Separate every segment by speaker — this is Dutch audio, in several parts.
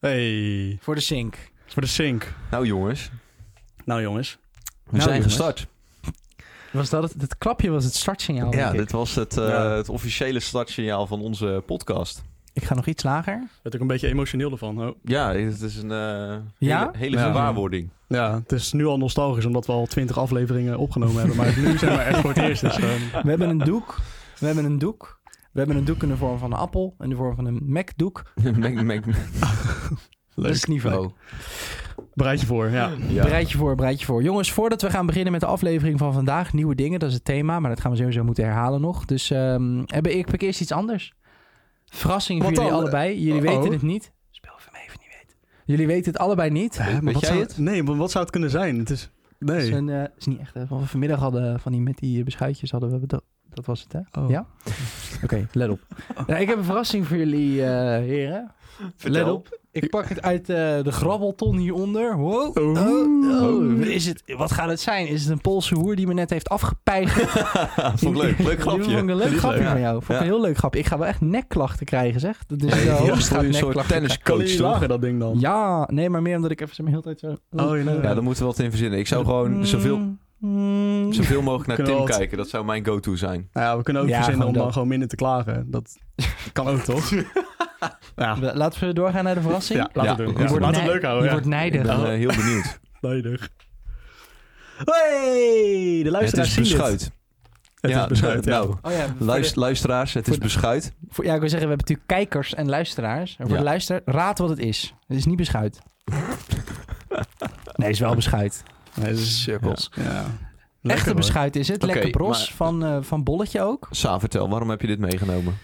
Speaker 1: Hey,
Speaker 2: Voor de sink.
Speaker 1: voor de sink.
Speaker 3: Nou jongens,
Speaker 1: Nou jongens,
Speaker 3: we
Speaker 2: Nou,
Speaker 3: zijn
Speaker 2: jongens.
Speaker 3: gestart.
Speaker 2: Was dat het, het klapje was het startsignaal.
Speaker 3: Ja,
Speaker 2: denk ik.
Speaker 3: dit was het, eh,
Speaker 1: Ja.
Speaker 3: het officiële startsignaal van onze podcast.
Speaker 2: ik ga nog iets lager.
Speaker 1: werd ik een beetje emotioneel ervan. Oh.
Speaker 3: Ja, het is een eh,
Speaker 2: Ja?
Speaker 3: hele, hele
Speaker 1: Ja.
Speaker 3: gewaarwording.
Speaker 1: Ja, het is nu al nostalgisch omdat we al twintig afleveringen opgenomen hebben. Maar nu zijn we echt voor het eerst. Dus, ehm,
Speaker 2: We hebben een doek. We hebben een doek. We hebben een doek in de vorm van een appel. In de vorm van een Mac-doek.
Speaker 3: Mac- Mac-
Speaker 2: Dat is het niveau.
Speaker 1: Dus bereid je voor, ja.
Speaker 3: Ja.
Speaker 2: Bereid je voor, bereid je voor. Jongens, voordat we gaan beginnen met de aflevering van vandaag. Nieuwe dingen, dat is het thema. Maar dat gaan we sowieso moeten herhalen nog. Dus ehm hebben ik heb ik eerst iets anders. Verrassing voor
Speaker 1: Wat
Speaker 2: jullie
Speaker 1: dan?
Speaker 2: allebei. Jullie
Speaker 1: Oh.
Speaker 2: weten het niet. Speel even mee, even niet weten. Jullie weten het allebei niet.
Speaker 1: Hè,
Speaker 3: Weet
Speaker 1: wat
Speaker 3: jij
Speaker 1: zou
Speaker 3: het?
Speaker 1: Nee, maar wat zou het kunnen zijn? Het is...
Speaker 2: Het is,
Speaker 1: Nee.
Speaker 2: een, eh, het is niet echt. eh, Wat we vanmiddag hadden van die met die eh, beschuitjes hadden we. bedo- Dat was het, hè?
Speaker 1: Oh.
Speaker 2: Ja? Oké, let op. Nou, ik heb een verrassing voor jullie, eh, heren. Let op. Ik pak het uit eh, de grabbelton hieronder. Wow.
Speaker 1: Oh.
Speaker 2: Oh, oh. Is het, wat gaat het zijn? Is het een Poolse hoer die me net heeft afgepeigerd?
Speaker 3: Vond ik leuk,
Speaker 2: Die
Speaker 3: leuk
Speaker 2: vond ik
Speaker 3: grapje.
Speaker 2: een leuk
Speaker 1: Vind ik
Speaker 2: grapje
Speaker 1: leuk.
Speaker 2: van jou. Vond ik
Speaker 3: Ja.
Speaker 2: een heel leuk grapje. Ik ga wel echt nekklachten krijgen, zeg. Dat is de
Speaker 3: Ja,
Speaker 2: hoogste
Speaker 3: voor je een soort
Speaker 2: nekklachten
Speaker 3: tenniscoach,
Speaker 1: Kan
Speaker 2: krijgen.
Speaker 1: jullie lachen, dat ding dan?
Speaker 2: Ja, nee, maar meer omdat ik even zo mijn hele tijd zo...
Speaker 1: Oh, ja, nee.
Speaker 3: Ja, daar moeten we wat in verzinnen. Ik zou gewoon zoveel,
Speaker 2: Mm.
Speaker 3: zoveel mogelijk naar
Speaker 1: Kunnen we
Speaker 3: Tim
Speaker 1: wat-
Speaker 3: kijken. Dat zou mijn go-to zijn.
Speaker 1: Nou ja, we kunnen ook
Speaker 2: Ja,
Speaker 1: verzinnen om
Speaker 2: gewoon
Speaker 1: dan
Speaker 2: dat.
Speaker 1: gewoon minder te klagen. Dat kan ook, toch? ja.
Speaker 2: We- Laten we doorgaan naar de verrassing.
Speaker 1: Ah. Ja, laten we
Speaker 3: Ja.
Speaker 1: doen.
Speaker 3: Je wordt
Speaker 1: Laten we
Speaker 2: nei-
Speaker 1: het leuk houden.
Speaker 2: Je
Speaker 1: ja.
Speaker 2: wordt
Speaker 3: Ik
Speaker 2: nijdig.
Speaker 3: ben
Speaker 1: Oh.
Speaker 3: eh, heel benieuwd.
Speaker 1: Nijdig. Hey, de
Speaker 3: het
Speaker 1: luisteraars
Speaker 3: is
Speaker 1: zien dit.
Speaker 3: beschuit.
Speaker 1: Het is beschuit, ja.
Speaker 3: Nou,
Speaker 2: Oh ja, voor de-
Speaker 3: luist- luisteraars, het
Speaker 2: voor
Speaker 3: is
Speaker 2: de-
Speaker 3: beschuit.
Speaker 2: voor- ja, ik wil zeggen, we hebben natuurlijk kijkers en luisteraars. En voor
Speaker 3: Ja.
Speaker 2: de luisteraar, raad wat het is. Het is niet beschuit. nee, het is wel beschuit.
Speaker 1: Nee, het is-
Speaker 3: Cirkels.
Speaker 1: Ja. Lekker,
Speaker 2: Echte
Speaker 1: hoor.
Speaker 2: beschuit is het.
Speaker 3: Oké,
Speaker 2: Lekker bros
Speaker 3: maar-
Speaker 2: van, eh, van Bolletje ook.
Speaker 3: Sa, vertel, waarom heb je dit meegenomen?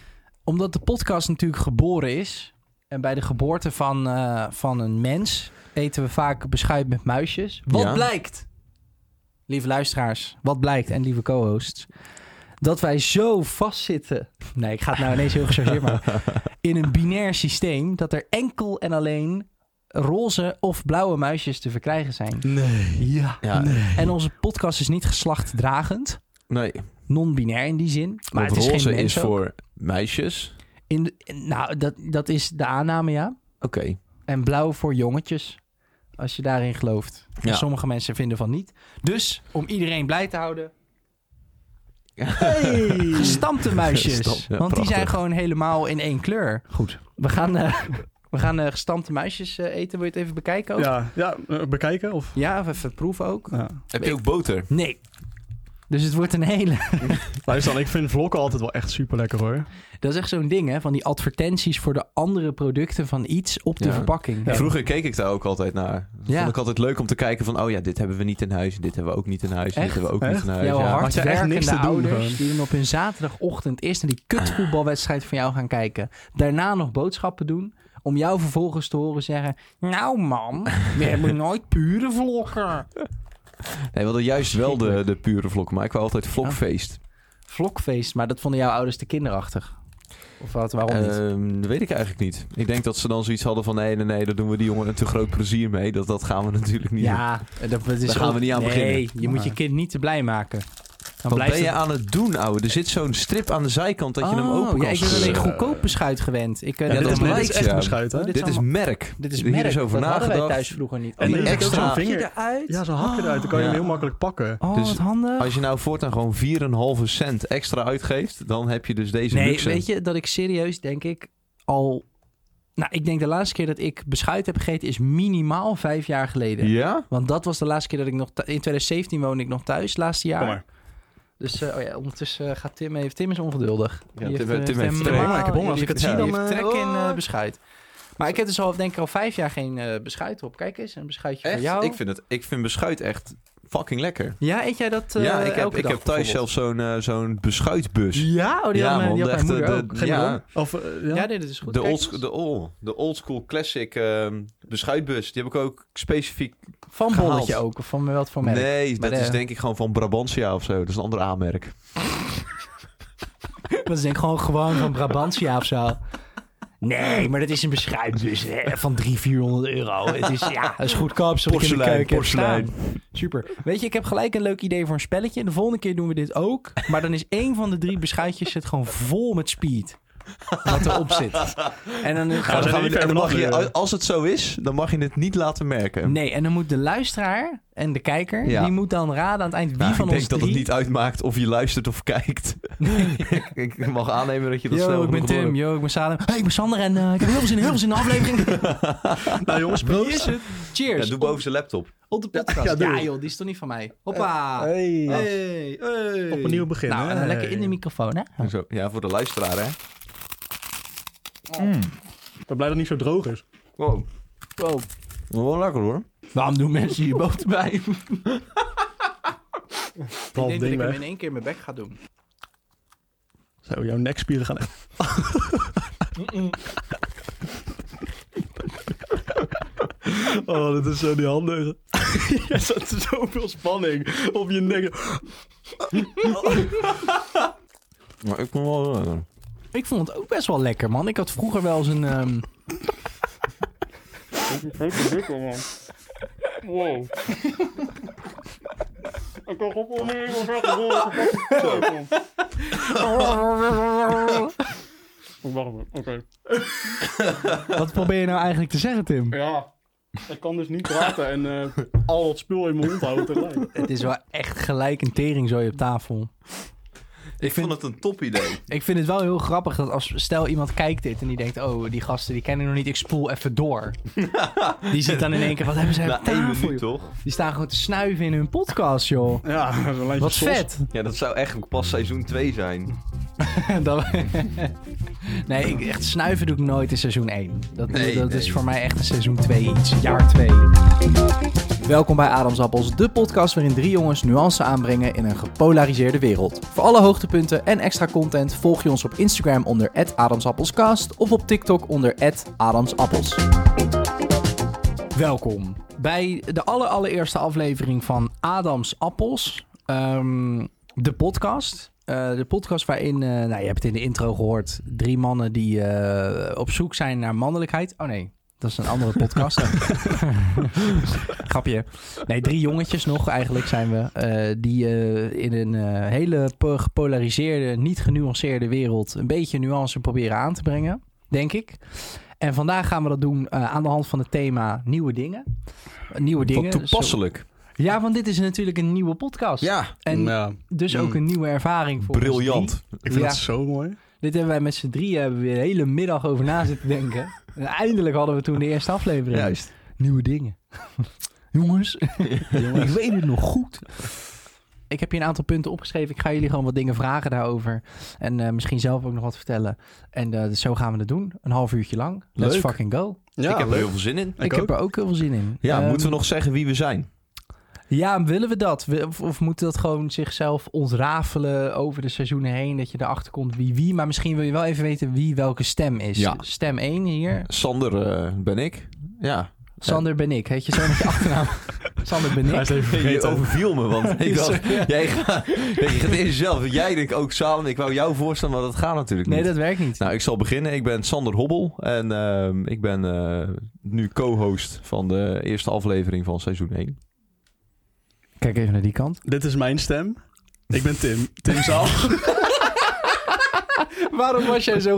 Speaker 2: Omdat de podcast natuurlijk geboren is. En bij de geboorte van, eh, van een mens eten we vaak beschuit met muisjes. Wat
Speaker 3: Ja.
Speaker 2: blijkt, lieve luisteraars, wat blijkt en lieve co-hosts, dat wij zo vastzitten. Nee, ik ga het nou ineens heel gechargeerd maken. In een binair systeem dat er enkel en alleen roze of blauwe muisjes te verkrijgen zijn.
Speaker 1: Nee.
Speaker 2: Ja.
Speaker 3: Ja, nee.
Speaker 2: En onze podcast is niet geslachtdragend, non-binair in die zin. Maar
Speaker 3: Want
Speaker 2: het is
Speaker 3: roze
Speaker 2: geen mens
Speaker 3: is
Speaker 2: ook.
Speaker 3: voor meisjes.
Speaker 2: In de- in- nou, dat, dat is de aanname, ja.
Speaker 3: Oké.
Speaker 2: En blauw voor jongetjes, als je daarin gelooft. En
Speaker 3: Ja.
Speaker 2: sommige mensen vinden van niet. Dus, om iedereen blij te houden, gestampte muisjes.
Speaker 3: Gestampt, ja,
Speaker 2: Want die
Speaker 3: prachtig.
Speaker 2: zijn gewoon helemaal in één kleur. Goed. We gaan, eh, we gaan eh, gestampte muisjes eh, eten. Wil je het even bekijken ook?
Speaker 1: Ja, ja eh, bekijken of...
Speaker 2: Ja, of even proeven ook?
Speaker 1: Ja.
Speaker 3: Heb je ook boter?
Speaker 2: Nee. Dus het wordt een hele...
Speaker 1: Luister dan, ik vind vlokken altijd wel echt super lekker hoor.
Speaker 2: Dat is echt zo'n ding, hè? Van die advertenties voor de andere producten van iets op de
Speaker 3: Ja.
Speaker 2: verpakking.
Speaker 1: Ja.
Speaker 3: Vroeger keek ik daar ook altijd naar. Dat
Speaker 2: Ja.
Speaker 3: vond ik altijd leuk om te kijken van... oh ja, dit hebben we niet in huis, dit hebben we ook niet in huis... en
Speaker 2: Echt?
Speaker 3: dit hebben we
Speaker 1: Echt?
Speaker 3: ook niet in huis.
Speaker 2: Jouw
Speaker 3: Eh, ja.
Speaker 1: Had je echt
Speaker 2: hardwerkende
Speaker 1: niks te doen
Speaker 2: ouders
Speaker 1: gewoon.
Speaker 2: die dan op hun zaterdagochtend eerst naar die kutvoetbalwedstrijd van jou gaan kijken. Daarna nog boodschappen doen. Om jou vervolgens te horen zeggen... Nou man, we hebben nooit pure vlokken.
Speaker 3: Nee, we hadden juist wel de, de pure vlok, maar ik wou altijd vlokfeest.
Speaker 2: Vlokfeest, maar dat vonden jouw ouders te kinderachtig. Of wat, waarom niet?
Speaker 3: Ehm, dat weet ik eigenlijk niet. Ik denk dat ze dan zoiets hadden van... nee, nee, nee, daar doen we die jongen een te groot plezier mee. Dat, dat gaan we natuurlijk niet doen.
Speaker 2: Ja, eh, dat, dat is
Speaker 3: Daar gaan
Speaker 2: ook-
Speaker 3: we niet aan
Speaker 2: nee,
Speaker 3: beginnen.
Speaker 2: je moet je
Speaker 1: Maar-
Speaker 2: kind niet te blij maken. Dan
Speaker 3: Wat
Speaker 2: blijft
Speaker 3: ben je
Speaker 2: het-
Speaker 3: aan het doen, ouwe? Er zit zo'n strip aan de zijkant dat je hem
Speaker 2: Oh,
Speaker 3: open kan
Speaker 2: ja, ik ben alleen
Speaker 3: scheuren.
Speaker 2: goedkoop beschuit gewend. Ik, eh,
Speaker 3: Ja,
Speaker 1: dit,
Speaker 3: dat
Speaker 1: is, dit is
Speaker 3: lijkt,
Speaker 1: echt
Speaker 3: ja.
Speaker 1: beschuit hè?
Speaker 2: Oh, dit
Speaker 3: Dit is
Speaker 2: allemaal-
Speaker 3: merk.
Speaker 2: dit is
Speaker 3: Hier
Speaker 2: merk,
Speaker 3: is over
Speaker 2: dat hadden wij
Speaker 3: nagedacht.
Speaker 2: thuis vroeger niet.
Speaker 1: En
Speaker 2: Oh, dat
Speaker 3: die
Speaker 2: is ook
Speaker 3: extra
Speaker 2: zo'n
Speaker 1: vinger.
Speaker 2: eruit. Ah.
Speaker 1: Ja, zo'n hak eruit, dan kan je
Speaker 3: Ja.
Speaker 1: hem heel makkelijk pakken.
Speaker 2: Oh,
Speaker 3: Dus
Speaker 2: wat handig.
Speaker 3: Als je nou voortaan gewoon 4,5 cent extra uitgeeft, dan heb je dus deze
Speaker 2: Nee,
Speaker 3: luxe.
Speaker 2: weet je dat ik serieus denk ik al... Nou, ik denk de laatste keer dat ik beschuit heb gegeten is minimaal vijf jaar geleden.
Speaker 3: Ja?
Speaker 2: Want dat was de laatste keer dat ik nog... thu- In 2017 woonde ik nog thuis, laatste jaar.
Speaker 1: Kom maar.
Speaker 2: Dus eh, oh ja, ondertussen eh, gaat Tim even... Tim is ongeduldig.
Speaker 3: Ja,
Speaker 2: Die
Speaker 3: Tim-
Speaker 2: heeft, eh,
Speaker 3: Tim heeft
Speaker 2: helemaal-
Speaker 3: trek.
Speaker 1: Ik heb honger, ik heb honger. Als ik het
Speaker 2: Die
Speaker 3: zie,
Speaker 2: heeft-
Speaker 1: dan,
Speaker 2: die heeft
Speaker 1: eh,
Speaker 2: trek in eh,
Speaker 1: oh.
Speaker 2: beschuit. Maar ik heb dus al, denk ik, al vijf jaar geen eh, beschuit op. Kijk eens, een beschuitje voor
Speaker 3: Echt?
Speaker 2: jou.
Speaker 3: Ik vind, het, ik vind beschuit echt fucking lekker.
Speaker 2: Ja, eet jij dat eh,
Speaker 3: ja, ik heb,
Speaker 2: elke
Speaker 3: ik
Speaker 2: dag
Speaker 3: heb thuis
Speaker 2: bijvoorbeeld?
Speaker 3: zelfs zo'n eh, zo'n beschuitbus.
Speaker 2: Ja? Oh, die had, mijn- die had mijn
Speaker 3: echt,
Speaker 2: moeder
Speaker 3: eh,
Speaker 2: ook.
Speaker 3: de,
Speaker 1: Geen
Speaker 3: ja,
Speaker 1: ballon? Of, eh, ja?
Speaker 2: Ja, nee, dit is goed.
Speaker 3: de,
Speaker 2: Kijk
Speaker 3: old,
Speaker 2: eens.
Speaker 3: de, old, de old school classic ehm, beschuitbus. Die heb ik ook specifiek...
Speaker 2: Van
Speaker 3: gehaald.
Speaker 2: bolletje ook, of van wat voor merk?
Speaker 3: Nee, dat
Speaker 2: de-
Speaker 3: is denk ik gewoon van Brabantia of zo. Dat is een ander aanmerk.
Speaker 2: Dat is denk ik gewoon, gewoon van Brabantia of zo. Nee, maar dat is een beschuitbus hè, van 300, 400 euro. Het is, ja, dat is goedkoop. zoals ik in de
Speaker 3: Porselein,
Speaker 2: keuken heb
Speaker 3: porselein.
Speaker 2: staan. Super. Weet je, ik heb gelijk een leuk idee voor een spelletje. De volgende keer doen we dit ook. Maar dan is één van de drie beschuitjes het gewoon vol met speed. wat erop zit. En dan
Speaker 1: we
Speaker 2: gaan
Speaker 1: zijn
Speaker 3: dan
Speaker 1: niet
Speaker 3: we- en
Speaker 1: ver
Speaker 3: dan mag
Speaker 1: vanaf,
Speaker 3: je,
Speaker 1: eh.
Speaker 3: als het zo is, dan mag je het niet laten merken.
Speaker 2: Nee, en dan moet de luisteraar en de kijker,
Speaker 3: Ja.
Speaker 2: die moet dan raden aan het eind wie
Speaker 3: Nou,
Speaker 2: van
Speaker 3: ik denk
Speaker 2: ons
Speaker 3: dat
Speaker 2: drie...
Speaker 3: het niet uitmaakt of je luistert of kijkt. Ik- ik mag aannemen dat je dat snel
Speaker 2: Yo, ik ben
Speaker 3: genoeg door
Speaker 2: Tim.
Speaker 3: hebt.
Speaker 2: Yo, ik ben Salem. Hey, ik ben Sander en eh, ik heb heel veel zin, heel veel zin in de aflevering.
Speaker 1: Nou jongens, proost.
Speaker 2: het. Cheers.
Speaker 3: Ja, doe
Speaker 2: op,
Speaker 3: boven zijn laptop.
Speaker 2: op de podcast.
Speaker 1: Ja,
Speaker 2: Ja,
Speaker 1: doe.
Speaker 2: joh, die is toch niet van mij. Hoppa.
Speaker 1: Hey.
Speaker 2: Hey, hey.
Speaker 1: Op een nieuw begin,
Speaker 2: Nou, en dan
Speaker 1: hè?
Speaker 2: lekker in de microfoon, hè?
Speaker 3: Zo, ja, voor de luisteraar, hè.
Speaker 1: Ik ben blij dat het niet zo droog is.
Speaker 3: Wow.
Speaker 2: Wow.
Speaker 3: Wel lekker, hoor.
Speaker 2: Waarom doen mensen hier boter bij? Ik
Speaker 1: Half
Speaker 2: denk dat
Speaker 1: ding
Speaker 2: ik hem
Speaker 1: weg.
Speaker 2: in één keer in mijn bek ga doen.
Speaker 1: Zo, jouw nekspieren gaan echt... Oh, dat is zo niet handig. Je zat zoveel spanning op je nek.
Speaker 3: Maar ik vond het wel eh, lekker.
Speaker 2: Ik vond het ook best wel lekker, man. Ik had vroeger wel eens een... ehm,
Speaker 1: Dat is dikker, man. Wow. Ik kan op om even zeggen. Wacht even, oké.
Speaker 2: Wat probeer je nou eigenlijk te zeggen, Tim?
Speaker 1: Ja, ik kan dus niet praten en eh, al dat spul in mijn mond houden tegelijk.
Speaker 2: Het is wel echt gelijk een tering zo op tafel.
Speaker 3: Ik vond het een top idee.
Speaker 2: Ik vind het wel heel grappig dat als stel iemand kijkt dit en die denkt, oh, die gasten die kennen ik nog niet, ik spoel even door. die zit dan in één keer, wat hebben zij
Speaker 3: Na
Speaker 2: op
Speaker 3: één
Speaker 2: tafel?
Speaker 3: minuut,
Speaker 2: joh?
Speaker 3: toch?
Speaker 2: Die staan gewoon te snuiven in hun podcast, joh.
Speaker 1: Ja, dat is een lijntje
Speaker 2: Wat
Speaker 1: sos.
Speaker 2: vet.
Speaker 3: Ja, dat zou eigenlijk pas seizoen 2 zijn.
Speaker 2: Dan- nee, ik, echt snuiven doe ik nooit in seizoen 1. Dat,
Speaker 3: Nee,
Speaker 2: dat
Speaker 3: nee.
Speaker 2: is voor mij echt een seizoen 2 iets, jaar 2. Welkom bij Adamsappels, de podcast waarin drie jongens nuance aanbrengen in een gepolariseerde wereld. Voor alle hoogtepunten en extra content volg je ons op Instagram onder @adamsappelscast of op TikTok onder @adamsappels. Welkom bij de aller- allereerste aflevering van Adams Appels, ehm, de podcast. Eh, de podcast waarin, eh, nou je hebt het in de intro gehoord, drie mannen die eh, op zoek zijn naar mannelijkheid. Oh nee, dat is een andere podcast. Grapje. Nee, drie jongetjes nog eigenlijk zijn we, eh, die eh, in een eh, hele po- gepolariseerde, niet genuanceerde wereld een beetje nuance proberen aan te brengen, denk ik. En vandaag gaan we dat doen eh, aan de hand van het thema nieuwe dingen. Eh, nieuwe dingen.
Speaker 3: Wat toepasselijk.
Speaker 2: Zo- Ja, want dit is natuurlijk een nieuwe podcast.
Speaker 3: Ja,
Speaker 2: En
Speaker 1: Ja,
Speaker 2: dus ook een nieuwe ervaring voor ons
Speaker 3: briljant.
Speaker 1: ik vind
Speaker 2: Ja.
Speaker 1: dat zo mooi.
Speaker 2: drie. Dit hebben wij met z'n drieën hebben we weer de hele middag over na zitten denken. En eindelijk hadden we toen de eerste aflevering.
Speaker 3: Juist.
Speaker 2: Nieuwe dingen. Jongens, ik weet het nog goed. Ik heb hier een aantal punten opgeschreven. Ik ga jullie gewoon wat dingen vragen daarover. En eh, misschien zelf ook nog wat vertellen. En eh, dus zo gaan we het doen. Een half uurtje lang. Let's
Speaker 3: Leuk.
Speaker 2: fucking go.
Speaker 1: Ja,
Speaker 3: ik heb er heel veel zin in.
Speaker 2: Ik, heb er ook heel veel zin in.
Speaker 3: Ja,
Speaker 2: Ehm,
Speaker 3: moeten we nog zeggen wie we zijn?
Speaker 2: Ja, willen we dat? We- Of, of moet dat gewoon zichzelf ontrafelen over de seizoenen heen? Dat je erachter komt wie wie. Maar misschien wil je wel even weten wie welke stem is.
Speaker 3: Ja.
Speaker 2: Stem 1 hier.
Speaker 3: Sander eh, ben ik. Ja.
Speaker 2: Sander ben ik. Heet je zo met je achternaam? Sander ben
Speaker 1: Hij
Speaker 2: ik.
Speaker 1: is even
Speaker 3: Je
Speaker 1: vergeten.
Speaker 3: overviel me, want ik dacht, jij gaat, je gaat eerst zelf. Jij denkt ook samen. Ik wou jou voorstellen, maar dat gaat natuurlijk niet.
Speaker 2: Nee, dat werkt niet.
Speaker 3: Nou, ik zal beginnen. Ik ben Sander Hobbel en ehm, ik ben eh, nu co-host van de eerste aflevering van seizoen 1.
Speaker 2: Kijk even naar die kant.
Speaker 1: Dit is mijn stem. Ik ben Tim. Tim Zaal.
Speaker 2: Waarom was jij zo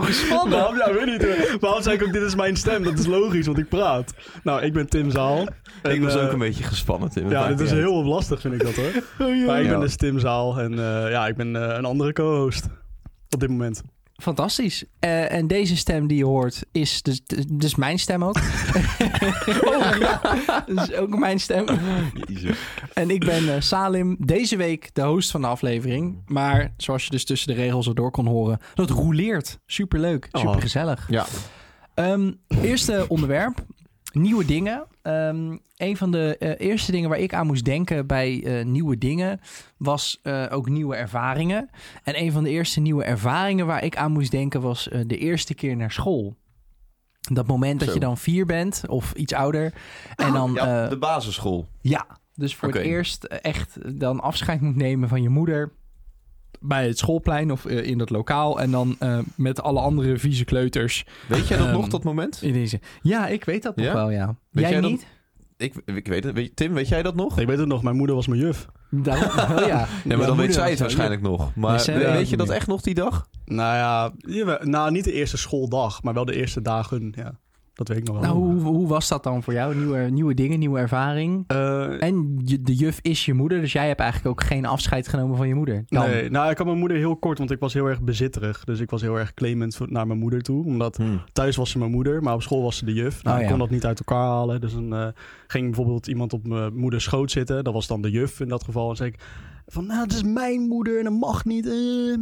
Speaker 2: gespannen?
Speaker 1: Waarom? Ja, weet niet. eh, Waarom zei ik ook dit is mijn stem? Dat is logisch, want ik praat. Nou, ik ben Tim Zaal. En,
Speaker 3: ik was
Speaker 1: eh,
Speaker 3: ook een beetje gespannen, Tim.
Speaker 1: Ja,
Speaker 3: Het
Speaker 1: dit is
Speaker 3: maakt niet
Speaker 1: heel lastig, vind ik dat hoor.
Speaker 2: Oh,
Speaker 1: Maar ik
Speaker 3: Ja.
Speaker 1: ben dus Tim Zaal en eh, ja, ik ben eh, een andere co-host op dit moment.
Speaker 2: Fantastisch. Eh, en deze stem die je hoort is dus, dus mijn stem ook. oh, ja. Dat is ook mijn stem.
Speaker 3: uit. Jezus.
Speaker 2: En ik ben eh, Salim, deze week de host van de aflevering. Maar zoals je dus tussen de regels al door kon horen, dat rouleert. Superleuk,
Speaker 1: Oh.
Speaker 2: supergezellig.
Speaker 3: Ja.
Speaker 2: Ehm, eerste onderwerp, nieuwe dingen. Ehm, een van de eh, eerste dingen waar ik aan moest denken bij eh, nieuwe dingen was eh, ook nieuwe ervaringen. En een van de eerste nieuwe ervaringen waar ik aan moest denken was eh, de eerste keer naar school. Dat moment dat
Speaker 3: Zo. Ah,
Speaker 2: je dan vier bent of iets ouder. En dan
Speaker 3: Ja,
Speaker 2: eh,
Speaker 3: de basisschool.
Speaker 2: ja, dus voor
Speaker 3: Oké.
Speaker 2: het eerst echt dan afscheid moet nemen van je moeder bij het schoolplein of eh, in dat lokaal. En dan eh, met alle andere vieze kleuters.
Speaker 3: Weet jij dat
Speaker 2: Ehm,
Speaker 3: nog, dat moment?
Speaker 2: In deze. Ja, ik weet dat nog
Speaker 3: Ja?
Speaker 2: wel, ja.
Speaker 3: Weet
Speaker 2: jij
Speaker 3: jij dat-
Speaker 2: niet?
Speaker 3: Ik, ik weet het. Weet, Tim, weet jij dat nog?
Speaker 1: Ik weet het nog, mijn moeder was mijn juf.
Speaker 2: Daarom, oh ja.
Speaker 3: Ja, maar dan weet zij het waarschijnlijk nog. Maar
Speaker 2: zij
Speaker 3: we-
Speaker 2: weet
Speaker 3: weet
Speaker 2: het
Speaker 3: je dat
Speaker 2: niet.
Speaker 3: echt nog die dag?
Speaker 1: Nou ja, jawel- nou, niet de eerste schooldag, maar wel de eerste dagen. Ja, dat weet ik nog wel.
Speaker 2: Nou,
Speaker 3: Oh.
Speaker 2: hoe, hoe was dat dan voor jou? Nieuwe, nieuwe dingen, nieuwe ervaring.
Speaker 1: Eh,
Speaker 2: En je- de juf is je moeder, dus jij hebt eigenlijk ook geen afscheid genomen van je moeder. Dan.
Speaker 1: nee, nou, ik had mijn moeder heel kort, want ik was heel erg bezitterig. Dus ik was heel erg claimant voor- naar mijn moeder toe. Omdat
Speaker 3: Hm,
Speaker 1: thuis was ze mijn moeder, maar op school was ze de juf. Nou,
Speaker 2: Oh,
Speaker 1: ik
Speaker 2: ja.
Speaker 1: kon dat niet uit elkaar halen. Dus dan eh, ging bijvoorbeeld iemand op mijn moeders schoot zitten. Dat was dan de juf in dat geval. En zei ik van, nou, het is mijn moeder en dat mag niet. eh.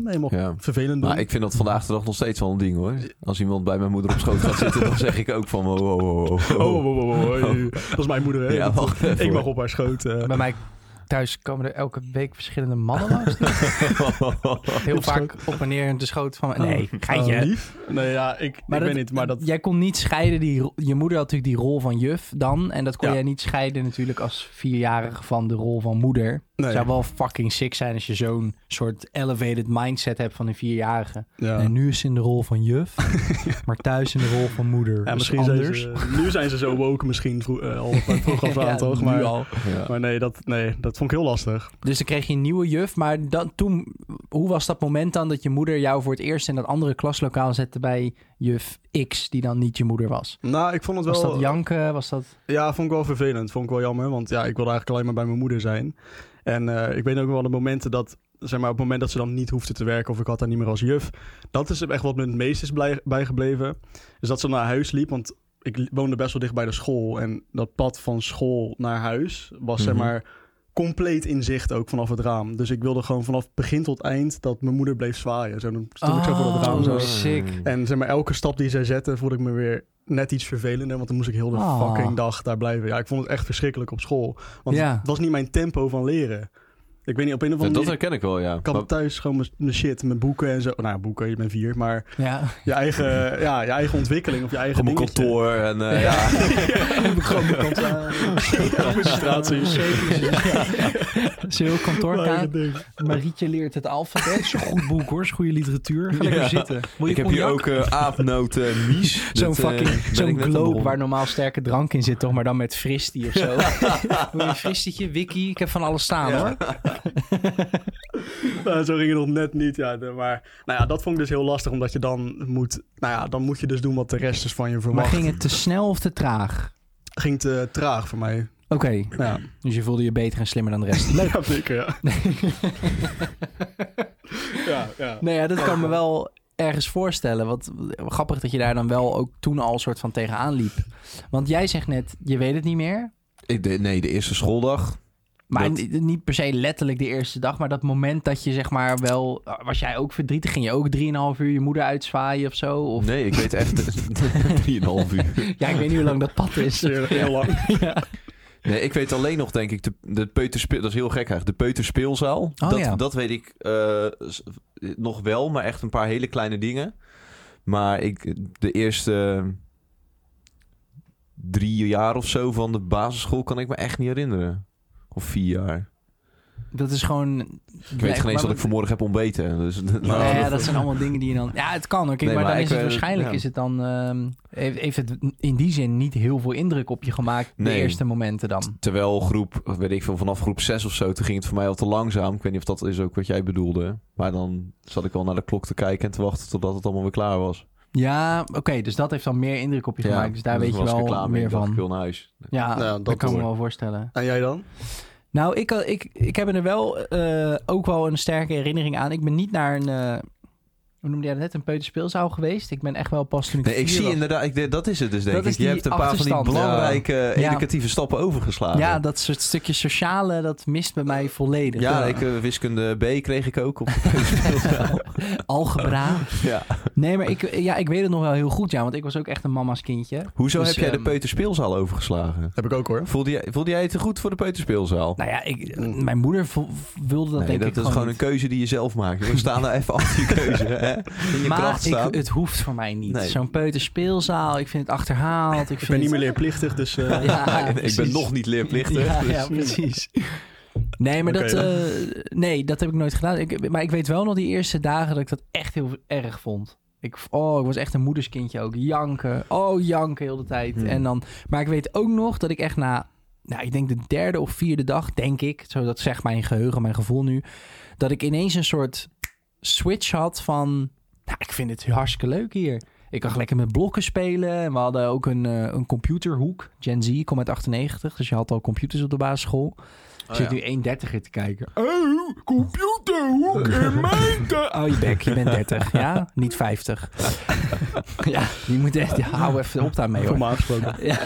Speaker 1: helemaal
Speaker 3: Ja.
Speaker 1: vervelend doen.
Speaker 3: Maar ik vind dat vandaag de dag nog steeds wel een ding hoor. Als iemand bij mijn moeder op schoot gaat zitten, dan zeg ik ook van wow, wow, wow, wow.
Speaker 1: Oh, oh, oh, oh, oh, eh, dat is mijn moeder. Hè?
Speaker 3: Ja,
Speaker 1: Dat-
Speaker 3: wacht even,
Speaker 1: ik mag
Speaker 3: hoor.
Speaker 1: op haar schoot. eh.
Speaker 2: Bij mij thuis komen er elke week verschillende mannen langs. Heel vaak op en neer in de schoot
Speaker 3: Oh.
Speaker 2: van... Nee, geintje.
Speaker 1: Eh, lief? Nee, ja, ik, ik
Speaker 2: dat-
Speaker 1: weet niet, maar dat...
Speaker 2: Jij kon niet scheiden, die, ro- je moeder had natuurlijk die rol van juf dan. En dat kon
Speaker 1: Ja.
Speaker 2: jij niet scheiden natuurlijk als vierjarige van de rol van moeder.
Speaker 1: Nee.
Speaker 2: Het zou wel fucking sick zijn als je zo'n soort elevated mindset hebt van een vierjarige.
Speaker 1: Ja.
Speaker 2: En nu is ze in de rol van juf, maar thuis in de rol van moeder.
Speaker 1: Ja,
Speaker 2: Dus
Speaker 1: misschien
Speaker 2: anders.
Speaker 1: Zijn ze, nu zijn ze zo woke misschien vro eh, al van vroeg af aan,
Speaker 2: Ja,
Speaker 1: toch?
Speaker 2: nu
Speaker 1: Maar,
Speaker 2: al.
Speaker 3: Ja.
Speaker 1: maar nee, dat, nee, dat vond ik heel lastig.
Speaker 2: Dus dan kreeg je een nieuwe juf. Maar dan, toen, hoe was dat moment dan dat je moeder jou voor het eerst in dat andere klaslokaal zette bij juf X, die dan niet je moeder was?
Speaker 1: Nou, ik vond het
Speaker 2: Was
Speaker 1: wel...
Speaker 2: dat janken? Was dat...
Speaker 1: Ja, vond ik wel vervelend. Vond ik wel jammer, want ja, ik wilde eigenlijk alleen maar bij mijn moeder zijn. En eh, ik weet ook wel de momenten dat, zeg maar, op het moment dat ze dan niet hoefde te werken of ik had haar niet meer als juf. Dat is echt wat me het meest is blij- bijgebleven. Is dat ze naar huis liep, want ik li- woonde best wel dicht bij de school. En dat pad van school naar huis was, zeg
Speaker 3: Mhm.
Speaker 1: maar, compleet in zicht ook vanaf het raam. Dus ik wilde gewoon vanaf begin tot eind dat mijn moeder bleef zwaaien. Zo, dan stond ik zo voor dat raam
Speaker 2: Oh,
Speaker 1: zo.
Speaker 2: sick.
Speaker 1: En zeg maar, elke stap die zij zette, voelde ik me weer net iets vervelender. Want dan moest ik heel de
Speaker 2: Ah.
Speaker 1: fucking dag daar blijven. Ja, ik vond het echt verschrikkelijk op school. Want
Speaker 2: Ja.
Speaker 1: het was niet mijn tempo van leren. Ik weet niet, op een of
Speaker 3: Ja,
Speaker 1: andere
Speaker 3: dat
Speaker 1: manier...
Speaker 3: herken ik wel, ja.
Speaker 1: Ik had thuis gewoon mijn- mijn shit, mijn boeken en zo. Nou, ja, boeken, je bent vier. Maar
Speaker 2: Ja.
Speaker 1: je eigen, ja, je eigen ontwikkeling of je eigen
Speaker 3: Gewoon mijn
Speaker 1: dingetje.
Speaker 3: kantoor en eh, ja.
Speaker 1: Administraties.
Speaker 2: Zul
Speaker 1: Mijn eigen
Speaker 2: kantoorkaart.
Speaker 1: ding.
Speaker 2: Marietje leert het alfabet. Is een goed boek hoor. Is goede literatuur. Ga lekker
Speaker 3: Ja.
Speaker 2: zitten. Wil je
Speaker 3: Ik heb hier
Speaker 2: cognac?
Speaker 3: ook eh, aapnoten, mies.
Speaker 2: Zo'n
Speaker 3: Dat, eh,
Speaker 2: fucking
Speaker 3: ben ik
Speaker 2: zo'n
Speaker 3: net aan
Speaker 2: globe
Speaker 3: begonnen.
Speaker 2: waar normaal sterke drank in zit, toch? Maar dan met fristie of zo. Wil je een fristietje, wiki? Ik heb van alles staan
Speaker 1: Ja.
Speaker 2: hoor.
Speaker 1: Nou, zo ging het nog net niet. Ja. De- Maar nou ja, dat vond ik dus heel lastig. Omdat je dan moet, nou ja, dan moet je dus doen wat de rest is van je
Speaker 2: Maar
Speaker 1: verwacht.
Speaker 2: ging het te snel of te traag?
Speaker 1: Ging te traag voor mij.
Speaker 2: Oké,
Speaker 1: Ja,
Speaker 2: dus je voelde je beter en slimmer dan de rest. Leuk.
Speaker 1: ja zeker, ja. ja, ja.
Speaker 2: Nee, Nou ja, dat kan me wel ergens voorstellen. Wat grappig dat je daar dan wel ook toen al een soort van tegenaan liep. Want jij zegt net, je weet het niet meer.
Speaker 3: Ik de- nee, de eerste schooldag.
Speaker 2: Maar
Speaker 3: Dat-
Speaker 2: niet- niet per se letterlijk de eerste dag, maar dat moment dat je zeg maar wel... Was jij ook verdrietig? Ging je ook drieënhalf uur je moeder uitzwaaien of zo? Of,
Speaker 3: Nee, ik weet echt eh, 3,5 uur.
Speaker 2: Ja, ik weet niet hoe lang dat pad is.
Speaker 1: Zeer, heel lang.
Speaker 3: Nee, ik weet alleen nog, denk ik, de, de peuterspeel... Dat is heel gek eigenlijk. De peuterspeelzaal. dat,
Speaker 2: ja.
Speaker 3: dat weet ik eh, s- nog wel, maar echt een paar hele kleine dingen. Maar ik, de eerste drie jaar of zo van de basisschool kan ik me echt niet herinneren. Of vier jaar.
Speaker 2: Dat is gewoon...
Speaker 3: Ik weet geen eens wat ik vanmorgen heb ontbeten. Dus,
Speaker 1: Nou,
Speaker 2: Nee,
Speaker 1: dat-
Speaker 2: dat zijn allemaal dingen die je dan... Ja, het kan ook.
Speaker 3: Nee,
Speaker 2: maar, eh,
Speaker 3: maar
Speaker 2: dan
Speaker 3: ik
Speaker 2: is het
Speaker 3: weet-
Speaker 2: waarschijnlijk...
Speaker 3: ja.
Speaker 2: Is het dan, ehm, heeft, heeft het in die zin niet heel veel indruk op je gemaakt... de
Speaker 3: Nee.
Speaker 2: eerste momenten dan?
Speaker 3: Terwijl groep, weet ik veel, vanaf groep 6 of zo, toen ging het voor mij al te langzaam. Ik weet niet of dat is ook wat jij bedoelde. Maar dan zat ik al naar de klok te kijken en te wachten totdat het allemaal weer klaar was.
Speaker 2: Ja, oké. dus dat heeft dan meer indruk op je gemaakt. Dus daar
Speaker 3: toen
Speaker 2: weet je
Speaker 3: was ik er
Speaker 2: wel
Speaker 3: klaar mee.
Speaker 2: meer
Speaker 3: Ik dacht, Ik wil
Speaker 2: van.
Speaker 3: naar huis.
Speaker 2: Ja,
Speaker 1: Ja,
Speaker 2: dat
Speaker 1: Nou, dat
Speaker 2: kan ik me
Speaker 1: hoor.
Speaker 2: wel voorstellen.
Speaker 1: En jij dan?
Speaker 2: Nou, ik, ik, ik heb er wel eh, ook wel een sterke herinnering aan. Ik ben niet naar een... eh, hoe noemde jij dat net? Een peuterspeelzaal geweest. Ik ben echt wel pas toen ik
Speaker 3: Nee, ik
Speaker 2: vier
Speaker 3: zie
Speaker 2: was.
Speaker 3: inderdaad, ik, denk- dat is het dus denk
Speaker 2: Dat
Speaker 3: ik.
Speaker 2: is
Speaker 3: Je
Speaker 2: die
Speaker 3: hebt een paar van die
Speaker 2: achterstand.
Speaker 3: belangrijke
Speaker 2: Ja.
Speaker 3: educatieve stappen overgeslagen.
Speaker 2: Ja, dat soort stukje sociale, dat mist bij mij volledig.
Speaker 3: Ja, ik, eh, wiskunde B kreeg ik ook op de peuterspeelzaal.
Speaker 2: Algebra.
Speaker 3: ja.
Speaker 2: Nee, maar ik, ja, ik weet het nog wel heel goed, ja. Want ik was ook echt een mama's kindje.
Speaker 3: Hoezo
Speaker 2: Dus,
Speaker 3: heb jij de
Speaker 2: ehm,
Speaker 3: peuterspeelzaal overgeslagen?
Speaker 1: Heb ik ook hoor.
Speaker 3: Voelde jij, voelde jij het te goed voor de peuterspeelzaal?
Speaker 2: Nou ja, ik, mijn moeder vo- wilde dat
Speaker 3: Mm. nee,
Speaker 2: denk
Speaker 3: dat
Speaker 2: ik
Speaker 3: is
Speaker 2: gewoon,
Speaker 3: gewoon een
Speaker 2: niet.
Speaker 3: keuze die je zelf maakt. We staan nou even achter je keuze. Hè? In je kracht
Speaker 2: Maar ik,
Speaker 3: staan.
Speaker 2: het hoeft voor mij niet.
Speaker 3: Nee.
Speaker 2: Zo'n peuterspeelzaal, ik vind het achterhaald. Ik,
Speaker 1: Ik
Speaker 2: vind
Speaker 1: ben niet meer
Speaker 2: het-
Speaker 1: leerplichtig, dus... eh,
Speaker 2: Ja,
Speaker 3: ik ben
Speaker 2: precies.
Speaker 3: nog niet leerplichtig.
Speaker 2: Ja,
Speaker 3: dus-
Speaker 2: ja, precies. Nee, maar dat,
Speaker 1: Oké.
Speaker 2: eh, nee, dat heb ik nooit gedaan. Ik, maar ik weet wel nog die eerste dagen dat ik dat echt heel erg vond. Ik, oh, ik was echt een moederskindje ook. Janken. Oh, janken heel de tijd.
Speaker 3: Hmm.
Speaker 2: En dan, maar ik weet ook nog dat ik echt na nou, ik denk de derde of vierde dag, denk ik, zo dat zegt mijn geheugen, mijn gevoel nu, dat ik ineens een soort switch had van, nou, ik vind het hartstikke leuk hier. Ik kan lekker met blokken spelen en we hadden ook een, eh, een computerhoek. Gen Z, ik kom uit 98, dus je had al computers op de basisschool. Ik zit nu 1,30 te kijken. Oh, computerhoek in mijn tijd. Oh, je bek, je bent 30, ja? Niet 50. ja, je moet echt, ja, hou even op daarmee
Speaker 1: Voor
Speaker 2: hoor.
Speaker 1: me aangesproken.
Speaker 2: Ja.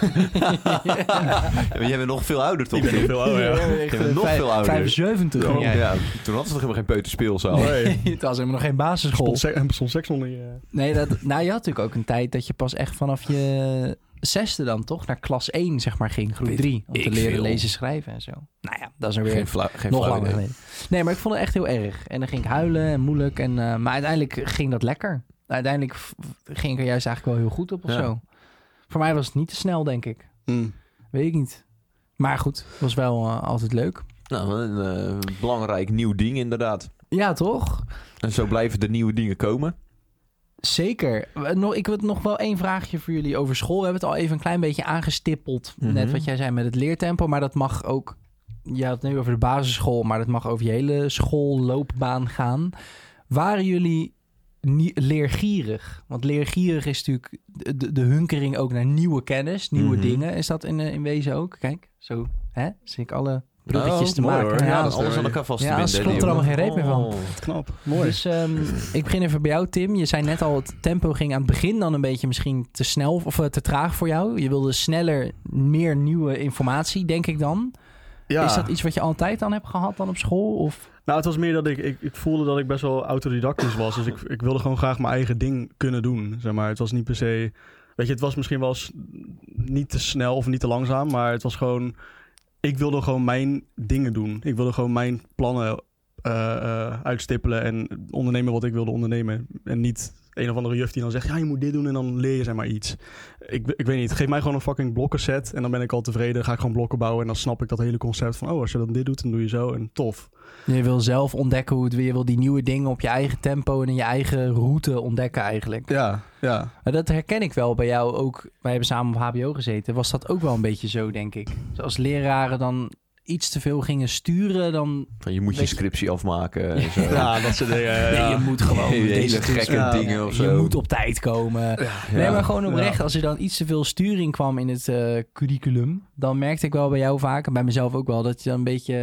Speaker 3: Ja, jij bent nog veel ouder, toch?
Speaker 1: Ik ben nog veel ouder, oh, ja.
Speaker 2: Ik
Speaker 3: bent nog veel ouder.
Speaker 2: 75.
Speaker 3: Ja,
Speaker 2: ging jij.
Speaker 3: ja, toen hadden ze nog helemaal geen peuterspeelzaal.
Speaker 1: Nee.
Speaker 2: Het was helemaal nog geen basisschool.
Speaker 1: Stond se- en stond seks onder je...
Speaker 2: Nee, dat, nou je had natuurlijk ook een tijd dat je pas echt vanaf je zesde dan toch naar klas 1 zeg maar ging, groep
Speaker 3: Weet
Speaker 2: 3. Om te
Speaker 3: ik
Speaker 2: leren
Speaker 3: veel.
Speaker 2: lezen, schrijven en zo. Nou ja, dat is er weer
Speaker 3: Geen flauw geen
Speaker 2: nog
Speaker 3: flauw
Speaker 2: langer
Speaker 3: idee.
Speaker 2: geleden. Nee, maar ik vond het echt heel erg. En dan ging ik huilen en moeilijk. En, eh, maar uiteindelijk ging dat lekker. Uiteindelijk f- ging ik er juist eigenlijk wel heel goed op of
Speaker 3: Ja.
Speaker 2: zo. Voor mij was het niet te snel, denk ik.
Speaker 1: Mm.
Speaker 2: Weet ik niet. Maar goed, het was wel eh, altijd leuk.
Speaker 3: Nou, wat een eh, belangrijk nieuw ding inderdaad.
Speaker 2: Ja, toch?
Speaker 3: En zo blijven de nieuwe dingen komen.
Speaker 2: Zeker. We- Nog, ik wil nog wel één vraagje voor jullie over school. We hebben het al even een klein beetje aangestippeld.
Speaker 3: Mhm.
Speaker 2: Net wat jij zei met het leertempo. Maar dat mag ook... Je had het nu over de basisschool, maar dat mag over je hele schoolloopbaan gaan. Waren jullie nie- leergierig? Want leergierig is natuurlijk de, de- de hunkering ook naar nieuwe kennis, nieuwe
Speaker 3: Mhm.
Speaker 2: dingen. Is dat in, eh, in wezen ook? Kijk, zo hè? zit ik alle bruggetjes
Speaker 3: Oh,
Speaker 2: te
Speaker 1: Nou, mooi
Speaker 2: maken.
Speaker 1: hoor.
Speaker 3: Ja,
Speaker 1: Ja,
Speaker 3: dat
Speaker 1: dat
Speaker 3: is
Speaker 1: is
Speaker 3: alles
Speaker 1: wel-
Speaker 3: aan elkaar vast te
Speaker 2: Ja,
Speaker 3: binden.
Speaker 2: ze
Speaker 3: hè,
Speaker 2: klopt er
Speaker 3: jongen.
Speaker 2: allemaal geen reet meer van.
Speaker 3: Oh.
Speaker 1: Knap. Mooi.
Speaker 2: Dus ehm, ik begin even bij jou, Tim. Je zei net al, het tempo ging aan het begin dan een beetje misschien te snel of eh, te traag voor jou. Je wilde sneller meer nieuwe informatie, denk ik dan.
Speaker 1: ja.
Speaker 2: Is dat iets wat je altijd dan hebt gehad dan op school? Of?
Speaker 1: Nou, het was meer dat ik, ik, ik voelde dat ik best wel autodidactisch was. Dus ik, ik wilde gewoon graag mijn eigen ding kunnen doen. Zeg maar. Het was niet per se. Weet je, het was misschien wel eens niet te snel of niet te langzaam. Maar het was gewoon. Ik wilde gewoon mijn dingen doen. Ik wilde gewoon mijn plannen eh, eh, uitstippelen en ondernemen wat ik wilde ondernemen. En niet een of andere juf die dan zegt: ja, je moet dit doen en dan leer je zeg maar iets. Ik, ik weet niet. Geef mij gewoon een fucking blokkenset en dan ben ik al tevreden. Dan ga ik gewoon blokken bouwen en dan snap ik dat hele concept van: oh, als je dan dit doet, dan doe je zo en tof.
Speaker 2: Je wil zelf ontdekken hoe het weer, je wil die nieuwe dingen op je eigen tempo en in je eigen route ontdekken eigenlijk.
Speaker 1: Ja, ja.
Speaker 2: Maar dat herken ik wel bij jou ook. Wij hebben samen op HBO gezeten. Was dat ook wel een beetje zo, denk ik. Dus als leraren dan iets te veel gingen sturen, dan...
Speaker 3: Van, je moet je
Speaker 2: Weet je-
Speaker 3: scriptie afmaken. en zo.
Speaker 1: Ja, dat soort dingen. Ja,
Speaker 2: Nee, je moet gewoon
Speaker 3: Hele
Speaker 2: deze
Speaker 3: gekke
Speaker 2: toespraak-
Speaker 3: dingen of zo.
Speaker 2: Je moet op tijd komen. Nee, maar gewoon oprecht. Als er dan iets te veel sturing kwam in het eh, curriculum, dan merkte ik wel bij jou vaak en bij mezelf ook wel dat je dan een beetje,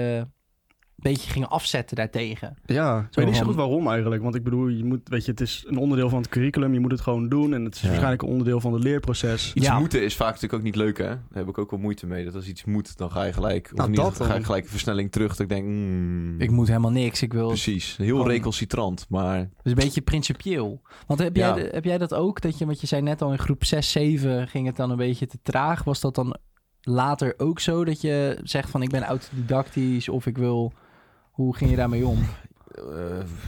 Speaker 2: een beetje ging afzetten daartegen.
Speaker 1: Ja, ik weet niet zo
Speaker 2: van-
Speaker 1: goed waarom eigenlijk. Want ik bedoel, je moet, weet je, het is een onderdeel van het curriculum. Je moet het gewoon doen. En het is
Speaker 3: Ja.
Speaker 1: waarschijnlijk een onderdeel van het leerproces.
Speaker 3: Iets
Speaker 2: Ja.
Speaker 3: moeten is vaak natuurlijk ook niet leuk, hè? Daar heb ik ook wel moeite mee. Dat als iets moet, dan ga je gelijk... Of
Speaker 1: Nou,
Speaker 3: niet,
Speaker 1: dat
Speaker 3: dan ga je
Speaker 1: dan.
Speaker 3: gelijk een versnelling terug. Dat ik denk... hmm, Dus-
Speaker 2: Ik moet Oh. helemaal niks. Ik wil.
Speaker 3: Precies. Heel
Speaker 2: Gewoon-
Speaker 3: recalcitrant, maar...
Speaker 2: Dus een beetje principieel. Want heb,
Speaker 3: Ja.
Speaker 2: jij, heb jij dat ook? Dat je, want je zei net al in groep 6, 7 ging het dan een beetje te traag. Was dat dan later ook zo dat je zegt van ik ben autodidactisch of ik wil. Hoe ging je daarmee om?
Speaker 3: eh,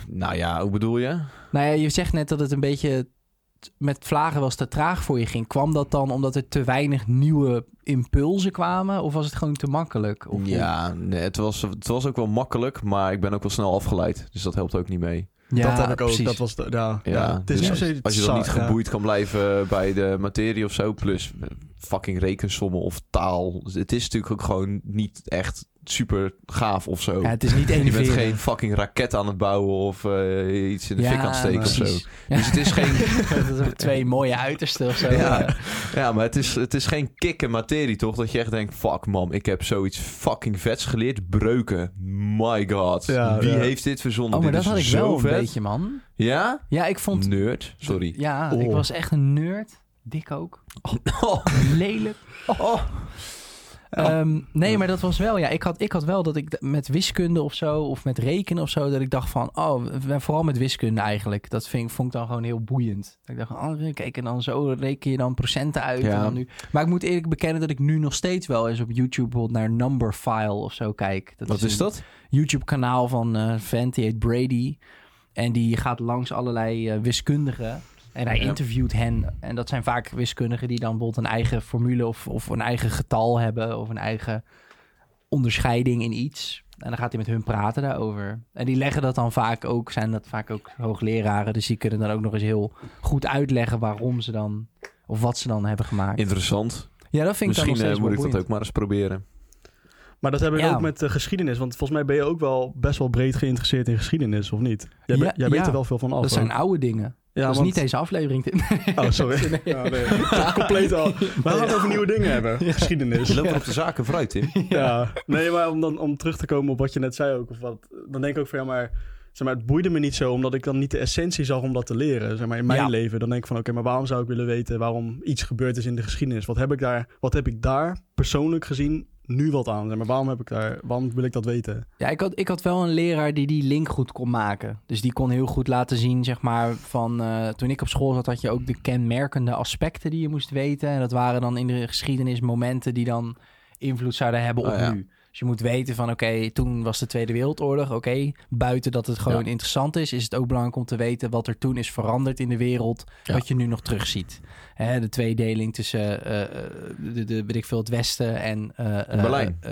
Speaker 3: nou ja, hoe bedoel je?
Speaker 2: Nou ja, je zegt net dat het een beetje t- met vlagen wel eens te traag voor je ging. Kwam dat dan omdat er te weinig nieuwe impulsen kwamen? Of was het gewoon te makkelijk? Of
Speaker 3: Ja, nee, het, was, het was ook wel makkelijk, maar ik ben ook wel snel afgeleid. Dus dat helpt ook niet mee.
Speaker 2: Ja,
Speaker 1: dat heb ik ook.
Speaker 2: precies.
Speaker 1: Dat was de, ja,
Speaker 3: Ja,
Speaker 1: ja. Het is
Speaker 3: dus
Speaker 1: niet per se
Speaker 3: Als je dan
Speaker 1: saai,
Speaker 3: niet
Speaker 1: ja.
Speaker 3: geboeid kan blijven bij de materie of zo, plus eh, fucking rekensommen of taal. Het is natuurlijk ook gewoon niet echt super gaaf of zo.
Speaker 2: Ja, het is niet één
Speaker 3: je bent geen fucking raket aan het bouwen of eh, iets in de fik aan het steken of zo.
Speaker 2: Dus
Speaker 3: het is geen-
Speaker 2: dat zijn twee mooie uitersten of zo.
Speaker 3: Ja, ja maar het is, het is geen kick in materie, toch? Dat je echt denkt, fuck man, ik heb zoiets fucking vets geleerd. Breuken, my god.
Speaker 1: Ja,
Speaker 3: Wie
Speaker 1: ja.
Speaker 3: heeft dit verzonnen?
Speaker 2: Oh, maar
Speaker 3: dit
Speaker 2: dat had ik
Speaker 3: is
Speaker 2: wel
Speaker 3: zo
Speaker 2: een
Speaker 3: vet.
Speaker 2: beetje, man.
Speaker 3: Ja?
Speaker 2: Ja, ik vond...
Speaker 3: Nerd, sorry.
Speaker 2: Ja, ik
Speaker 1: Oh.
Speaker 2: was echt een nerd. Dik ook. Lelijk.
Speaker 3: Oh.
Speaker 2: Ehm, nee, maar dat was wel. Ja, ik had, ik had wel dat ik d- met wiskunde of zo, of met rekenen of zo, dat ik dacht van, oh, w- vooral met wiskunde eigenlijk. Dat vind, ik- vond ik dan gewoon heel boeiend. Dat ik dacht, oh, kijk, en dan zo reken je dan procenten uit.
Speaker 3: Ja.
Speaker 2: En dan nu. Maar ik moet eerlijk bekennen dat ik nu nog steeds wel eens op YouTube bijvoorbeeld naar Numberphile of zo kijk. Dat
Speaker 3: Wat
Speaker 2: een-
Speaker 3: is dat?
Speaker 2: YouTube-kanaal van eh vent, die heet Brady. En die gaat langs allerlei eh, wiskundigen. En hij
Speaker 3: Ja.
Speaker 2: interviewt hen. En dat zijn vaak wiskundigen die dan bijvoorbeeld een eigen formule of, of een eigen getal hebben. Of een eigen onderscheiding in iets. En dan gaat hij met hun praten daarover. En die leggen dat dan vaak ook, zijn dat vaak ook hoogleraren. Dus die kunnen dan ook nog eens heel goed uitleggen waarom ze dan, of wat ze dan hebben gemaakt.
Speaker 3: Interessant.
Speaker 2: Ja, dat vind ik dan nog
Speaker 3: Misschien eh,
Speaker 2: steeds
Speaker 3: moet ik
Speaker 2: wel
Speaker 3: dat ook maar eens proberen.
Speaker 1: Maar dat hebben we
Speaker 2: Ja.
Speaker 1: ook met eh, geschiedenis. Want volgens mij ben je ook wel best wel breed geïnteresseerd in geschiedenis, of niet? Jij,
Speaker 2: Ja,
Speaker 1: be- jij weet
Speaker 2: ja.
Speaker 1: er wel veel van af.
Speaker 2: dat
Speaker 1: hè?
Speaker 2: zijn oude dingen.
Speaker 1: ja,
Speaker 2: dat is
Speaker 1: want-
Speaker 2: niet deze aflevering. Tim.
Speaker 1: Oh, sorry. Ja, nee. Compleet al. Maar we gaan het over nieuwe dingen hebben.
Speaker 3: Je
Speaker 1: Geschiedenis.
Speaker 3: loopt er op de zaken vooruit, Tim.
Speaker 1: Ja. Nee, maar om, dan, om terug te komen op wat je net zei ook. Of wat, dan denk ik ook van ja, maar, zeg maar het boeide me niet zo. Omdat ik dan niet de essentie zag om dat te leren. Zeg maar in mijn
Speaker 2: Ja.
Speaker 1: leven. Dan denk ik van oké, maar waarom zou ik willen weten waarom iets gebeurd is in de geschiedenis? Wat heb ik daar, wat heb ik daar persoonlijk gezien nu wat aan? Zeg maar waarom, heb ik daar, waarom wil ik dat weten?
Speaker 2: Ja, ik had, ik had wel een leraar die die link goed kon maken. Dus die kon heel goed laten zien, zeg maar, van... eh, toen ik op school zat, had je ook de kenmerkende aspecten die je moest weten. En dat waren dan in de geschiedenis momenten die dan invloed zouden hebben op
Speaker 3: Oh ja.
Speaker 2: nu. Dus je moet weten van, oké, toen was de Tweede Wereldoorlog. Oké, buiten dat het gewoon
Speaker 3: Ja.
Speaker 2: interessant is... is het ook belangrijk om te weten wat er toen is veranderd in de wereld...
Speaker 3: Ja.
Speaker 2: wat je nu nog terugziet. Hè, de tweedeling tussen, eh, eh, de, de, weet ik veel, het Westen en... eh, eh,
Speaker 3: Berlijn.
Speaker 2: eh,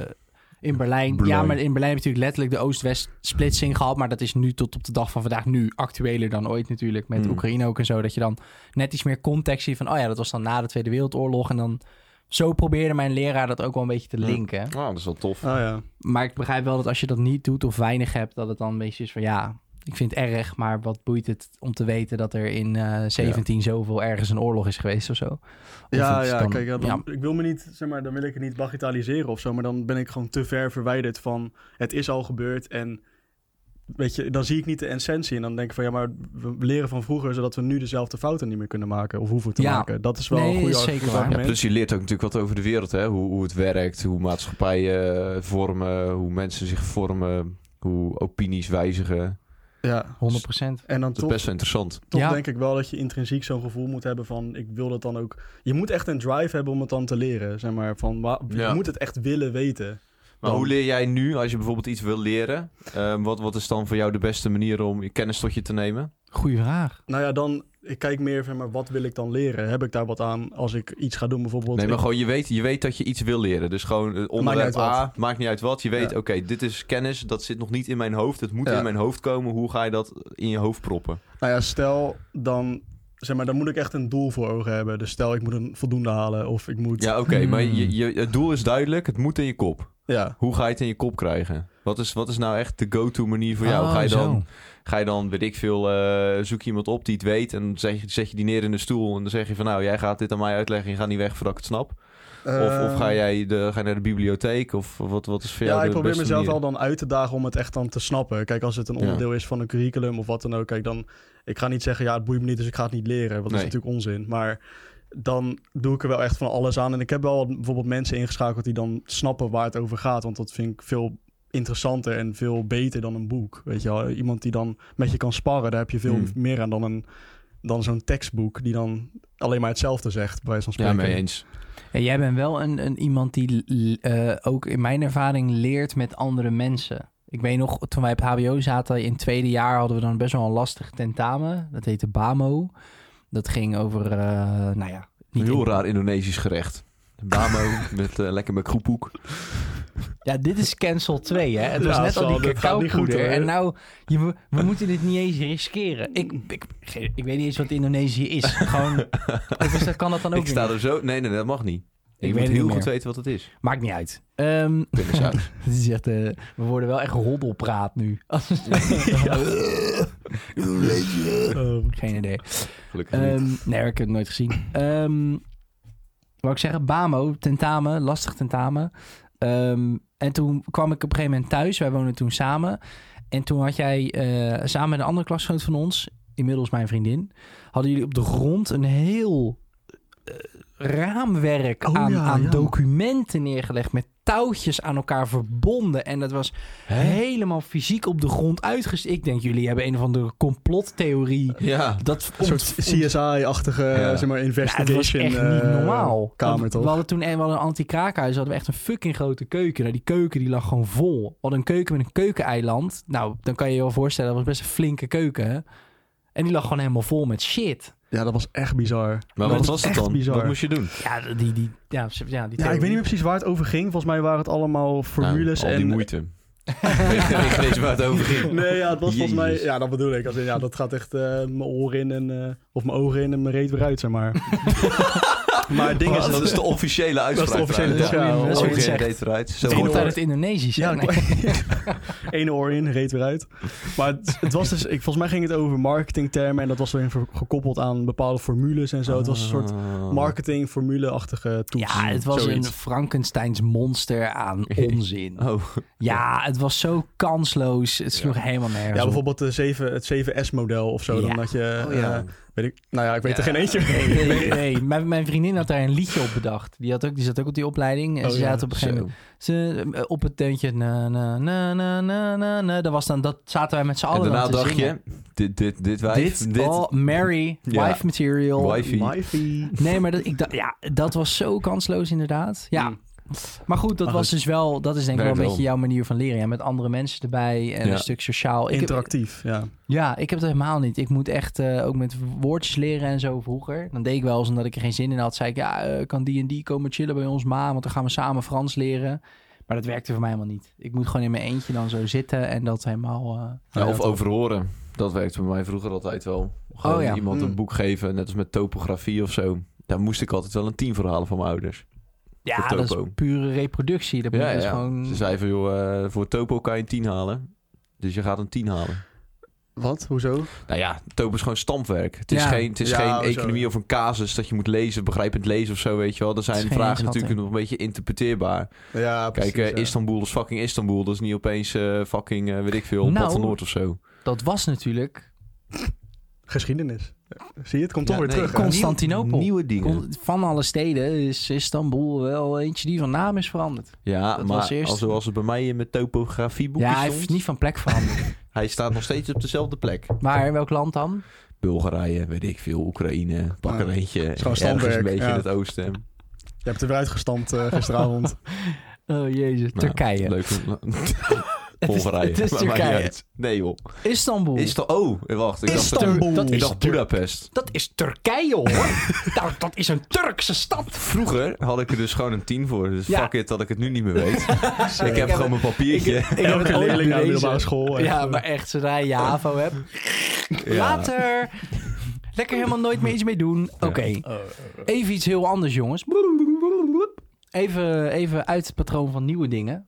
Speaker 2: in Berlijn.
Speaker 3: Berlijn.
Speaker 2: Ja, maar in Berlijn heb je natuurlijk letterlijk de Oost-West splitsing gehad. Maar dat is nu tot op de dag van vandaag nu actueler dan ooit natuurlijk. Met
Speaker 3: Hmm.
Speaker 2: Oekraïne ook en zo. Dat je dan net iets meer context ziet van... oh ja, dat was dan na de Tweede Wereldoorlog. En dan zo probeerde mijn leraar dat ook wel een beetje te
Speaker 3: Hmm.
Speaker 2: linken.
Speaker 3: Nou, dat is wel tof.
Speaker 1: Ah ja.
Speaker 2: Maar ik begrijp wel dat als je dat niet doet of weinig hebt... dat het dan een beetje is van ja, ik vind het erg... maar wat boeit het om te weten dat er in eh 17 zoveel ergens een oorlog is geweest of zo. Of
Speaker 1: Ja,
Speaker 2: het
Speaker 1: ja,
Speaker 2: dan-
Speaker 1: kijk, ja, dan-
Speaker 2: ja.
Speaker 1: ik wil me niet, zeg maar, dan wil ik het niet bagatelliseren of zo, maar dan ben ik gewoon te ver verwijderd van het is al gebeurd en weet je, dan zie ik niet de essentie en dan denk ik van ja, maar we leren van vroeger zodat we nu dezelfde fouten niet meer kunnen maken of hoeven te
Speaker 2: Ja.
Speaker 1: maken. Dat is wel
Speaker 2: Nee,
Speaker 1: een goede
Speaker 2: is zeker
Speaker 1: goed
Speaker 2: waar.
Speaker 3: Ja,
Speaker 1: argument.
Speaker 3: plus je leert ook natuurlijk wat over de wereld, hè? Hoe, hoe het werkt, hoe maatschappijen eh, vormen, hoe mensen zich vormen, hoe opinies wijzigen.
Speaker 1: Ja.
Speaker 2: 100 procent.
Speaker 1: En dan
Speaker 3: Dat is
Speaker 1: toch,
Speaker 3: best wel interessant.
Speaker 1: toch
Speaker 2: Ja.
Speaker 1: denk ik wel dat je intrinsiek zo'n gevoel moet hebben van ik wil dat dan ook. Je moet echt een drive hebben om het dan te leren, zeg maar. Van, wa-
Speaker 3: Ja.
Speaker 1: Je moet het echt willen weten.
Speaker 3: Maar
Speaker 1: Dan-
Speaker 3: hoe leer jij nu, als je bijvoorbeeld iets wil leren, ehm, wat, wat is dan voor jou de beste manier om je kennis tot je te nemen?
Speaker 2: Goeie vraag.
Speaker 1: Nou ja, dan ik kijk meer van maar wat wil ik dan leren? Heb ik daar wat aan als ik iets ga doen bijvoorbeeld?
Speaker 3: Nee, maar
Speaker 1: Ik-
Speaker 3: gewoon je weet, je weet dat je iets wil leren. Dus gewoon eh, onderwerp
Speaker 1: uit wat.
Speaker 3: A, maakt niet uit wat. Je weet,
Speaker 1: Ja.
Speaker 3: oké, dit is kennis, dat zit nog niet in mijn hoofd. Het moet
Speaker 1: Ja.
Speaker 3: in mijn hoofd komen. Hoe ga je dat in je hoofd proppen?
Speaker 1: Nou ja, stel dan, zeg maar, dan moet ik echt een doel voor ogen hebben. Dus stel ik moet een voldoende halen of ik moet...
Speaker 3: Ja, oké, maar
Speaker 2: Hmm.
Speaker 3: je, je, het doel is duidelijk. Het moet in je kop.
Speaker 1: ja.
Speaker 3: Hoe ga je het in je kop krijgen? Wat is, wat is nou echt de go-to manier voor jou?
Speaker 2: Oh,
Speaker 3: ga, je
Speaker 2: zo.
Speaker 3: dan, ga je dan, weet ik veel, eh, zoek iemand op die het weet en dan zeg, je- zet je die neer in de stoel en dan zeg je van nou, jij gaat dit aan mij uitleggen, je gaat niet weg voordat ik het snap. of, of
Speaker 2: Ehm.
Speaker 3: ga, jij de, ga je naar de bibliotheek of wat, wat is voor jou
Speaker 1: Ja, ik
Speaker 3: de
Speaker 1: probeer
Speaker 3: beste
Speaker 1: mezelf
Speaker 3: manier?
Speaker 1: al dan uit te dagen om het echt dan te snappen. Kijk, als het een
Speaker 3: Ja.
Speaker 1: onderdeel is van een curriculum of wat dan ook, kijk dan... Ik ga niet zeggen, ja, het boeit me niet, dus ik ga het niet leren. Want dat
Speaker 3: Nee.
Speaker 1: is natuurlijk onzin. Maar dan doe ik er wel echt van alles aan. En ik heb wel wat- bijvoorbeeld mensen ingeschakeld die dan snappen waar het over gaat. Want dat vind ik veel interessanter en veel beter dan een boek. Weet je wel, iemand die dan met je kan sparren, daar heb je veel
Speaker 3: Hmm.
Speaker 1: meer aan dan, een, dan zo'n tekstboek die dan alleen maar hetzelfde zegt, bij wijze van
Speaker 3: Ja,
Speaker 1: spreken.
Speaker 3: mee eens.
Speaker 2: Ja, jij bent wel een, een iemand die l- eh, ook in mijn ervaring leert met andere mensen. Ik weet nog, toen wij op HBO zaten in het tweede jaar hadden we dan best wel een lastig tentamen. Dat heette BAMO. Dat ging over, eh, nou ja,
Speaker 3: Een
Speaker 2: niet
Speaker 3: heel
Speaker 2: in-
Speaker 3: raar Indonesisch gerecht. Bamo met eh, lekker met groepoek.
Speaker 2: Ja, dit is cancel 2, hè. Het was
Speaker 1: Ja,
Speaker 2: net al
Speaker 1: Sal,
Speaker 2: die
Speaker 1: dit gaat niet goed,
Speaker 2: cacaopoeder.
Speaker 1: hoor.
Speaker 2: En nou, je, we, we moeten dit niet eens riskeren. Ik, ik, ge- ik weet niet eens wat Indonesië is. Gewoon, of is dat, kan dat dan ook
Speaker 3: Ik sta
Speaker 2: weer
Speaker 3: er zo... Nee, nee, dat mag niet.
Speaker 2: Ik weet
Speaker 3: Ik, moet
Speaker 2: het niet
Speaker 3: heel
Speaker 2: meer.
Speaker 3: goed weten wat het is.
Speaker 2: niet? Maakt niet uit. Ehm,
Speaker 3: Pindasaus.
Speaker 2: Het is echt, eh, we worden wel echt roddelpraat nu.
Speaker 1: Ehm,
Speaker 2: Oh, Geen idee.
Speaker 3: Gelukkig niet.
Speaker 2: Ehm, nee, ik heb het nooit gezien. Ehm wou ik zeggen, BAMO, tentamen, lastig tentamen. Ehm, en toen kwam ik op een gegeven moment thuis. Wij woonden toen samen. En toen had jij eh, samen met een andere klasgenoot van ons, inmiddels mijn vriendin, hadden jullie op de grond een heel eh, raamwerk
Speaker 1: Oh
Speaker 2: aan,
Speaker 1: ja,
Speaker 2: aan
Speaker 1: ja.
Speaker 2: documenten neergelegd met touwtjes aan elkaar verbonden. En dat was helemaal fysiek op de grond uitgesteld. Ik denk, jullie hebben een of andere complottheorie.
Speaker 3: Ja.
Speaker 2: Dat
Speaker 1: Een soort
Speaker 2: ont- ont-
Speaker 1: CSI-achtige
Speaker 3: Ja.
Speaker 1: zeg maar,
Speaker 2: ja, het was
Speaker 1: investigation.
Speaker 2: echt niet
Speaker 1: eh,
Speaker 2: normaal.
Speaker 1: kamer,
Speaker 2: Want
Speaker 1: toch?
Speaker 2: We hadden toen we hadden een anti-kraakhuis, hadden we echt een fucking grote keuken. Nou, die keuken die lag gewoon vol. We hadden een keuken met een keukeneiland. Nou, dan kan je je wel voorstellen, dat was best een flinke keuken. hè. En die lag gewoon helemaal vol met shit.
Speaker 1: Ja, dat was echt bizar.
Speaker 3: Maar
Speaker 1: Dat
Speaker 3: wat was het
Speaker 1: echt
Speaker 3: dan?
Speaker 1: bizar.
Speaker 3: Wat moest je doen?
Speaker 2: Ja, die, die, ja, ze- ja, die
Speaker 1: Ja, ik weet niet meer precies waar het over ging. Volgens mij waren het allemaal formules
Speaker 3: Nou, al
Speaker 1: en...
Speaker 3: die moeite. Ik weet waar het over ging.
Speaker 1: Nee, ja, het was volgens mij...
Speaker 3: Jezus.
Speaker 1: Ja, dat bedoel ik. Als in, ja, dat gaat echt eh, mijn oren in en... eh, of mijn ogen in en mijn reet weer uit, zeg maar. Maar het ding is...
Speaker 3: dat is de officiële uitspraak.
Speaker 1: de officiële
Speaker 3: trouwens.
Speaker 1: term, ja.
Speaker 3: Ja,
Speaker 1: Als je
Speaker 3: ook
Speaker 2: het
Speaker 3: geen
Speaker 2: zegt.
Speaker 3: date rights. Zo
Speaker 2: Het
Speaker 1: Eén
Speaker 2: komt
Speaker 3: wordt
Speaker 1: oor.
Speaker 2: uit het Indonesisch.
Speaker 1: Ja,
Speaker 2: Ja, nee.
Speaker 1: Eén oor in, reed weer uit. Maar het, het was dus... Ik, volgens mij ging het over marketingtermen. En dat was weer ver- gekoppeld aan bepaalde formules en zo. Het was een soort
Speaker 3: Ah.
Speaker 1: marketingformule-achtige toets.
Speaker 2: ja het was
Speaker 1: Zoiets.
Speaker 2: een Frankensteins monster aan onzin.
Speaker 3: Oh,
Speaker 2: Ja, het was zo kansloos. Het sloeg helemaal nergens
Speaker 1: Ja,
Speaker 2: op.
Speaker 1: bijvoorbeeld de 7, het 7S-model of zo.
Speaker 2: Ja.
Speaker 1: Dan dat je...
Speaker 3: Oh, ja.
Speaker 1: eh, weet ik, nou ja, ik weet er
Speaker 3: Ja.
Speaker 1: geen eentje van.
Speaker 2: Nee, nee, nee. Mijn, mijn vriendin had daar een liedje op bedacht. Die, had ook, die zat ook op die opleiding. En
Speaker 1: Oh,
Speaker 2: ze
Speaker 1: ja.
Speaker 2: zaten op een gegeven
Speaker 3: zo.
Speaker 2: moment ze, eh, op het deuntje. Na, na, na, na, na, na, na. Dat, was dan, dat zaten wij met z'n
Speaker 3: En
Speaker 2: allen
Speaker 3: daarna
Speaker 2: dan te
Speaker 3: dacht
Speaker 2: zingen.
Speaker 3: je, dit, dit, dit wijf,
Speaker 2: Dit, oh, Mary,
Speaker 3: Ja.
Speaker 2: wife material.
Speaker 3: Wifey.
Speaker 1: Wifi.
Speaker 2: Nee, maar dat, ik dacht, ja, dat was zo kansloos inderdaad. Ja,
Speaker 1: Mm.
Speaker 2: maar goed, dat
Speaker 1: Maar
Speaker 2: was dus wel... Dat is denk ik wel
Speaker 3: Werkt
Speaker 2: een beetje
Speaker 3: wel.
Speaker 2: jouw manier van leren. Ja, met andere mensen erbij en
Speaker 3: Ja.
Speaker 2: een stuk sociaal. Ik heb,
Speaker 1: Interactief, ja.
Speaker 2: ja, ik heb dat helemaal niet. Ik moet echt eh, ook met woordjes leren en zo vroeger. Dan deed ik wel eens omdat ik er geen zin in had. Zei ik, ja, eh, kan die en die komen chillen bij ons ma? Want dan gaan we samen Frans leren. Maar dat werkte voor mij helemaal niet. Ik moet gewoon in mijn eentje dan zo zitten en dat helemaal... eh,
Speaker 3: Ja,
Speaker 1: Ja,
Speaker 3: of
Speaker 1: toch.
Speaker 3: overhoren. Dat werkte bij mij vroeger altijd wel. Gewoon
Speaker 2: Oh, ja.
Speaker 3: iemand
Speaker 1: Mm.
Speaker 3: een boek geven, net als met topografie of zo. Daar moest ik altijd wel een tien verhalen van mijn ouders.
Speaker 2: ja,
Speaker 3: Voor
Speaker 2: dat is
Speaker 3: topo.
Speaker 2: pure reproductie. Dat moet
Speaker 3: Ja,
Speaker 2: je dus
Speaker 3: ja.
Speaker 2: gewoon...
Speaker 3: Ze zeiden van, joh, eh, voor topo kan je een tien halen. Dus je gaat een tien halen.
Speaker 1: Wat? Hoezo?
Speaker 3: Nou ja, topo is gewoon stampwerk. Het is
Speaker 2: Ja.
Speaker 3: geen, het is
Speaker 1: Ja, oh, zo.
Speaker 3: geen economie of een casus dat je moet lezen, begrijpend lezen of zo, weet je wel. Er
Speaker 2: Het
Speaker 3: zijn
Speaker 2: is geen
Speaker 3: vragen natuurlijk
Speaker 2: inschatting.
Speaker 3: nog een beetje interpreteerbaar.
Speaker 1: Ja,
Speaker 3: Kijk, eh, Istanbul is fucking Istanbul. Dat is niet opeens eh, fucking, eh, weet ik veel,
Speaker 2: Nou.
Speaker 3: Bad van Noord of zo.
Speaker 2: Dat was natuurlijk
Speaker 1: Geschiedenis. Zie je, het komt
Speaker 3: Ja,
Speaker 1: toch weer
Speaker 3: nee,
Speaker 1: terug. hè?
Speaker 2: kon- Constantinopel.
Speaker 3: Nieuwe, nieuwe dingen.
Speaker 2: Kon- Van alle steden is Istanbul wel eentje die van naam is veranderd.
Speaker 3: Ja,
Speaker 2: Dat
Speaker 3: maar
Speaker 2: was eerst-
Speaker 3: als zoals het bij mij in mijn topografieboekje
Speaker 2: ja, hij
Speaker 3: stond.
Speaker 2: heeft niet van plek veranderd.
Speaker 3: Hij staat nog steeds op dezelfde plek.
Speaker 2: maar in welk land dan?
Speaker 3: Bulgarije, weet ik veel, Oekraïne, pak
Speaker 1: Ja.
Speaker 3: er eentje.
Speaker 1: is gewoon
Speaker 3: Ergens
Speaker 1: standwerk,
Speaker 3: een beetje
Speaker 1: ja.
Speaker 3: in het oosten.
Speaker 1: Je hebt er weer uitgestampt eh, gisteravond.
Speaker 2: Oh jezus,
Speaker 3: Nou,
Speaker 2: Turkije.
Speaker 3: Leuk.
Speaker 2: Het is,
Speaker 3: Bulgarije.
Speaker 2: het is
Speaker 3: Maar maakt niet
Speaker 2: Turkije.
Speaker 3: uit. Nee joh.
Speaker 2: Istanbul.
Speaker 3: Is dat... Oh, wacht. Ik dacht,
Speaker 2: Istanbul.
Speaker 3: ik dacht Budapest.
Speaker 2: dat is Turkije hoor. nou, dat is een Turkse stad.
Speaker 3: Vroeger had ik er dus gewoon een 10 voor. Dus
Speaker 2: Ja.
Speaker 3: fuck it dat ik het nu niet meer weet. ik heb
Speaker 2: heb
Speaker 3: gewoon mijn papiertje.
Speaker 2: Ik heb het
Speaker 1: Elke
Speaker 2: ooit
Speaker 1: leerling naar de
Speaker 2: bewezen.
Speaker 1: middelbare school. echt,
Speaker 2: Ja,
Speaker 1: eh,
Speaker 2: maar echt, zodra je HAVO hebt.
Speaker 3: Ja.
Speaker 2: Later. Lekker helemaal nooit meer iets mee doen. Oké.
Speaker 1: eh, eh,
Speaker 2: Even iets heel anders, jongens. Even, even uit het patroon van nieuwe dingen.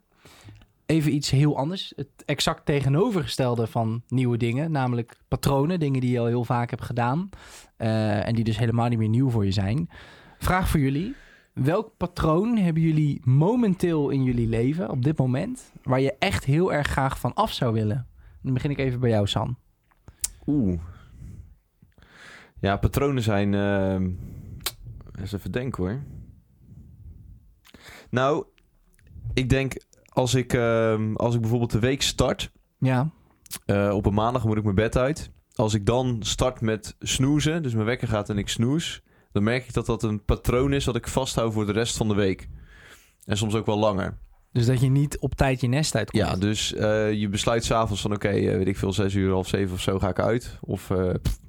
Speaker 2: Even iets heel anders. Het exact tegenovergestelde van nieuwe dingen. Namelijk patronen. Dingen die je al heel vaak hebt gedaan. eh, en die dus helemaal niet meer nieuw voor je zijn. Vraag voor jullie. Welk patroon hebben jullie momenteel in jullie leven, op dit moment, waar je echt heel erg graag van af zou willen? Dan begin ik even bij jou, San.
Speaker 3: Oeh. Ja, patronen zijn. ehm, eens even denken hoor. Nou, ik denk als ik, ehm, als ik bijvoorbeeld de week start.
Speaker 2: Ja.
Speaker 3: eh, op een maandag moet ik mijn bed uit. Als ik dan start met snoezen, dus mijn wekker gaat en ik snoes. Dan merk ik dat dat een patroon is dat ik vasthoud voor de rest van de week. En soms ook wel langer.
Speaker 2: Dus dat je niet op tijd je nest uitkomt.
Speaker 3: Ja, dus eh, je besluit s'avonds van oké, eh, weet ik veel, zes uur, half zeven of zo ga ik uit. Of eh, pff,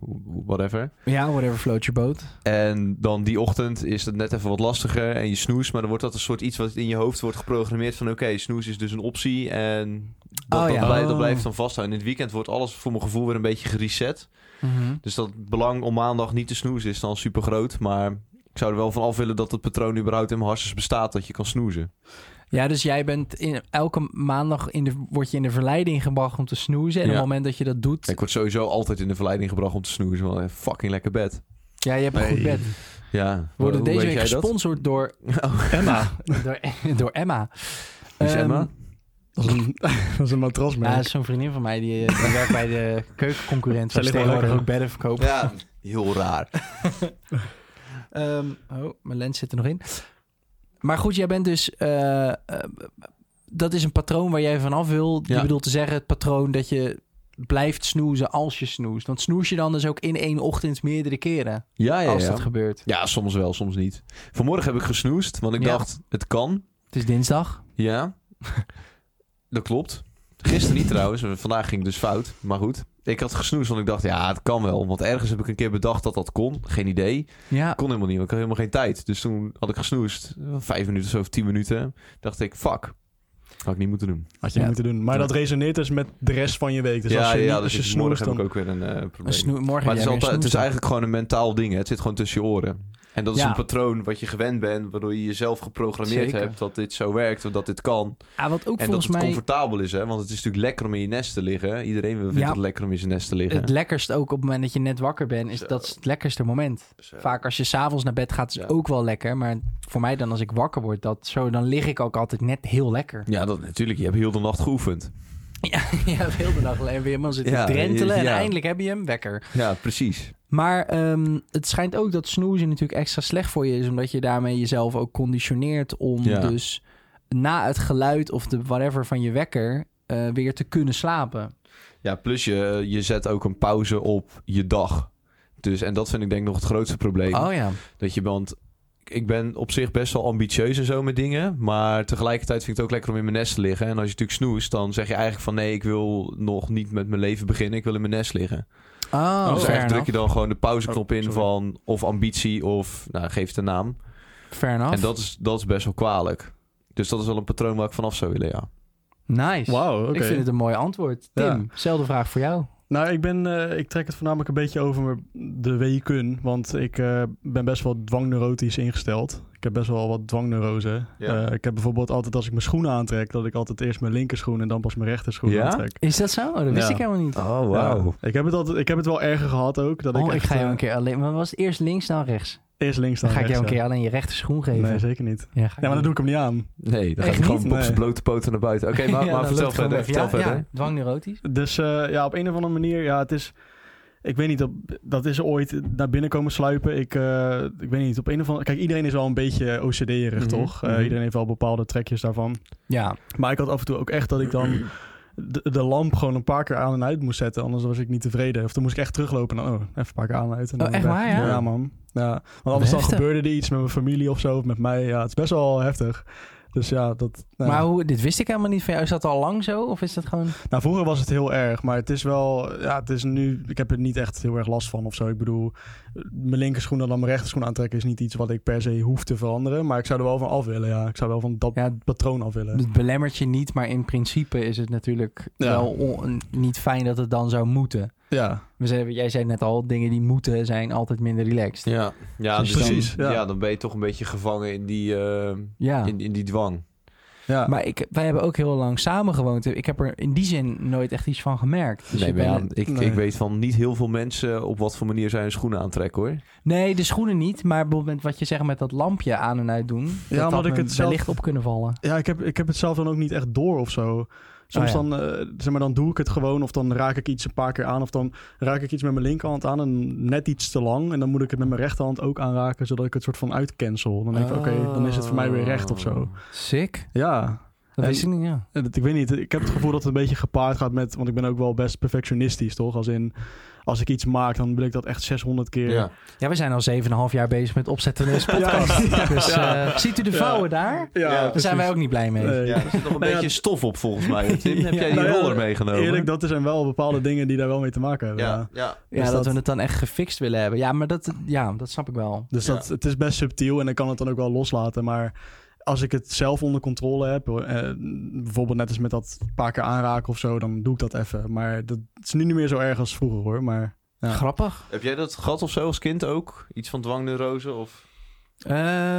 Speaker 3: whatever.
Speaker 2: ja whatever float your boat.
Speaker 3: En dan die ochtend is het net even wat lastiger en je snoes. Maar dan wordt dat een soort iets wat in je hoofd wordt geprogrammeerd van... oké, snoes is dus een optie en dat,
Speaker 2: Oh,
Speaker 3: dat,
Speaker 2: ja.
Speaker 3: blijft,
Speaker 2: Oh.
Speaker 3: dat blijft dan vasthouden. In het weekend wordt alles voor mijn gevoel weer een beetje gereset. Dus dat belang om maandag niet te snoezen is dan super groot. Maar ik zou er wel van af willen dat het patroon überhaupt in mijn hartjes bestaat... dat je kan snoezen.
Speaker 2: Ja, dus jij bent in, elke maandag in de, word je in de verleiding gebracht om te snoezen. En op
Speaker 3: Ja.
Speaker 2: het moment dat je dat doet,
Speaker 3: Ik word sowieso altijd in de verleiding gebracht om te snoezen. Want een fucking lekker bed.
Speaker 2: ja, je hebt een
Speaker 1: Nee.
Speaker 2: goed bed.
Speaker 3: Ja,
Speaker 2: We worden
Speaker 3: Hoe
Speaker 2: deze
Speaker 3: weet
Speaker 2: week
Speaker 3: jij dat?
Speaker 2: gesponsord door Emma. door, door Emma.
Speaker 3: Wie is
Speaker 2: Ehm,
Speaker 3: Emma?
Speaker 1: dat, is een, dat is een
Speaker 2: Ja, dat
Speaker 1: matrasmerk.
Speaker 2: is zo'n vriendin van mij die, eh, die werkt bij de keukenconcurrent.
Speaker 1: Zij
Speaker 2: Waar ze
Speaker 1: ligt wel
Speaker 2: tegenwoordig
Speaker 1: lekker.
Speaker 2: ook bedden verkopen.
Speaker 3: Ja, heel raar.
Speaker 2: Ehm, oh, mijn lens zit er nog in. Maar goed, jij bent dus. eh, eh, dat is een patroon waar jij vanaf wil. Je
Speaker 3: Ja.
Speaker 2: bedoelt te zeggen, het patroon dat je blijft snoezen als je snoest. Want snoes je dan dus ook in één ochtend meerdere keren.
Speaker 3: Ja, ja,
Speaker 2: als
Speaker 3: ja.
Speaker 2: dat gebeurt.
Speaker 3: Ja, soms wel, soms niet. Vanmorgen heb ik gesnoest, want ik
Speaker 2: Ja.
Speaker 3: dacht, het kan.
Speaker 2: Het is dinsdag.
Speaker 3: Ja, dat klopt. Gisteren niet trouwens, want vandaag ging het dus fout. Maar goed, ik had gesnoest, want ik dacht, ja, het kan wel. Want ergens heb ik een keer bedacht dat dat kon. Geen idee.
Speaker 2: Ja.
Speaker 3: Kon helemaal niet, want ik had helemaal geen tijd. Dus toen had ik gesnoest, eh, vijf minuten of zo, of tien minuten. Dacht ik, fuck. Had ik niet moeten doen.
Speaker 1: Had je
Speaker 2: Ja.
Speaker 1: niet moeten doen. Maar
Speaker 3: Ja.
Speaker 1: dat resoneert dus met de rest van je week. Dus als
Speaker 3: ja,
Speaker 1: je, niet-
Speaker 3: ja,
Speaker 1: als
Speaker 3: dus
Speaker 1: je
Speaker 3: ik- morgen
Speaker 1: snoest, dan...
Speaker 3: heb ik ook weer een eh, probleem.
Speaker 2: Een snoe- morgen
Speaker 3: maar het is,
Speaker 2: heb jij weer
Speaker 3: altijd, het is
Speaker 2: snoesdag.
Speaker 3: eigenlijk gewoon een mentaal ding. Hè. Het zit gewoon tussen je oren. En dat is
Speaker 2: Ja.
Speaker 3: een patroon wat je gewend bent, waardoor je jezelf geprogrammeerd
Speaker 2: Zeker.
Speaker 3: hebt dat dit zo werkt of dat dit kan.
Speaker 2: Ah, wat ook
Speaker 3: en dat
Speaker 2: volgens
Speaker 3: het
Speaker 2: mij
Speaker 3: comfortabel is, hè? want het is natuurlijk lekker om in je nest te liggen. Iedereen vindt
Speaker 2: Ja.
Speaker 3: het lekker om in zijn nest te liggen.
Speaker 2: het lekkerst ook op het moment dat je net wakker bent, is
Speaker 3: Zo.
Speaker 2: dat is het lekkerste moment.
Speaker 3: Zo.
Speaker 2: Vaak als je s'avonds naar bed gaat is
Speaker 3: Ja.
Speaker 2: ook wel lekker, maar voor mij dan als ik wakker word, dat zo, dan lig ik ook altijd net heel lekker.
Speaker 3: Ja, dat natuurlijk. Je hebt heel de nacht geoefend.
Speaker 2: Ja, ja de hele dag alleen weer helemaal zitten
Speaker 3: Ja,
Speaker 2: drentelen en
Speaker 3: ja.
Speaker 2: eindelijk heb je hem, wekker.
Speaker 3: Ja, precies.
Speaker 2: Maar ehm, het schijnt ook dat snoezen natuurlijk extra slecht voor je is, omdat je daarmee jezelf ook conditioneert om
Speaker 3: Ja.
Speaker 2: dus na het geluid of de whatever van je wekker eh, weer te kunnen slapen.
Speaker 3: Ja, plus je, je zet ook een pauze op je dag. Dus, en dat vind ik denk ik nog het grootste probleem.
Speaker 2: Oh ja.
Speaker 3: Dat je bent... Ik ben op zich best wel ambitieus en zo met dingen. Maar tegelijkertijd vind ik het ook lekker om in mijn nest te liggen. En als je natuurlijk snoest, dan zeg je eigenlijk van... Nee, ik wil nog niet met mijn leven beginnen. Ik wil in mijn nest liggen.
Speaker 2: Oh,
Speaker 3: dus
Speaker 2: fair
Speaker 3: eigenlijk druk
Speaker 2: enough.
Speaker 3: je dan gewoon de pauzeknop
Speaker 1: Oh,
Speaker 3: in
Speaker 1: sorry.
Speaker 3: van... Of ambitie of... Nou, geef het een naam.
Speaker 2: Fair enough.
Speaker 3: En dat is, dat is best wel kwalijk. Dus dat is wel een patroon waar ik vanaf zou willen, ja.
Speaker 2: Nice.
Speaker 1: Wauw, oké.
Speaker 2: Ik vind het een mooi antwoord. Tim, zelfde vraag voor jou.
Speaker 1: Nou, ik, ben, eh, ik trek het voornamelijk een beetje over de weken. Want ik eh, ben best wel dwangneurotisch ingesteld. Ik heb best wel wat dwangneurose.
Speaker 3: Ja.
Speaker 1: Eh, ik heb bijvoorbeeld altijd als ik mijn schoenen aantrek... dat ik altijd eerst mijn linkerschoen en dan pas mijn rechterschoen
Speaker 3: Ja?
Speaker 1: aantrek.
Speaker 2: Is dat zo? Oh, dat wist
Speaker 1: Ja.
Speaker 2: ik helemaal niet.
Speaker 3: Oh,
Speaker 1: Ja. Ik, heb het altijd, ik heb het wel erger gehad ook. Dat
Speaker 2: Oh,
Speaker 1: ik,
Speaker 2: ik
Speaker 1: echt,
Speaker 2: ga jou
Speaker 1: eh,
Speaker 2: een keer alleen... Maar was het eerst links, dan rechts?
Speaker 1: Eerst links
Speaker 2: Dan
Speaker 1: dan
Speaker 2: ga ik jou een
Speaker 1: rechts,
Speaker 2: keer alleen je rechter schoen geven.
Speaker 1: ja. Nee, zeker niet.
Speaker 2: ja, ga
Speaker 1: Ja, maar dan doe ik hem niet aan.
Speaker 3: Nee, dan ga
Speaker 2: Echt
Speaker 3: je gewoon
Speaker 1: niet?
Speaker 3: op zijn
Speaker 1: Nee.
Speaker 3: blote poten naar buiten. Oké, maar,
Speaker 2: Ja,
Speaker 3: maar
Speaker 2: dan
Speaker 3: vertel
Speaker 2: loopt het gewoon
Speaker 3: verder. Vertel
Speaker 2: weg. Ja,
Speaker 3: verder.
Speaker 2: Ja, dwangneurotisch.
Speaker 1: Dus eh, ja, op een of andere manier, ja, het is. Ik weet niet, op, dat is ooit naar binnen komen sluipen. Ik, eh, ik weet niet, op een of andere... Kijk, iedereen is wel een beetje OCD-erig,
Speaker 3: Mhm,
Speaker 1: toch? Eh,
Speaker 3: mhm.
Speaker 1: Iedereen heeft wel bepaalde trekjes daarvan.
Speaker 2: Ja.
Speaker 1: Maar ik had af en toe ook echt dat ik dan de, de lamp gewoon een paar keer aan en uit moest zetten. Anders was ik niet tevreden. Of dan moest ik echt teruglopen. En dan, oh, even een paar keer aan en uit. En
Speaker 2: Oh,
Speaker 1: dan
Speaker 2: echt
Speaker 1: weg.
Speaker 2: waar, ja?
Speaker 1: Ja, man. Ja, want anders dan
Speaker 2: Heftig.
Speaker 1: gebeurde er iets met mijn familie of zo. Of met mij. Ja, het is best wel heftig. Dus ja, dat... nou ja.
Speaker 2: Maar hoe, dit wist ik helemaal niet van jou. Is dat al lang zo? Of is dat gewoon...
Speaker 1: Nou, vroeger was het heel erg, maar het is wel, ja, het is nu, ik heb er niet echt heel erg last van of zo. Ik bedoel, mijn linkerschoen en dan mijn rechterschoen aantrekken is niet iets wat ik per se hoef te veranderen, maar ik zou er wel van af willen, ja. Ik zou wel van dat
Speaker 2: Ja, Dus,
Speaker 1: patroon af willen.
Speaker 2: het belemmert je niet, maar in principe is het natuurlijk
Speaker 1: Ja.
Speaker 2: wel on- niet fijn dat het dan zou moeten.
Speaker 1: Ja,
Speaker 2: We zeiden, jij zei net al, dingen die moeten zijn altijd minder relaxed.
Speaker 3: Ja, ja
Speaker 2: Dus
Speaker 3: dus
Speaker 1: precies,
Speaker 3: Dan, ja.
Speaker 1: ja.
Speaker 3: dan ben je toch een beetje gevangen in die, eh,
Speaker 2: Ja.
Speaker 3: in, in die dwang.
Speaker 1: ja.
Speaker 2: Maar ik, wij hebben ook heel lang samen gewoond. Ik heb er in die zin nooit echt iets van gemerkt. Dus
Speaker 3: nee,
Speaker 2: je
Speaker 3: maar ja,
Speaker 2: bent-
Speaker 3: ik,
Speaker 1: Nee.
Speaker 3: ik weet van niet heel veel mensen eh, op wat voor manier zij hun schoenen aantrekken hoor.
Speaker 2: nee, de schoenen niet. Maar bijvoorbeeld wat je zegt met dat lampje aan en uit doen.
Speaker 1: Ja,
Speaker 2: dat
Speaker 1: omdat
Speaker 2: had
Speaker 1: ik
Speaker 2: me
Speaker 1: het zelf-
Speaker 2: wellicht op kunnen vallen.
Speaker 1: ja ik, heb, ik heb het zelf dan ook niet echt door of zo. Soms
Speaker 2: Oh ja.
Speaker 1: dan, eh, zeg maar, dan doe ik het gewoon of dan raak ik iets een paar keer aan of dan raak ik iets met mijn linkerhand aan en net iets te lang en dan moet ik het met mijn rechterhand ook aanraken zodat ik het soort van uitcancel. Dan denk ik, oké, dan is het voor mij weer recht of zo.
Speaker 2: Sick.
Speaker 1: Ja,
Speaker 2: Dat
Speaker 1: En-
Speaker 2: wist ik niet, ja.
Speaker 1: Eh, dat- Ik weet niet, ik heb het gevoel dat het een beetje gepaard gaat met... Want ik ben ook wel best perfectionistisch, toch? Als in, als ik iets maak, dan wil ik dat echt 600 keer...
Speaker 3: Ja.
Speaker 2: Ja, we zijn al 7,5 jaar bezig met opzetten van deze podcast. Dus eh, ziet u de
Speaker 1: Ja.
Speaker 2: vouwen daar? Daar zijn wij ook niet blij mee.
Speaker 1: Nee.
Speaker 3: Ja, er zit nog een
Speaker 1: Nou ja,
Speaker 3: beetje stof op volgens mij. Tim, heb jij die
Speaker 1: Nou ja,
Speaker 3: roller meegenomen?
Speaker 1: Eerlijk, dat er zijn wel bepaalde dingen die daar wel mee te maken hebben.
Speaker 3: ja,
Speaker 1: ja.
Speaker 3: ja.
Speaker 2: ja,
Speaker 1: is
Speaker 2: dat,
Speaker 1: dat-
Speaker 2: we het dan echt gefixt willen hebben. Ja, maar dat, ja, dat snap ik wel.
Speaker 1: Dus
Speaker 3: Ja.
Speaker 1: Dat, het is best subtiel en ik kan het dan ook wel loslaten. Maar als ik het zelf onder controle heb, eh, bijvoorbeeld net als met dat paar keer aanraken of zo, dan doe ik dat even. Maar dat het is nu niet meer zo erg als vroeger, hoor. Maar Ja.
Speaker 2: Grappig.
Speaker 3: Heb jij dat gehad of zo als kind ook? Iets van dwangneurose? Of...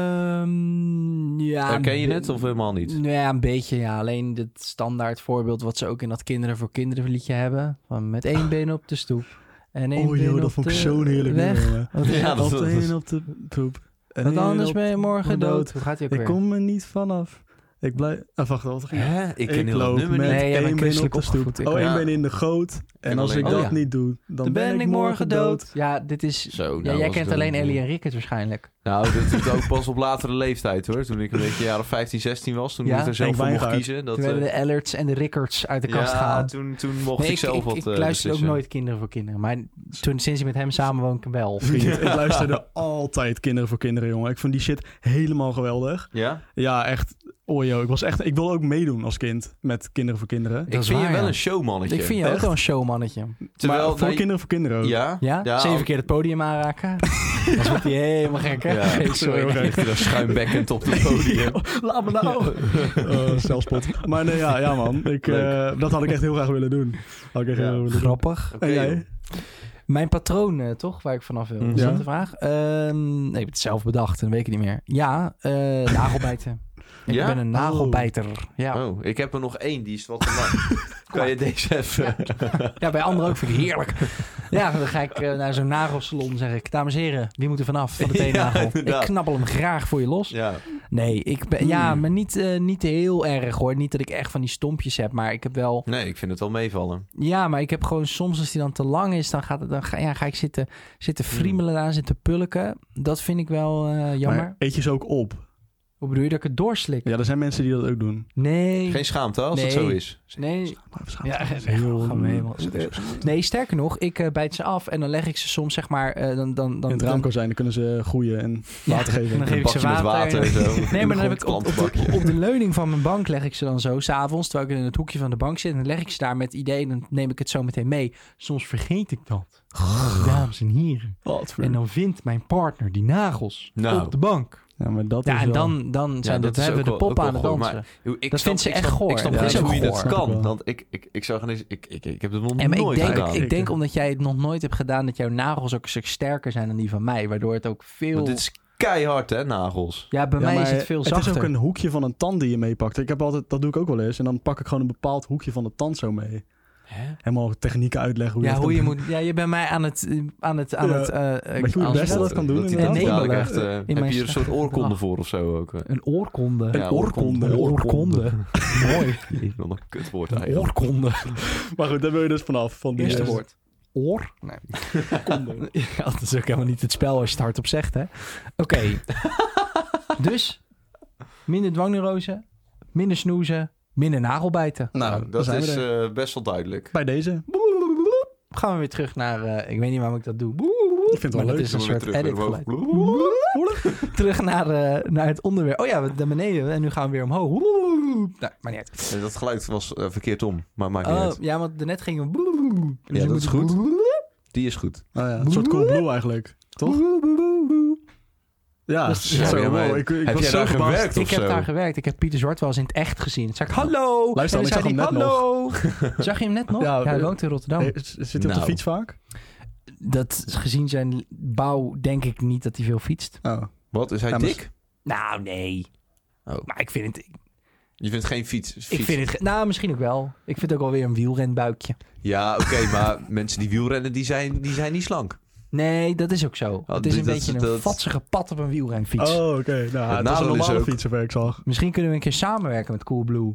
Speaker 2: Ehm, ja,
Speaker 3: Ah, Herken je
Speaker 2: een
Speaker 3: het
Speaker 2: be-
Speaker 3: of helemaal niet?
Speaker 2: Ja, een beetje. Ja. Alleen dit standaard voorbeeld wat ze ook in dat Kinderen voor Kinderen liedje hebben. Van met één been op de stoep. En één
Speaker 1: oh
Speaker 2: been
Speaker 1: joh,
Speaker 2: op
Speaker 1: dat vond ik
Speaker 2: de
Speaker 1: zo'n heerlijk
Speaker 2: weg.
Speaker 1: nummer, jongen.
Speaker 2: Wat is
Speaker 3: Ja,
Speaker 2: dat?
Speaker 3: dat-
Speaker 1: Op de
Speaker 3: is-
Speaker 1: een op de poep. Eh, En
Speaker 2: Want
Speaker 1: één
Speaker 2: anders
Speaker 1: op
Speaker 2: ben je morgen
Speaker 1: de
Speaker 2: dood. Hoe gaat die ook
Speaker 1: Ik
Speaker 2: weer?
Speaker 1: kom er niet vanaf. Ik blijf... Ah, wacht, wat ging het?
Speaker 3: Hè? Ik ken heel dat
Speaker 1: loop
Speaker 3: nummer
Speaker 1: met
Speaker 3: niet.
Speaker 2: Nee, jij bent
Speaker 1: één been op
Speaker 2: christelijk
Speaker 1: de stoep.
Speaker 2: opgevoed, ik
Speaker 1: oh, één
Speaker 3: ook.
Speaker 1: been in de goot. En,
Speaker 3: En
Speaker 1: als
Speaker 3: alleen-
Speaker 1: ik dat
Speaker 2: Oh, ja.
Speaker 1: niet doe, dan,
Speaker 2: Dan ben ik morgen dood. Ja, dit is...
Speaker 3: Zo, nou,
Speaker 2: Ja,
Speaker 3: was
Speaker 2: jij
Speaker 3: het
Speaker 2: kent
Speaker 3: wel
Speaker 2: alleen
Speaker 3: een-
Speaker 2: Ellie en Rickert waarschijnlijk.
Speaker 3: Nou, dat doet ook pas op latere leeftijd hoor. Toen ik een beetje jaren 15, 16 was, toen
Speaker 2: Ja?
Speaker 3: ik er zelf
Speaker 1: Henk
Speaker 3: voor mocht
Speaker 1: Wijngaard.
Speaker 3: kiezen. Dat,
Speaker 2: Toen
Speaker 3: eh,
Speaker 2: werden de Ellerts en de Rickerts uit de kast
Speaker 3: ja,
Speaker 2: gehaald.
Speaker 3: Toen, toen mocht
Speaker 2: Nee,
Speaker 3: ik zelf
Speaker 2: ik,
Speaker 3: wat
Speaker 2: ik
Speaker 3: eh,
Speaker 2: luister ook
Speaker 3: beslissen.
Speaker 2: nooit kinderen voor kinderen. Maar toen, sinds ik met hem samen woon, ik wel.
Speaker 1: Vriend, ik luisterde altijd Kinderen voor Kinderen, jongen. Ik vond die shit helemaal geweldig.
Speaker 3: Ja?
Speaker 1: Ja, echt. Oh joh, ik was echt... Ik wilde ook meedoen als kind met Kinderen voor Kinderen.
Speaker 3: ik
Speaker 2: is
Speaker 3: vind
Speaker 2: waar,
Speaker 3: je wel
Speaker 2: ja.
Speaker 3: een showmannetje.
Speaker 2: Ik vind je ook
Speaker 1: Echt?
Speaker 2: wel een showmannetje.
Speaker 3: Terwijl, nou,
Speaker 1: maar voor
Speaker 3: nee,
Speaker 1: Kinderen voor Kinderen ook.
Speaker 3: Ja?
Speaker 2: Ja? Zeven
Speaker 3: al-
Speaker 2: keer het podium aanraken. Dan wordt hij helemaal gek, hè?
Speaker 3: Ja.
Speaker 2: Nee, sorry.
Speaker 1: Sorry,
Speaker 3: Ligt er Oh, dan schuimbekkend op het podium.
Speaker 2: Laat me nou.
Speaker 1: Eh, zelfspot. Maar nee, ja, ja man. Ik, eh, dat had ik echt heel graag willen doen. Had ik echt
Speaker 3: Ja.
Speaker 1: heel graag willen doen.
Speaker 2: Grappig.
Speaker 3: Oké,
Speaker 1: En jij?
Speaker 3: joh.
Speaker 2: Mijn patroon, eh, toch? Waar ik vanaf wil. Is
Speaker 3: Ja.
Speaker 2: dat de vraag? Ehm, nee, ik heb het zelf bedacht. En weet ik het niet meer. Ja, eh, nagelbijten. Ik
Speaker 3: Ja?
Speaker 2: ben een nagelbijter. Ja.
Speaker 3: Oh, ik heb er nog één, die is wat te lang. kan je deze even...
Speaker 2: ja, bij anderen ook vind ik heerlijk. Ja, dan ga ik eh, naar zo'n nagelsalon zeg ik... Dames en heren, wie moet er vanaf van de
Speaker 3: Ja,
Speaker 2: teennagel? ik
Speaker 3: inderdaad.
Speaker 2: knabbel hem graag voor je los.
Speaker 3: ja.
Speaker 2: Nee, ik ben, ja,
Speaker 1: Hmm.
Speaker 2: maar niet, eh, niet heel erg hoor. Niet dat ik echt van die stompjes heb, maar ik heb wel...
Speaker 3: Nee, ik vind het wel meevallen.
Speaker 2: Ja, maar ik heb gewoon soms als die dan te lang is... dan, gaat het, dan ga, ja, ga ik zitten, zitten friemelen daar, zitten pulken. Dat vind ik wel eh, jammer.
Speaker 1: Maar eet je ze ook op?
Speaker 2: Hoe bedoel je dat ik het doorslik?
Speaker 1: Ja, er zijn mensen die dat ook doen.
Speaker 2: Nee.
Speaker 3: Geen schaamte als het
Speaker 2: Nee.
Speaker 3: zo is.
Speaker 2: nee. Ja,
Speaker 1: dat
Speaker 2: echt gemeen, man. nee, sterker nog, ik eh, bijt ze af en dan leg ik ze soms, zeg maar, eh, dan, dan,
Speaker 1: In
Speaker 2: dan,
Speaker 1: het
Speaker 2: dan,
Speaker 1: raam kan zijn, dan kunnen ze groeien en
Speaker 2: Ja,
Speaker 1: water geven.
Speaker 2: en dan geef
Speaker 3: Een
Speaker 2: ik ze
Speaker 3: bakje met
Speaker 2: water.
Speaker 3: water en zo.
Speaker 2: Nee,
Speaker 3: In de
Speaker 2: maar dan heb
Speaker 3: grond,
Speaker 2: ik op, op,
Speaker 3: plantbakje.
Speaker 2: de, op de leuning van mijn bank leg ik ze dan zo, s'avonds, terwijl ik in het hoekje van de bank zit. En dan leg ik ze daar met ideeën en dan neem ik het zo meteen mee. Soms vergeet ik dat. Dames en heren.
Speaker 1: Wat voor-
Speaker 2: En dan vindt mijn partner die nagels
Speaker 3: Nou.
Speaker 2: op de bank.
Speaker 1: Ja, maar dat
Speaker 2: Ja,
Speaker 1: is
Speaker 2: en
Speaker 1: wel-
Speaker 2: dan, dan zijn
Speaker 3: dat
Speaker 2: dat
Speaker 3: is
Speaker 2: hebben we de
Speaker 3: ook wel-
Speaker 2: pop
Speaker 3: ook
Speaker 2: aan
Speaker 3: wel
Speaker 2: het
Speaker 3: goed,
Speaker 2: dansen.
Speaker 3: Hoe- Ik
Speaker 2: Dat vindt ze
Speaker 3: ik
Speaker 2: echt goor.
Speaker 3: Ik snap
Speaker 1: Ja,
Speaker 3: niet
Speaker 1: dat
Speaker 3: eens
Speaker 1: is
Speaker 3: hoe je
Speaker 1: goor.
Speaker 3: dat
Speaker 1: Snap ik
Speaker 3: kan.
Speaker 1: wel.
Speaker 3: Want ik, ik, ik zou gaan eens... Ik, ik, ik heb het nog
Speaker 2: En maar ik
Speaker 3: nooit
Speaker 2: denk,
Speaker 3: gedaan.
Speaker 2: ik
Speaker 1: Zeker.
Speaker 2: denk omdat jij het nog nooit hebt gedaan, dat jouw nagels ook een stuk sterker zijn dan die van mij. Waardoor het ook veel.
Speaker 3: Want dit is keihard, hè, nagels.
Speaker 2: Ja, bij
Speaker 1: Ja,
Speaker 2: mij is
Speaker 1: maar
Speaker 2: het veel
Speaker 1: Het
Speaker 2: zachter.
Speaker 1: is ook een hoekje van een tand die je meepakt. Ik heb altijd, dat doe ik ook wel eens. En dan pak ik gewoon een bepaald hoekje van de tand zo mee. Helemaal technieken uitleggen hoe
Speaker 2: ja,
Speaker 1: je
Speaker 2: hoe je
Speaker 1: dat
Speaker 2: moet. Ja, je bent mij aan het. eh, Aan het, aan
Speaker 1: Ja,
Speaker 2: het eh, eh,
Speaker 1: weet je hoe het
Speaker 2: als-
Speaker 1: beste dat kan doen,
Speaker 3: Dat die
Speaker 2: inderdaad.
Speaker 3: tand dadelijk
Speaker 2: Nee,
Speaker 3: echt, eh,
Speaker 2: mijn
Speaker 3: heb je een soort
Speaker 2: slechte
Speaker 3: oorkonde
Speaker 2: dag.
Speaker 3: voor of zo ook. eh.
Speaker 2: Een oorkonde.
Speaker 1: Een
Speaker 3: Ja,
Speaker 1: oorkonde.
Speaker 2: Een oorkonde. Mooi.
Speaker 3: Wat een kutwoord
Speaker 2: Een
Speaker 3: eigenlijk.
Speaker 2: oorkonde.
Speaker 1: doen. Maar goed, daar wil je dus vanaf. Van die
Speaker 2: Eerste
Speaker 1: eh,
Speaker 2: woord. Oor? Nee. Ja, dat is ook helemaal niet het spel als je het hardop zegt, hè? Oké. dus, minder dwangneurose, minder snoezen, minder nagelbijten.
Speaker 1: Nou,
Speaker 3: Dat
Speaker 1: zijn we
Speaker 3: is
Speaker 1: er.
Speaker 3: eh, best wel duidelijk.
Speaker 1: bij deze. Oh
Speaker 2: Gaan we weer terug naar, eh, ik weet niet waarom ik dat doe.
Speaker 1: Ik vind het wel
Speaker 2: Maar dat
Speaker 1: leuk.
Speaker 2: is een
Speaker 3: Zullen we
Speaker 2: soort
Speaker 3: weer terug
Speaker 2: edit
Speaker 3: naar
Speaker 2: geluid.
Speaker 3: boven?
Speaker 2: Terug naar, eh, naar het onderwerp. Oh ja, we- naar beneden en nu gaan we weer omhoog. Nou, maar niet uit.
Speaker 3: Nee, Dat geluid was eh, verkeerd om, maar maakt niet
Speaker 2: Oh,
Speaker 3: uit.
Speaker 2: ja, want daarnet ging we...
Speaker 3: Ja, dat is goed. Die is goed.
Speaker 1: Oh ja, een soort cool blue eigenlijk. Toch? Ja,
Speaker 2: Dat is-
Speaker 1: Ah, zo.
Speaker 3: Ja, maar
Speaker 1: wow, ik, ik
Speaker 3: heb
Speaker 1: was
Speaker 3: jij
Speaker 1: zo
Speaker 3: daar
Speaker 1: verbaasd.
Speaker 3: gewerkt
Speaker 2: Ik
Speaker 3: of
Speaker 2: heb
Speaker 3: zo?
Speaker 2: daar gewerkt. Ik heb Pieter Zwart wel eens in het echt gezien. Dan zei ik, hallo.
Speaker 1: Luister,
Speaker 2: en
Speaker 1: ik
Speaker 2: dan
Speaker 1: zag
Speaker 2: zei
Speaker 1: hem
Speaker 2: hij,
Speaker 1: net nog.
Speaker 2: hallo. Zag je hem net nog?
Speaker 1: Ja,
Speaker 2: Ja, hij
Speaker 1: eh,
Speaker 2: woont in Rotterdam.
Speaker 1: Hey, z- zit hij op de
Speaker 3: Nou.
Speaker 1: fiets vaak?
Speaker 2: Dat gezien zijn bouw denk ik niet dat hij veel fietst.
Speaker 1: Oh.
Speaker 3: Wat, is hij
Speaker 1: Ja, maar-
Speaker 3: dik?
Speaker 2: Nou, nee.
Speaker 3: Oh.
Speaker 2: Maar ik vind het...
Speaker 3: Je vindt geen fiets. fiets.
Speaker 2: Ik vind het ge- nou, misschien ook wel. Ik vind ook wel weer een wielrenbuikje.
Speaker 3: Ja, oké, maar mensen die wielrennen, die zijn, die zijn niet slank.
Speaker 2: Nee, dat is ook zo. het is
Speaker 3: dit-
Speaker 2: een
Speaker 3: dat-
Speaker 2: beetje een
Speaker 3: dat-
Speaker 2: vatsige pad op een wielrenfiets.
Speaker 1: Oh, oké. Nou, het was een
Speaker 3: nadeel is
Speaker 1: normale
Speaker 3: ook-
Speaker 1: fiets, zover ik zag.
Speaker 2: Misschien kunnen we een keer samenwerken met Coolblue.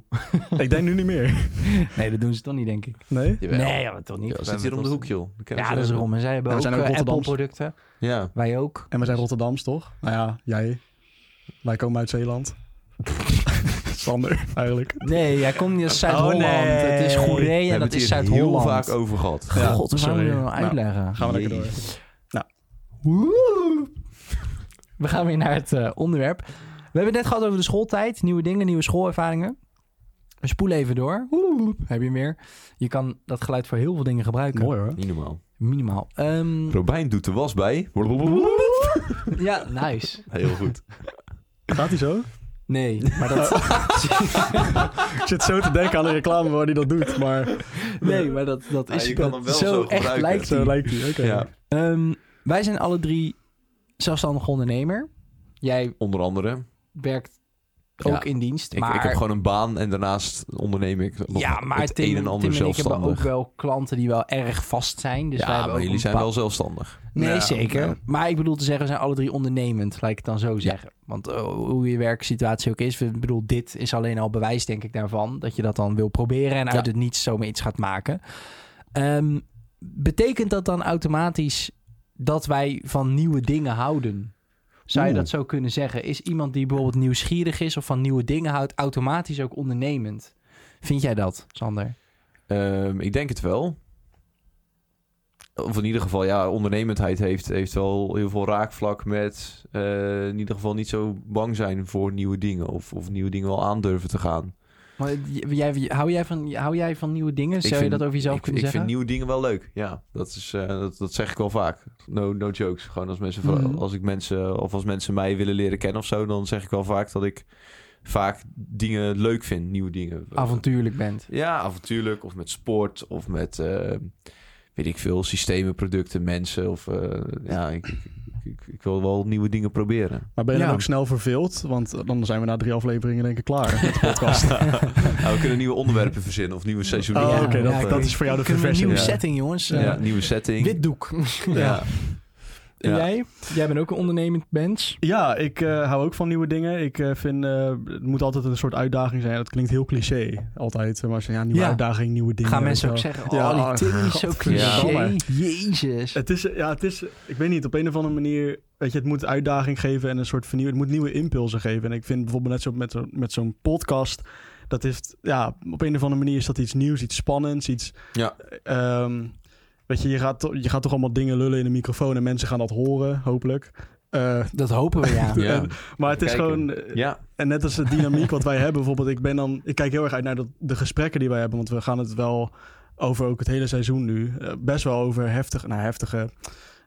Speaker 1: ik denk nu niet meer.
Speaker 2: Nee, dat doen ze toch niet, denk ik.
Speaker 1: Nee?
Speaker 3: Jawel.
Speaker 2: Nee, ja, maar toch niet.
Speaker 3: Ja, zit hier om de hoek, joh. Dan kennen
Speaker 2: Ja,
Speaker 3: ze
Speaker 2: dat is
Speaker 3: hem.
Speaker 2: erom. En zij hebben
Speaker 1: Ja, we
Speaker 2: ook,
Speaker 1: zijn ook
Speaker 2: eh,
Speaker 1: Rotterdams.
Speaker 2: Apple-producten.
Speaker 3: Ja.
Speaker 2: Wij ook.
Speaker 1: En we zijn Rotterdams, toch? Nou ja, jij. Wij komen uit Zeeland. Sander, eigenlijk.
Speaker 2: Nee, jij komt niet uit Zuid-Holland.
Speaker 1: Oh, nee.
Speaker 2: Het is Goeree
Speaker 3: We
Speaker 2: en
Speaker 3: hebben
Speaker 2: dat
Speaker 3: het
Speaker 2: is
Speaker 3: hier heel
Speaker 2: Zuid-Holland.
Speaker 3: vaak over gehad.
Speaker 1: Ja,
Speaker 2: God, hoe zouden we dat
Speaker 1: sorry.
Speaker 2: nou uitleggen?
Speaker 1: Gaan we lekker door.
Speaker 3: Jezus.
Speaker 2: We gaan weer naar het eh, onderwerp. We hebben het net gehad over de schooltijd. Nieuwe dingen, nieuwe schoolervaringen. We spoelen even door. Heb je meer? Je kan dat geluid voor heel veel dingen gebruiken.
Speaker 1: Mooi hoor.
Speaker 3: Niet normaal.
Speaker 2: Minimaal. Ehm,
Speaker 3: Robijn doet de was bij.
Speaker 2: ja, nice.
Speaker 3: Heel goed.
Speaker 1: Gaat hij zo?
Speaker 2: Nee, maar dat,
Speaker 1: Ik zit zo te denken aan een reclame waar hij dat doet, maar
Speaker 2: nee, maar dat, dat
Speaker 3: Ja,
Speaker 2: is
Speaker 3: je kan
Speaker 2: het.
Speaker 3: hem wel
Speaker 2: zo,
Speaker 3: zo
Speaker 2: echt
Speaker 3: gebruiken.
Speaker 2: lijkt
Speaker 1: zo
Speaker 2: hij.
Speaker 1: lijkt hij. Oké.
Speaker 3: Ja,
Speaker 2: Ehm, wij zijn alle drie zelfstandig ondernemer. Jij
Speaker 3: onder andere.
Speaker 2: werkt
Speaker 3: Ja,
Speaker 2: ook in dienst.
Speaker 3: Ik,
Speaker 2: maar...
Speaker 3: ik heb gewoon een baan en daarnaast onderneem ik nog
Speaker 2: Ja, maar
Speaker 3: het
Speaker 2: Tim,
Speaker 3: een en ander
Speaker 2: Tim en ik hebben ook
Speaker 3: zelfstandig.
Speaker 2: wel klanten die wel erg vast zijn. Dus wij
Speaker 3: ja,
Speaker 2: hebben
Speaker 3: maar
Speaker 2: ook
Speaker 3: jullie
Speaker 2: een
Speaker 3: zijn
Speaker 2: bepaal-
Speaker 3: wel zelfstandig.
Speaker 2: Nee,
Speaker 3: Ja,
Speaker 2: zeker.
Speaker 3: ja.
Speaker 2: Maar ik bedoel te zeggen, we zijn alle drie ondernemend, laat ik het dan zo zeggen. Want eh, hoe je werksituatie ook is, ik bedoel, dit is alleen al bewijs, denk ik, daarvan. Dat je dat dan wil proberen en uit
Speaker 3: Ja.
Speaker 2: het niets zomaar iets gaat maken. Ehm, betekent dat dan automatisch dat wij van nieuwe dingen houden? Zou je
Speaker 3: Oeh.
Speaker 2: dat zo kunnen zeggen? Is iemand die bijvoorbeeld nieuwsgierig is of van nieuwe dingen houdt, automatisch ook ondernemend? Vind jij dat, Sander?
Speaker 3: Ehm, ik denk het wel. Of in ieder geval, ja, ondernemendheid heeft, heeft wel heel veel raakvlak met eh, in ieder geval niet zo bang zijn voor nieuwe dingen. Of, of nieuwe dingen wel aandurven te gaan.
Speaker 2: Maar j- jij, hou, jij van, hou jij van nieuwe dingen? Zou je
Speaker 3: vind-
Speaker 2: dat over jezelf
Speaker 3: ik,
Speaker 2: kunnen
Speaker 3: ik
Speaker 2: zeggen?
Speaker 3: vind nieuwe dingen wel leuk. Ja, dat, is, eh, dat, dat zeg ik wel vaak. No, no jokes. Gewoon als mensen, vra-
Speaker 2: Mhm.
Speaker 3: als ik mensen, of als mensen mij willen leren kennen of zo, dan zeg ik wel vaak dat ik vaak dingen leuk
Speaker 2: eh,
Speaker 3: vind, nieuwe dingen.
Speaker 2: Avontuurlijk bent.
Speaker 3: Ja, avontuurlijk. Of met sport. Of met, eh, weet ik veel, systemen, producten, mensen. Of eh, ja, ik, ik, ik wil wel nieuwe dingen proberen.
Speaker 1: Maar ben je
Speaker 2: Ja.
Speaker 1: dan ook snel verveeld? Want dan zijn we na drie afleveringen denk ik klaar met de podcast.
Speaker 3: Nou, we kunnen nieuwe onderwerpen verzinnen of nieuwe seizoenen.
Speaker 1: Oh,
Speaker 2: Ja,
Speaker 1: oké, dat,
Speaker 2: ja, ik-
Speaker 1: dat is voor jou de
Speaker 2: Kunnen we een
Speaker 1: verversing.
Speaker 2: nieuwe
Speaker 3: ja.
Speaker 2: setting, jongens.
Speaker 3: Ja,
Speaker 2: Eh,
Speaker 3: nieuwe setting.
Speaker 2: Wit doek.
Speaker 3: ja.
Speaker 2: En
Speaker 3: Ja.
Speaker 2: jij? Jij bent ook een ondernemend mens.
Speaker 1: Ja, ik eh, hou ook van nieuwe dingen. Ik eh, vind, eh, het moet altijd een soort uitdaging zijn. Dat klinkt heel cliché, altijd. Maar ze- ja, nieuwe
Speaker 2: Ja.
Speaker 1: uitdaging, nieuwe dingen.
Speaker 2: Gaan
Speaker 1: weet
Speaker 2: mensen
Speaker 1: je
Speaker 2: ook
Speaker 1: wel.
Speaker 2: zeggen, oh,
Speaker 1: eh, Ja,
Speaker 2: die Timmy is zo cliché.
Speaker 1: godverdamme.
Speaker 2: Jezus.
Speaker 1: Het is, ja, het is, ik weet niet, op een of andere manier, weet je, het moet uitdaging geven en een soort vernieuw, het moet nieuwe impulsen geven. En ik vind bijvoorbeeld net zo met, zo- met zo'n podcast, dat heeft, ja, op een of andere manier is dat iets nieuws, iets spannends, iets...
Speaker 3: Ja.
Speaker 1: ehm, weet je, je gaat, to- je gaat toch allemaal dingen lullen in de microfoon en mensen gaan dat horen, hopelijk. Eh,
Speaker 2: Dat hopen we, ja.
Speaker 3: Ja.
Speaker 1: maar het is
Speaker 3: Kijken.
Speaker 1: gewoon, eh,
Speaker 3: Ja.
Speaker 1: En net als de dynamiek wat wij hebben, bijvoorbeeld, ik ben dan, ik kijk heel erg uit naar dat- de gesprekken die wij hebben, want we gaan het wel over ook het hele seizoen nu eh, best wel over heftig, nou, heftige,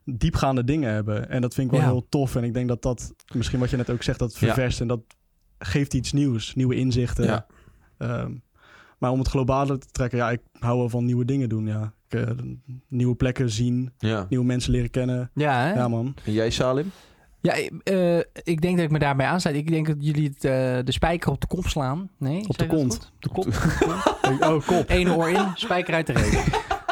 Speaker 1: diepgaande dingen hebben. En dat vind ik wel
Speaker 2: Ja.
Speaker 1: heel tof. En ik denk dat dat misschien wat je net ook zegt, dat ververst en dat geeft iets nieuws, nieuwe inzichten.
Speaker 3: Ja.
Speaker 1: Ehm, maar om het globale te trekken, ja, ik hou wel van nieuwe dingen doen. Ja, ik, eh, nieuwe plekken zien,
Speaker 3: ja.
Speaker 1: nieuwe mensen leren kennen.
Speaker 2: Ja, hè?
Speaker 1: Ja, man.
Speaker 3: En jij, Salim?
Speaker 2: Ja, eh, ik denk dat ik me daarbij aansluit. Ik denk dat jullie het, eh, de spijker op de kop slaan. Nee,
Speaker 1: Op de
Speaker 2: zeg ik dat
Speaker 1: kont.
Speaker 2: goed? De kop.
Speaker 1: Oh, kop.
Speaker 2: Eén oor in, spijker uit de reet.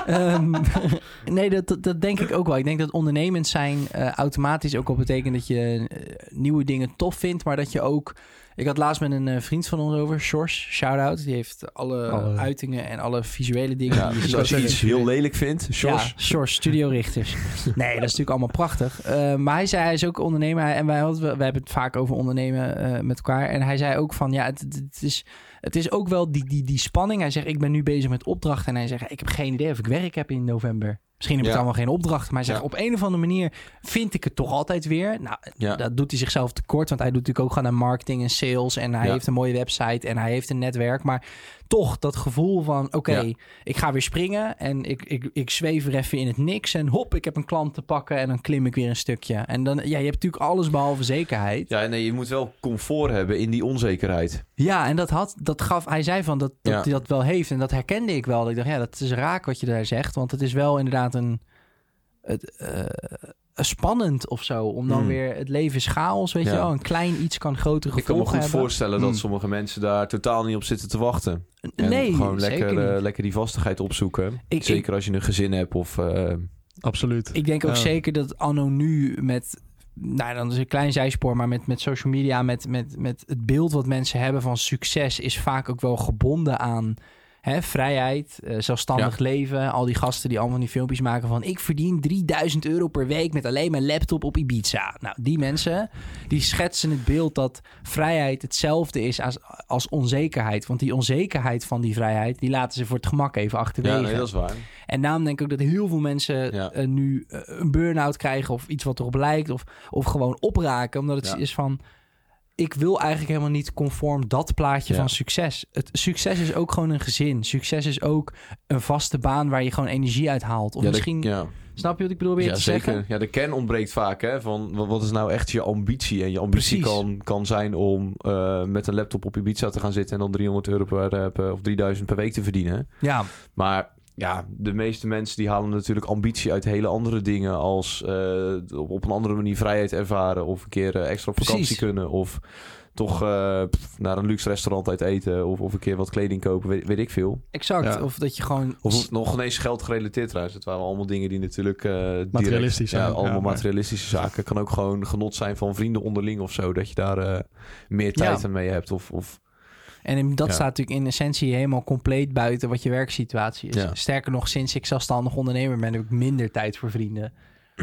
Speaker 2: Ehm, nee, dat, dat, dat denk ik ook wel. Ik denk dat ondernemend zijn eh, automatisch ook wel betekent dat je eh, nieuwe dingen tof vindt, maar dat je ook. Ik had laatst met een eh, vriend van ons over, Sjors, shout-out. Die heeft alle,
Speaker 1: Alle-
Speaker 2: uitingen en alle visuele dingen.
Speaker 3: Ja,
Speaker 2: die je
Speaker 3: dus
Speaker 2: ziet.
Speaker 3: als je
Speaker 1: zeggen-
Speaker 3: iets heel lelijk vindt, Sjors.
Speaker 2: Ja, Sjors, studiorichters. nee, dat is natuurlijk allemaal prachtig. Eh, maar hij zei, hij is ook ondernemer. En wij, hadden, wij hebben het vaak over ondernemen eh, met elkaar. En hij zei ook van, ja, het, het- het is, het is ook wel die, die, die spanning. Hij zegt, ik ben nu bezig met opdrachten. En hij zegt, ik heb geen idee of ik werk heb in november. Misschien heb ik
Speaker 3: Ja.
Speaker 2: allemaal geen opdracht. Maar hij zegt,
Speaker 3: Ja.
Speaker 2: op een of andere manier vind ik het toch altijd weer. Nou,
Speaker 3: Ja.
Speaker 2: dat doet hij zichzelf tekort. Want hij doet natuurlijk ook gewoon aan marketing en sales. En hij
Speaker 3: Ja.
Speaker 2: heeft een mooie website en hij heeft een netwerk. Maar toch dat gevoel van: oké,
Speaker 3: Ja.
Speaker 2: ik ga weer springen. En ik, ik, ik zweef er even in het niks. En hop, ik heb een klant te pakken. En dan klim ik weer een stukje. En dan, ja, je hebt natuurlijk alles behalve zekerheid. Ja,
Speaker 3: Ja, nee, je moet wel comfort hebben in die onzekerheid.
Speaker 2: en dat, had, dat gaf, hij zei van dat, dat
Speaker 3: Ja.
Speaker 2: hij dat wel heeft. En dat herkende ik wel. Dat Ik dacht, ja, dat is raak wat je daar zegt. Want het is wel inderdaad een. Het, eh, spannend of zo. Om dan
Speaker 3: Mm.
Speaker 2: weer het leven is chaos. Weet
Speaker 3: Ja.
Speaker 2: je wel, een klein iets kan grotere
Speaker 3: Ik kan me
Speaker 2: gevolgen
Speaker 3: goed
Speaker 2: hebben.
Speaker 3: voorstellen dat
Speaker 1: Mm.
Speaker 3: sommige mensen daar totaal niet op zitten te wachten. En
Speaker 2: Nee,
Speaker 3: gewoon lekker,
Speaker 2: zeker
Speaker 3: eh,
Speaker 2: niet.
Speaker 3: lekker die vastigheid opzoeken.
Speaker 2: Ik-
Speaker 3: Zeker als je een gezin hebt of... eh,
Speaker 1: Absoluut.
Speaker 2: Ik denk ook
Speaker 1: Ja.
Speaker 2: zeker dat anno nu met... Nou, dan is een klein zijspoor, maar met, met social media... Met, met, met het beeld wat mensen hebben van succes... is vaak ook wel gebonden aan hè, vrijheid, eh, zelfstandig leven. Al die gasten die allemaal van die filmpjes maken van... ik verdien 3000 euro per week met alleen mijn laptop op Ibiza. Nou, die mensen die schetsen het beeld dat vrijheid hetzelfde is als, als onzekerheid. Want die onzekerheid van die vrijheid... die laten ze voor het gemak even
Speaker 3: ja,
Speaker 2: achterwege.
Speaker 3: nee, dat is waar.
Speaker 2: En daarom denk ik ook dat heel veel mensen
Speaker 3: Ja.
Speaker 2: eh, nu eh, een burn-out krijgen of iets wat erop lijkt. Of, of gewoon opraken. Omdat het
Speaker 3: Ja.
Speaker 2: is van, ik wil eigenlijk helemaal niet conform dat plaatje
Speaker 3: Ja.
Speaker 2: van succes. Het, succes is ook gewoon een gezin. Succes is ook een vaste baan waar je gewoon energie uit haalt. Of
Speaker 3: ja, de-
Speaker 2: misschien,
Speaker 3: ja.
Speaker 2: snap je wat ik probeer
Speaker 3: Ja,
Speaker 2: te
Speaker 3: zeker.
Speaker 2: zeggen?
Speaker 3: Ja, de kern ontbreekt vaak, hè. Van, wa- wat is nou echt je ambitie? En je ambitie
Speaker 2: Precies.
Speaker 3: kan, kan zijn om eh, met een laptop op Ibiza te gaan zitten... en dan 300 euro per, eh, per- of 3000 per week te verdienen.
Speaker 2: Ja,
Speaker 3: Maar ja, de meeste mensen die halen natuurlijk ambitie uit hele andere dingen. Als eh, op op een andere manier vrijheid ervaren. Of een keer eh, extra op
Speaker 2: Precies.
Speaker 3: vakantie kunnen. Of toch eh, pff, naar een luxe restaurant uit eten. Of, of een keer wat kleding kopen, weet, weet ik veel.
Speaker 2: exact.
Speaker 1: Ja.
Speaker 2: Of dat je gewoon...
Speaker 3: Of het nog ineens geld gerelateerd trouwens. Het waren allemaal dingen die natuurlijk... eh, direct-
Speaker 1: Materialistisch zijn,
Speaker 3: Ja, allemaal
Speaker 1: ja, maar-
Speaker 3: materialistische zaken. Kan ook gewoon genot zijn van vrienden onderling of zo. Dat je daar eh, meer tijd
Speaker 2: Ja.
Speaker 3: aan mee hebt. Of, of
Speaker 2: En in- dat
Speaker 3: Ja.
Speaker 2: staat natuurlijk in essentie helemaal compleet buiten wat je werksituatie is.
Speaker 3: Ja.
Speaker 2: Sterker nog, sinds ik zelfstandig ondernemer ben, heb ik minder tijd voor vrienden.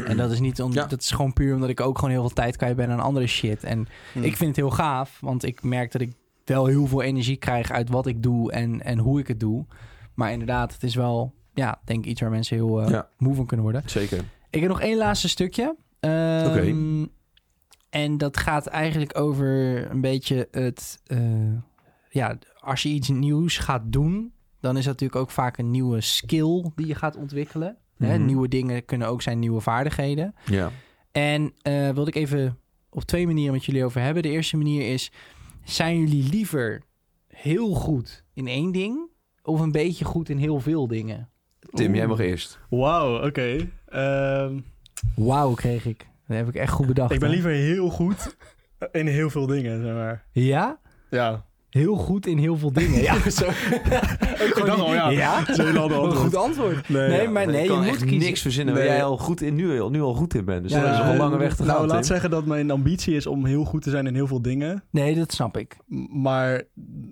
Speaker 2: En dat is niet om,
Speaker 3: Ja.
Speaker 2: dat is gewoon puur omdat ik ook gewoon heel veel tijd kwijt ben aan andere shit. En
Speaker 1: Hmm.
Speaker 2: ik vind het heel gaaf, want ik merk dat ik wel heel veel energie krijg uit wat ik doe en, en hoe ik het doe. Maar inderdaad, het is wel, ja, denk ik iets waar mensen heel eh,
Speaker 3: Ja.
Speaker 2: moe van kunnen worden.
Speaker 3: zeker.
Speaker 2: Ik heb nog één laatste stukje. Ehm,
Speaker 3: Oké.
Speaker 2: En dat gaat eigenlijk over een beetje het... eh, ja, als je iets nieuws gaat doen... dan is dat natuurlijk ook vaak een nieuwe skill die je gaat ontwikkelen. Hè,
Speaker 3: Mhm.
Speaker 2: nieuwe dingen kunnen ook zijn nieuwe vaardigheden.
Speaker 3: Ja.
Speaker 2: En eh wilde ik even op twee manieren met jullie over hebben. De eerste manier is: zijn jullie liever heel goed in één ding of een beetje goed in heel veel dingen?
Speaker 3: Tim, jij mag eerst.
Speaker 1: Wauw, oké. Ehm,
Speaker 2: Wauw, kreeg ik. Dat heb ik echt goed bedacht.
Speaker 1: ik ben
Speaker 2: hè?
Speaker 1: liever heel goed in heel veel dingen, zeg maar.
Speaker 2: Ja?
Speaker 1: Ja.
Speaker 2: Heel goed in heel veel dingen. Ja, zo.
Speaker 1: Ik dacht al, ja.
Speaker 2: ja?
Speaker 1: Zo'n ander
Speaker 2: Wat een
Speaker 1: antwoord.
Speaker 2: goed antwoord.
Speaker 1: Nee,
Speaker 2: Nee,
Speaker 1: ja.
Speaker 2: maar
Speaker 3: Ik
Speaker 2: nee, je
Speaker 3: kan
Speaker 2: moet
Speaker 3: echt
Speaker 2: kiezen.
Speaker 3: niks verzinnen
Speaker 1: Nee.
Speaker 3: waar jij al goed in, nu, al- nu al goed in bent. Dus
Speaker 2: Ja,
Speaker 3: dat is nog een
Speaker 1: eh,
Speaker 3: lange weg te gaan,
Speaker 1: Nou, laat
Speaker 3: Tim.
Speaker 1: zeggen dat mijn ambitie is om heel goed te zijn in heel veel dingen.
Speaker 2: Nee, dat snap ik.
Speaker 1: M- Maar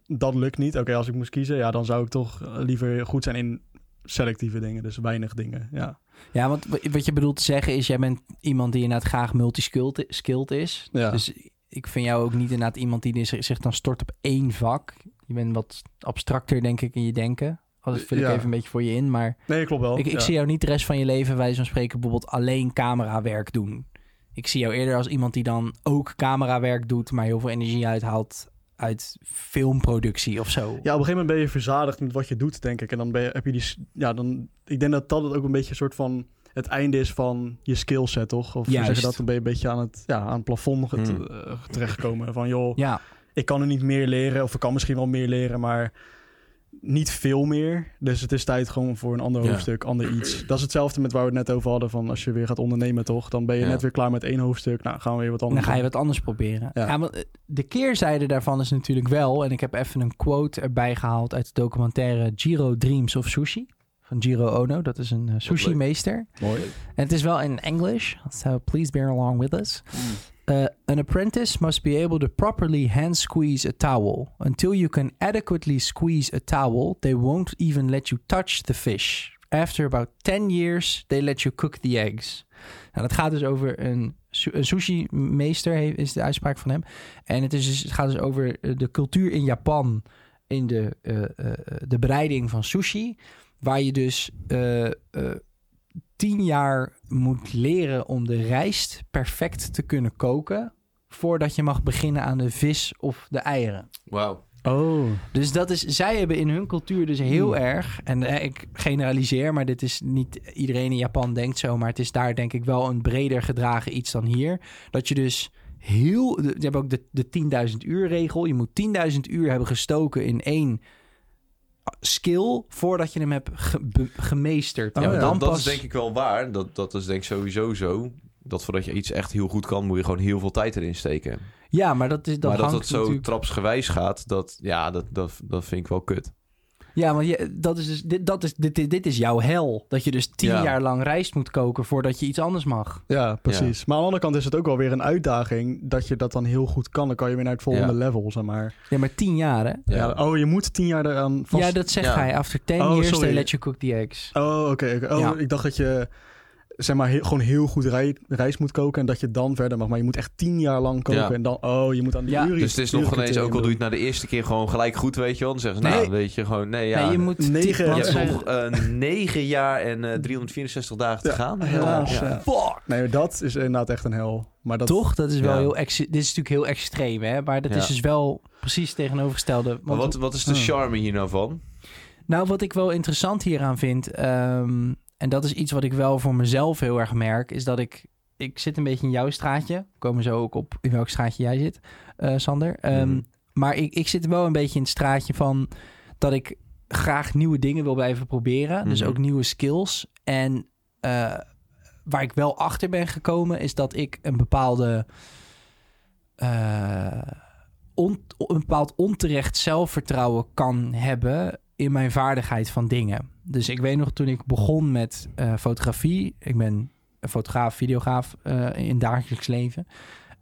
Speaker 1: dat lukt niet. Oké, als ik moest kiezen, ja, dan zou ik toch eh, liever goed zijn in selectieve dingen. Dus weinig dingen, ja.
Speaker 2: Ja, want wa- wat je bedoelt te zeggen is, jij bent iemand die inderdaad graag multiskilled skilled is.
Speaker 1: Ja,
Speaker 2: Dus ik vind jou ook niet inderdaad iemand die zich, zich dan stort op één vak. Je bent wat abstracter, denk ik, in je denken. Oh, Dat vul ik
Speaker 1: Ja.
Speaker 2: even een beetje voor je in, maar
Speaker 1: nee, klopt wel.
Speaker 2: ik, ik
Speaker 1: Oh, ja.
Speaker 2: zie jou niet de rest van je leven, wij van spreken, bijvoorbeeld alleen camerawerk doen. Ik zie jou eerder als iemand die dan ook camerawerk doet, maar heel veel energie uithaalt uit filmproductie of zo.
Speaker 1: Ja, op een gegeven moment ben je verzadigd met wat je doet, denk ik. En dan ben je, heb je die... s- Ja, dan... Ik denk dat dat het ook een beetje een soort van... Het einde is van je skillset, toch? Of
Speaker 2: Juist.
Speaker 1: zeggen dat dan ben je een beetje aan het, ja, aan het plafond get-
Speaker 3: Hmm.
Speaker 1: eh, terechtgekomen. Van joh,
Speaker 2: ja.
Speaker 1: ik kan er niet meer leren. Of ik kan misschien wel meer leren, maar niet veel meer. Dus het is tijd gewoon voor een ander
Speaker 3: Ja.
Speaker 1: hoofdstuk, ander iets. Dat is hetzelfde met waar we het net over hadden. Van als je weer gaat ondernemen, toch? Dan ben je
Speaker 3: Ja.
Speaker 1: net weer klaar met één hoofdstuk. Nou, gaan we weer wat
Speaker 2: En dan
Speaker 1: anders
Speaker 2: ga je
Speaker 1: doen.
Speaker 2: wat anders proberen. Ja.
Speaker 1: Ja.
Speaker 2: want eh, de keerzijde daarvan is natuurlijk wel... en ik heb even een quote erbij gehaald uit de documentaire... Giro Dreams of Sushi van Giro Ono. Dat is een eh, sushi-meester.
Speaker 1: Mooi.
Speaker 2: En het is wel in English, so please bear along with us. Uh, an apprentice must be able to properly hand squeeze a towel. Until you can adequately squeeze a towel, they won't even let you touch the fish. After about 10 years, they let you cook the eggs. Nou, dat gaat dus over een, su- een sushi-meester, he- is de uitspraak van hem. En het, is dus, het gaat dus over eh, de cultuur in Japan in de, eh, eh, eh, de bereiding van sushi. Waar je dus eh, eh, tien jaar moet leren om de rijst perfect te kunnen koken. Voordat je mag beginnen aan de vis of de eieren.
Speaker 3: Wauw.
Speaker 1: Oh.
Speaker 2: Dus dat is, zij hebben in hun cultuur dus heel
Speaker 1: Hmm.
Speaker 2: erg. En eh, ik generaliseer, maar dit is niet iedereen in Japan denkt zo. Maar het is daar denk ik wel een breder gedragen iets dan hier. Dat je dus heel. Je hebt ook de, de 10.000 uur regel. Je moet 10.000 uur hebben gestoken in één skill. voordat je hem hebt ge- be- gemeesterd.
Speaker 1: Oh
Speaker 2: En
Speaker 1: ja,
Speaker 2: dan
Speaker 3: dat
Speaker 2: pas-
Speaker 3: is denk ik wel waar. Dat, dat is denk ik sowieso zo. Dat voordat je iets echt heel goed kan, moet je gewoon heel veel tijd erin steken.
Speaker 2: Ja, maar dat is dat
Speaker 3: maar dat
Speaker 2: hangt
Speaker 3: dat zo
Speaker 2: natuurlijk...
Speaker 3: trapsgewijs gaat, dat, ja, dat, dat, dat vind ik wel kut.
Speaker 2: Ja, want je, dat is dus, dit, dat is, dit, dit, dit is jouw hel. Dat je dus tien
Speaker 3: Ja.
Speaker 2: jaar lang rijst moet koken voordat je iets anders mag.
Speaker 1: Ja, precies. Maar aan de andere kant is het ook wel weer een uitdaging dat je dat dan heel goed kan. Dan kan je weer naar het volgende
Speaker 3: Ja.
Speaker 1: level, zeg maar.
Speaker 2: Ja, maar tien jaar, hè?
Speaker 1: Ja. Oh, je moet tien jaar eraan vast...
Speaker 2: Ja, dat zegt
Speaker 3: Ja.
Speaker 2: hij. After 10
Speaker 1: Oh,
Speaker 2: years,
Speaker 1: sorry.
Speaker 2: they let you cook the eggs.
Speaker 1: Oh, oké. oké. Oh,
Speaker 2: Ja.
Speaker 1: ik dacht dat je zeg maar he- gewoon heel goed rij- rijst moet koken en dat je dan verder mag. Maar je moet echt tien jaar lang koken
Speaker 3: Ja.
Speaker 1: en dan... Oh, je moet aan die
Speaker 2: Ja.
Speaker 1: uren-
Speaker 3: Dus het is nog
Speaker 1: uren
Speaker 3: ineens, ook al doe je het na de eerste keer gewoon gelijk goed, weet je wel. Dan zeggen ze, nou,
Speaker 2: Nee.
Speaker 3: weet je, gewoon, nee, ja.
Speaker 2: nee, je moet
Speaker 1: negen
Speaker 2: tien-
Speaker 1: jaar
Speaker 2: want
Speaker 3: je
Speaker 1: zijn-
Speaker 3: hebt
Speaker 2: zij-
Speaker 3: nog eh, 9 jaar en eh, 364 dagen te
Speaker 1: Ja,
Speaker 3: gaan.
Speaker 1: helaas, ja.
Speaker 3: Fuck.
Speaker 1: Nee, maar dat is inderdaad echt een hel. Maar dat...
Speaker 2: Toch? Dat is wel
Speaker 3: Ja.
Speaker 2: heel... ex- Dit is natuurlijk heel extreem, hè? Maar dat
Speaker 3: Ja.
Speaker 2: is dus wel precies het tegenovergestelde.
Speaker 3: Maar
Speaker 2: Want-
Speaker 3: wat, wat is de
Speaker 1: Ja.
Speaker 3: charme hier nou van?
Speaker 2: Nou, wat ik wel interessant hieraan vind, ehm, en dat is iets wat ik wel voor mezelf heel erg merk, is dat ik, ik zit een beetje in jouw straatje. We komen zo ook op in welk straatje jij zit, eh, Sander. Ehm,
Speaker 3: Mhm.
Speaker 2: Maar ik, ik zit wel een beetje in het straatje van dat ik graag nieuwe dingen wil blijven proberen. Dus
Speaker 3: Mhm.
Speaker 2: ook nieuwe skills. En eh, waar ik wel achter ben gekomen, is dat ik een bepaalde. eh, on- een bepaald onterecht zelfvertrouwen kan hebben in mijn vaardigheid van dingen. Dus ik weet nog toen ik begon met eh, fotografie, ik ben een fotograaf, videograaf eh, in dagelijks leven,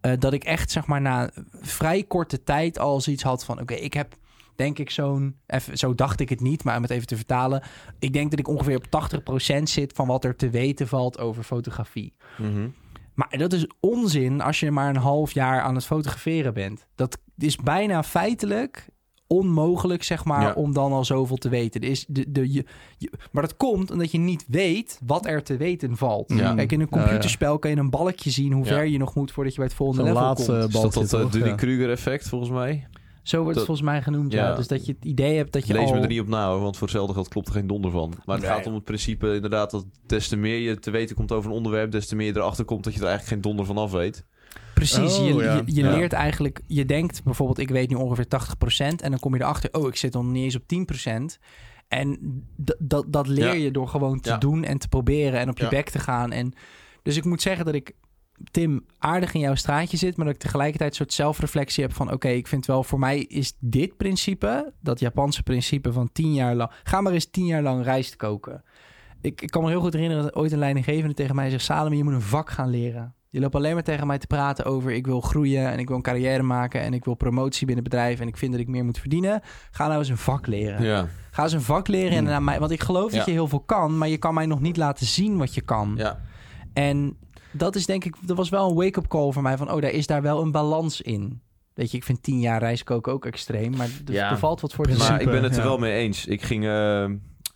Speaker 2: eh, dat ik echt zeg maar na vrij korte tijd al zoiets had van: oké, ik heb denk ik zo'n, even- zo dacht ik het niet, maar om het even te vertalen, ik denk dat ik ongeveer op 80% zit van wat er te weten valt over fotografie.
Speaker 3: Mhm.
Speaker 2: Maar dat is onzin als je maar een half jaar aan het fotograferen bent. Dat is bijna feitelijk onmogelijk, zeg maar,
Speaker 3: Ja.
Speaker 2: om dan al zoveel te weten. Er Is de, de, je, je- maar dat komt omdat je niet weet wat er te weten valt.
Speaker 3: Ja.
Speaker 2: Kijk, in een
Speaker 1: Ja, ja.
Speaker 2: computerspel kan je een balkje zien hoe
Speaker 3: Ja.
Speaker 2: ver je nog moet voordat je bij het volgende
Speaker 1: Zo'n
Speaker 2: level
Speaker 1: laatste
Speaker 2: komt.
Speaker 1: balkje,
Speaker 3: Is dat dat
Speaker 1: toch?
Speaker 3: eh,
Speaker 1: Ja.
Speaker 3: Dunning-Kruger-effect, volgens mij?
Speaker 2: Zo wordt het
Speaker 3: dat-
Speaker 2: volgens mij genoemd, ja.
Speaker 3: Ja.
Speaker 2: Dus dat je het idee hebt dat je
Speaker 3: Lees
Speaker 2: al...
Speaker 3: me er niet op na, hoor, want voor hetzelfde geld klopt er geen donder van. Maar het
Speaker 2: Nee.
Speaker 3: gaat om het principe inderdaad dat des te meer je te weten komt over een onderwerp, des te meer je erachter komt dat je er eigenlijk geen donder van af weet.
Speaker 2: Precies,
Speaker 1: Oh,
Speaker 2: je,
Speaker 1: ja.
Speaker 2: je, je
Speaker 3: Ja.
Speaker 2: leert eigenlijk, je denkt bijvoorbeeld, ik weet nu ongeveer 80%. En dan kom je erachter, oh, ik zit nog niet eens op 10%. En d- dat- dat leer
Speaker 3: Ja.
Speaker 2: je door gewoon te
Speaker 3: Ja.
Speaker 2: doen en te proberen en op je
Speaker 3: Ja.
Speaker 2: bek te gaan. En dus ik moet zeggen dat ik, Tim, aardig in jouw straatje zit, maar dat ik tegelijkertijd een soort zelfreflectie heb van: oké, ik vind wel voor mij is dit principe, dat Japanse principe van tien jaar lang, ga maar eens tien jaar lang rijst koken. Ik, ik kan me heel goed herinneren dat ooit een leidinggevende tegen mij zegt: Salem, je moet een vak gaan leren. Je loopt alleen maar tegen mij te praten over: ik wil groeien en ik wil een carrière maken en ik wil promotie binnen het bedrijf en ik vind dat ik meer moet verdienen. Ga nou eens een vak leren.
Speaker 3: Ja,
Speaker 2: Ga eens een vak leren en
Speaker 3: Hmm.
Speaker 2: daarna mij. Want ik geloof dat
Speaker 3: Ja.
Speaker 2: je heel veel kan, maar je kan mij nog niet laten zien wat je kan.
Speaker 3: ja.
Speaker 2: En dat is denk ik, dat was wel een wake-up call voor mij van, oh, daar is daar wel een balans in. Weet je, ik vind tien jaar reiskoken ook extreem, maar er,
Speaker 3: Ja.
Speaker 2: er valt wat voor te
Speaker 1: Precies.
Speaker 2: zeggen.
Speaker 3: Maar ik ben het er
Speaker 1: ja.
Speaker 3: wel mee eens. Ik ging eh,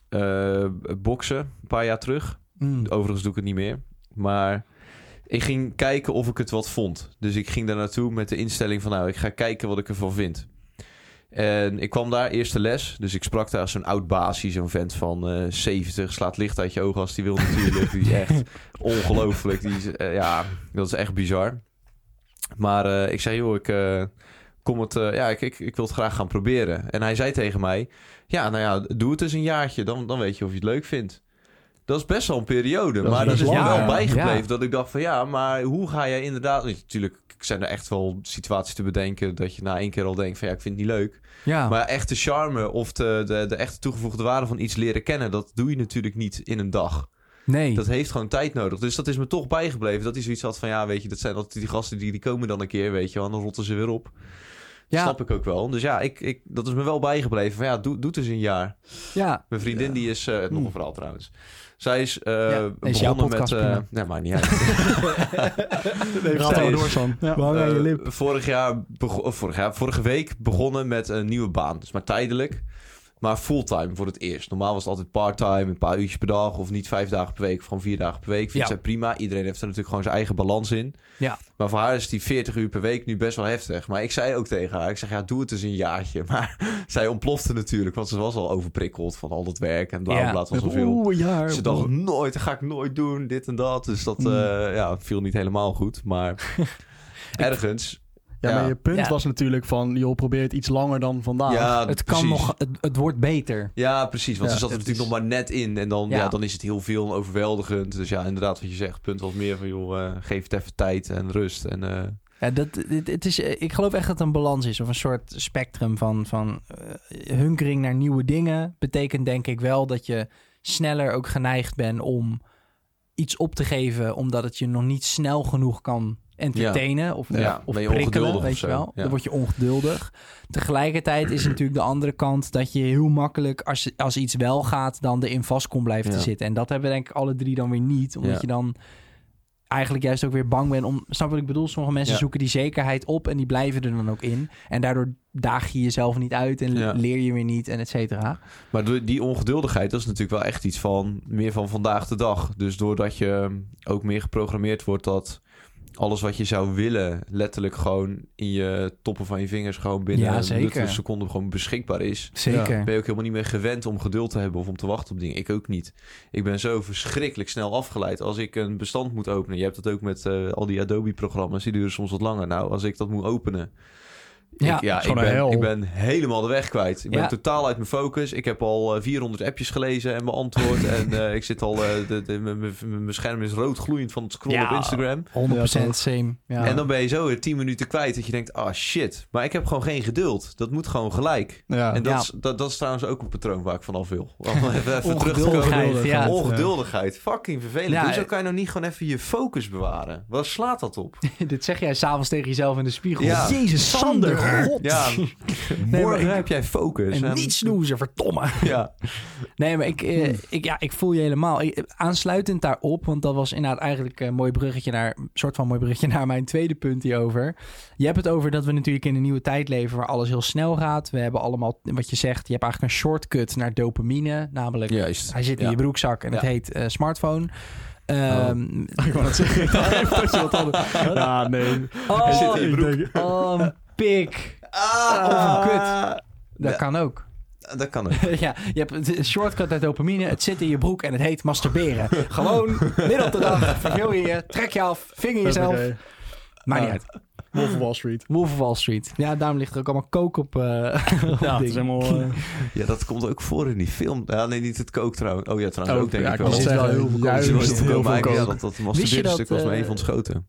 Speaker 3: eh, boksen een paar jaar terug.
Speaker 2: Mm.
Speaker 3: Overigens doe ik het niet meer. Maar ik ging kijken of ik het wat vond. Dus ik ging daar naartoe met de instelling van... nou, ik ga kijken wat ik ervan vind. En ik kwam daar, eerste les. Dus ik sprak daar zo'n oud basie, zo'n vent van eh 70. Slaat licht uit je ogen als die wil natuurlijk. Die is echt ongelooflijk. Die is, eh, ja, dat is echt bizar. Maar eh, ik zei, joh, ik... eh, Kom het, eh, ja, ik, ik, ik wil het graag gaan proberen. En hij zei tegen mij: Ja, nou ja, doe het eens een jaartje, dan, dan weet je of je het leuk vindt. Dat is best wel een periode,
Speaker 1: Dat is
Speaker 3: maar dat
Speaker 1: best
Speaker 3: is me
Speaker 1: lang,
Speaker 3: wel
Speaker 1: ja.
Speaker 3: bijgebleven.
Speaker 2: Ja.
Speaker 3: Dat ik dacht van ja, maar hoe ga jij inderdaad... Natuurlijk zijn er echt wel situaties te bedenken dat je na één keer al denkt van ja, ik vind het niet leuk.
Speaker 1: Ah.
Speaker 2: Ja.
Speaker 3: Maar echt de charme of de, de, de echte toegevoegde waarde van iets leren kennen, dat doe je natuurlijk niet in een dag.
Speaker 2: nee.
Speaker 3: Dat heeft gewoon tijd nodig. Dus dat is me toch bijgebleven. Dat is zoiets had van ja, weet je, dat zijn altijd die gasten die, die komen dan een keer, weet je wel, en dan rotten ze weer op.
Speaker 2: ja.
Speaker 3: Snap ik ook wel. Dus ja, ik, ik, dat is me wel bijgebleven. Van ja, doe, doe het eens een jaar.
Speaker 2: Ja. Mm.
Speaker 3: Mijn vriendin, die is... eh, nog
Speaker 1: Hmm.
Speaker 3: een verhaal trouwens. Zij is eh,
Speaker 2: is jouw
Speaker 3: begonnen met...
Speaker 2: podcast,
Speaker 3: eh,
Speaker 2: prima.
Speaker 3: nee, maar niet uit.
Speaker 1: Nee,
Speaker 3: Vertel.
Speaker 1: maar door, Sam. Ja.
Speaker 2: Behang aan je
Speaker 3: Eh,
Speaker 2: lip.
Speaker 3: vorig jaar, bego- of vorig jaar, vorige week begonnen met een nieuwe baan. Dus maar tijdelijk. Maar fulltime voor het eerst. Normaal was het altijd parttime, een paar uurtjes per dag. Of niet vijf dagen per week, of gewoon vier dagen per week. Vindt
Speaker 2: Ja.
Speaker 3: zij prima. Iedereen heeft er natuurlijk gewoon zijn eigen balans in.
Speaker 2: Ja.
Speaker 3: Maar voor haar is die 40 uur per week nu best wel heftig. Maar ik zei ook tegen haar, ik zeg ja, doe het eens een jaartje. Maar zij ontplofte natuurlijk, want ze was al overprikkeld van al dat werk en bla bla
Speaker 2: Ja.
Speaker 3: bla. Het was al veel. Dus
Speaker 1: Oeh, een jaar.
Speaker 3: Ze dacht nooit, dat ga ik nooit doen, dit en dat. Dus dat
Speaker 1: Hmm.
Speaker 2: Mm.
Speaker 3: eh, ja, viel niet helemaal goed. Maar ergens.
Speaker 1: Ja, maar
Speaker 3: Ja.
Speaker 1: je ah, punt
Speaker 2: Ja.
Speaker 1: was natuurlijk van, joh, probeer het iets langer dan vandaag.
Speaker 3: ja,
Speaker 2: het kan
Speaker 3: precies.
Speaker 2: nog, het, het wordt beter.
Speaker 3: Ja, precies. Want
Speaker 1: Ja,
Speaker 3: ze zat er
Speaker 1: het
Speaker 3: natuurlijk
Speaker 1: is-
Speaker 3: nog maar net in. En dan, ja.
Speaker 2: Ja.
Speaker 3: dan is het heel veel en overweldigend. Dus ja, inderdaad, wat je zegt. Punt wat meer van, joh, eh, geef het even tijd en rust. En, eh,
Speaker 2: Ja, dat, dit- het is, eh, ik geloof echt dat het een balans is of een soort spectrum van, van eh, hunkering naar nieuwe dingen. Betekent denk ik wel dat je sneller ook geneigd bent om iets op te geven, omdat het je nog niet snel genoeg kan entertainen of,
Speaker 3: Ja,
Speaker 2: ja, of
Speaker 3: ben je
Speaker 2: prikkelen,
Speaker 3: ongeduldig
Speaker 2: weet
Speaker 3: of
Speaker 2: je
Speaker 3: zo.
Speaker 2: wel.
Speaker 3: Ja.
Speaker 2: Dan word je ongeduldig. Tegelijkertijd is natuurlijk de andere kant dat je heel makkelijk, als, als iets wel gaat, dan erin vast kon blijven te
Speaker 3: Ja.
Speaker 2: zitten. En dat hebben we denk ik alle drie dan weer niet, omdat
Speaker 3: Ja.
Speaker 2: je dan eigenlijk juist ook weer bang ben om... Snap wat ik bedoel? Sommige mensen
Speaker 3: Ja.
Speaker 2: zoeken die zekerheid op en die blijven er dan ook in. En daardoor daag je jezelf niet uit en
Speaker 3: Ja.
Speaker 2: leer je weer niet en et cetera.
Speaker 3: Maar door die ongeduldigheid, dat is natuurlijk wel echt iets van meer van vandaag de dag. Dus doordat je ook meer geprogrammeerd wordt dat alles wat je zou willen, letterlijk gewoon in je toppen van je vingers, gewoon binnen
Speaker 2: Ja,
Speaker 3: een
Speaker 2: zeker.
Speaker 3: luttele seconde gewoon beschikbaar is.
Speaker 2: Zeker.
Speaker 3: Ben je ook helemaal niet meer gewend om geduld te hebben of om te wachten op dingen. Ik ook niet. Ik ben zo verschrikkelijk snel afgeleid. Als ik een bestand moet openen, je hebt dat ook met eh, al die Adobe-programma's, die duren soms wat langer. Nou, als ik dat moet openen,
Speaker 2: Ja,
Speaker 3: ik, ja,
Speaker 1: is gewoon
Speaker 3: ik,
Speaker 1: een
Speaker 3: ben,
Speaker 1: hel.
Speaker 3: ik ben helemaal de weg kwijt. Ik ben
Speaker 2: Ja.
Speaker 3: totaal uit mijn focus. Ik heb al eh, 400 appjes gelezen en beantwoord. en eh, ik zit al... eh, de- de- mijn- mijn- Mijn scherm is rood gloeiend van het scrollen
Speaker 2: Ja.
Speaker 3: op Instagram.
Speaker 2: 100% same. Ja.
Speaker 3: En dan ben je zo weer 10 minuten kwijt dat je denkt... Ah, shit. Maar ik heb gewoon geen geduld. Dat moet gewoon gelijk.
Speaker 1: Ja.
Speaker 3: En dat,
Speaker 2: Ja.
Speaker 3: is, dat, dat is trouwens ook een patroon waar ik vanaf wil. Om even, even terug te komen.
Speaker 2: Ongeduldigheid, ja. eh,
Speaker 3: Ongeduldigheid. Fucking vervelend.
Speaker 2: Ja,
Speaker 3: dus
Speaker 2: eh,
Speaker 3: dan kan je nou niet gewoon even je focus bewaren. Waar slaat dat op?
Speaker 2: Dit zeg jij s'avonds tegen jezelf in de spiegel.
Speaker 3: Ja.
Speaker 2: Jezus, Sander, god.
Speaker 3: Ja,
Speaker 2: maar
Speaker 3: morgen
Speaker 2: ik-
Speaker 3: heb jij focus.
Speaker 2: En niet snoezen, verdomme.
Speaker 3: Ja.
Speaker 2: Nee, maar ik, eh,
Speaker 3: Hmm.
Speaker 2: ik, ja, ik voel je helemaal. Ik- aansluitend daarop, want dat was inderdaad eigenlijk een mooi bruggetje naar, een soort van mooi bruggetje naar mijn tweede punt hierover. Je hebt het over dat we natuurlijk in een nieuwe tijd leven waar alles heel snel gaat. We hebben allemaal, wat je zegt, je hebt eigenlijk een shortcut naar dopamine, namelijk
Speaker 3: Juist.
Speaker 2: hij zit in
Speaker 3: Ja.
Speaker 2: je broekzak en het
Speaker 3: Ja. Oh.
Speaker 2: heet eh, smartphone. Ehm,
Speaker 1: Ik wou dat zeggen. Ik dacht even dat je wat anders- Ja, nee.
Speaker 2: oh,
Speaker 3: zit in je broek.
Speaker 1: Ik denk-
Speaker 2: oh, een pik.
Speaker 3: Ah,
Speaker 2: Of een kut. Dat
Speaker 3: Ja.
Speaker 2: kan ook.
Speaker 3: Dat kan ook.
Speaker 2: ja, je hebt een shortcut naar dopamine. Het zit in je broek en het heet masturberen. Gewoon, midden op de dag, verveel je je, trek je af, vinger jezelf.
Speaker 1: Oké.
Speaker 2: Maar niet uit.
Speaker 1: Wolf of Wall Street.
Speaker 2: Wolf of Wall Street. Ja, daarom ligt er ook allemaal kook op. eh, op
Speaker 1: Ja, het
Speaker 2: dingen.
Speaker 1: is helemaal... eh,
Speaker 3: Ja, dat komt ook voor in die film. Ja, nee, niet het kook trouwens. Oh ja, trouwens
Speaker 1: Oh,
Speaker 3: ook denk
Speaker 1: ja,
Speaker 3: ik
Speaker 1: ik
Speaker 3: wel.
Speaker 1: wou
Speaker 2: Er zit wel
Speaker 1: zeggen,
Speaker 2: heel veel
Speaker 1: juist
Speaker 2: kook.
Speaker 1: is
Speaker 3: Misschien
Speaker 1: het
Speaker 3: wel
Speaker 1: heel veel
Speaker 3: kook, maar ja,
Speaker 1: kook.
Speaker 3: dat, dat
Speaker 2: dat,
Speaker 3: masturbeerstuk was me
Speaker 2: eh,
Speaker 3: even ontschoten.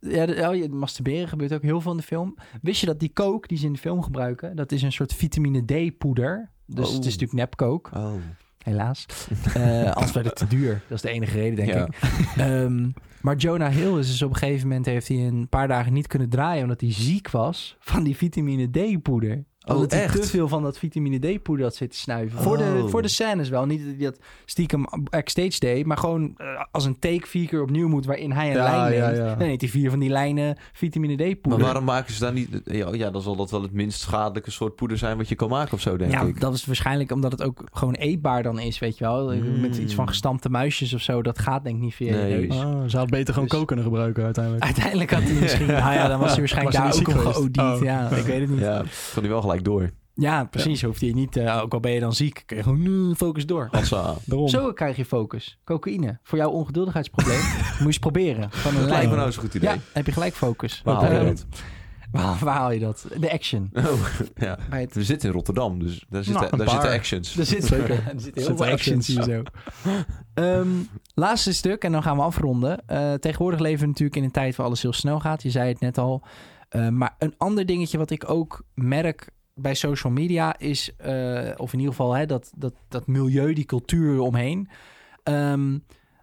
Speaker 2: Ja, de- oh, je- masturberen gebeurt ook heel veel in de film. Wist je dat die kook die ze in de film gebruiken, dat is een soort vitamine D poeder. Dus
Speaker 3: Oh.
Speaker 2: het is natuurlijk nepkook,
Speaker 3: Oh.
Speaker 2: helaas. Eh anders werd het te duur. Dat is de enige reden, denk
Speaker 3: Ja.
Speaker 2: ik. Ehm, maar Jonah Hill is dus op een gegeven moment... heeft hij een paar dagen niet kunnen draaien... omdat hij ziek was van die vitamine D-poeder.
Speaker 3: Oh,
Speaker 2: omdat
Speaker 3: echt?
Speaker 2: hij te veel van dat vitamine D-poeder had zitten snuiven. Voor, de,
Speaker 3: Oh.
Speaker 2: voor de scènes wel. Niet dat hij dat stiekem backstage deed... maar gewoon eh, als een take vier keer opnieuw moet... waarin hij een
Speaker 1: Ja,
Speaker 2: lijn
Speaker 1: ja,
Speaker 2: neemt.
Speaker 1: ja.
Speaker 2: Dan neemt hij vier van die lijnen vitamine
Speaker 3: Maar
Speaker 2: D-poeder.
Speaker 3: waarom maken ze daar niet... Ja, oh ja, dan zal dat wel het minst schadelijke soort poeder zijn wat je kan maken of zo, denk
Speaker 2: ja,
Speaker 3: ik.
Speaker 2: dat is waarschijnlijk omdat het ook gewoon eetbaar dan is, weet je wel.
Speaker 3: Mm.
Speaker 2: Met iets van gestampte muisjes of zo, dat gaat denk ik niet via
Speaker 3: Nee. Oh.
Speaker 2: je neus.
Speaker 1: Ah, ze had beter gewoon
Speaker 2: Dus-
Speaker 1: koken kunnen gebruiken uiteindelijk.
Speaker 2: Uiteindelijk had hij misschien... Nou ja, dan was hij waarschijnlijk
Speaker 1: Was hij
Speaker 2: daar ook
Speaker 1: niet
Speaker 2: om
Speaker 1: ziek geweest?
Speaker 2: geodied.
Speaker 1: Oh.
Speaker 2: Ja, ik weet het niet. Ja,
Speaker 3: Ja, kan die wel gelijk door.
Speaker 2: precies. Hoeft hij niet... eh, ook al ben je dan ziek, kun je gewoon mm, focus door.
Speaker 3: Assa.
Speaker 1: Daarom.
Speaker 2: Zo krijg je focus. Cocaïne. Voor jouw ongeduldigheidsprobleem moet je eens proberen. Van een
Speaker 3: Dat lijkt me
Speaker 2: lijn.
Speaker 3: nou zo'n goed idee.
Speaker 2: Ja, dan heb je gelijk focus.
Speaker 3: Waar haal je
Speaker 2: Eh,
Speaker 3: dat?
Speaker 2: waar, waar haal je dat? De action.
Speaker 3: Oh, ja.
Speaker 2: Bij het
Speaker 3: We zitten in Rotterdam, dus daar zitten,
Speaker 1: Nou, een
Speaker 3: daar zitten
Speaker 1: paar.
Speaker 3: actions.
Speaker 2: Er zit
Speaker 1: Zeker.
Speaker 2: Er zitten heel
Speaker 1: Zitten
Speaker 2: veel actions
Speaker 1: actions.
Speaker 2: hier zo. Ehm, laatste stuk, en dan gaan we afronden. Eh, tegenwoordig leven we natuurlijk in een tijd waar alles heel snel gaat. Je zei het net al. Eh, maar een ander dingetje wat ik ook merk bij social media is... eh, of in ieder geval hè, dat, dat, dat milieu, die cultuur eromheen... ehm,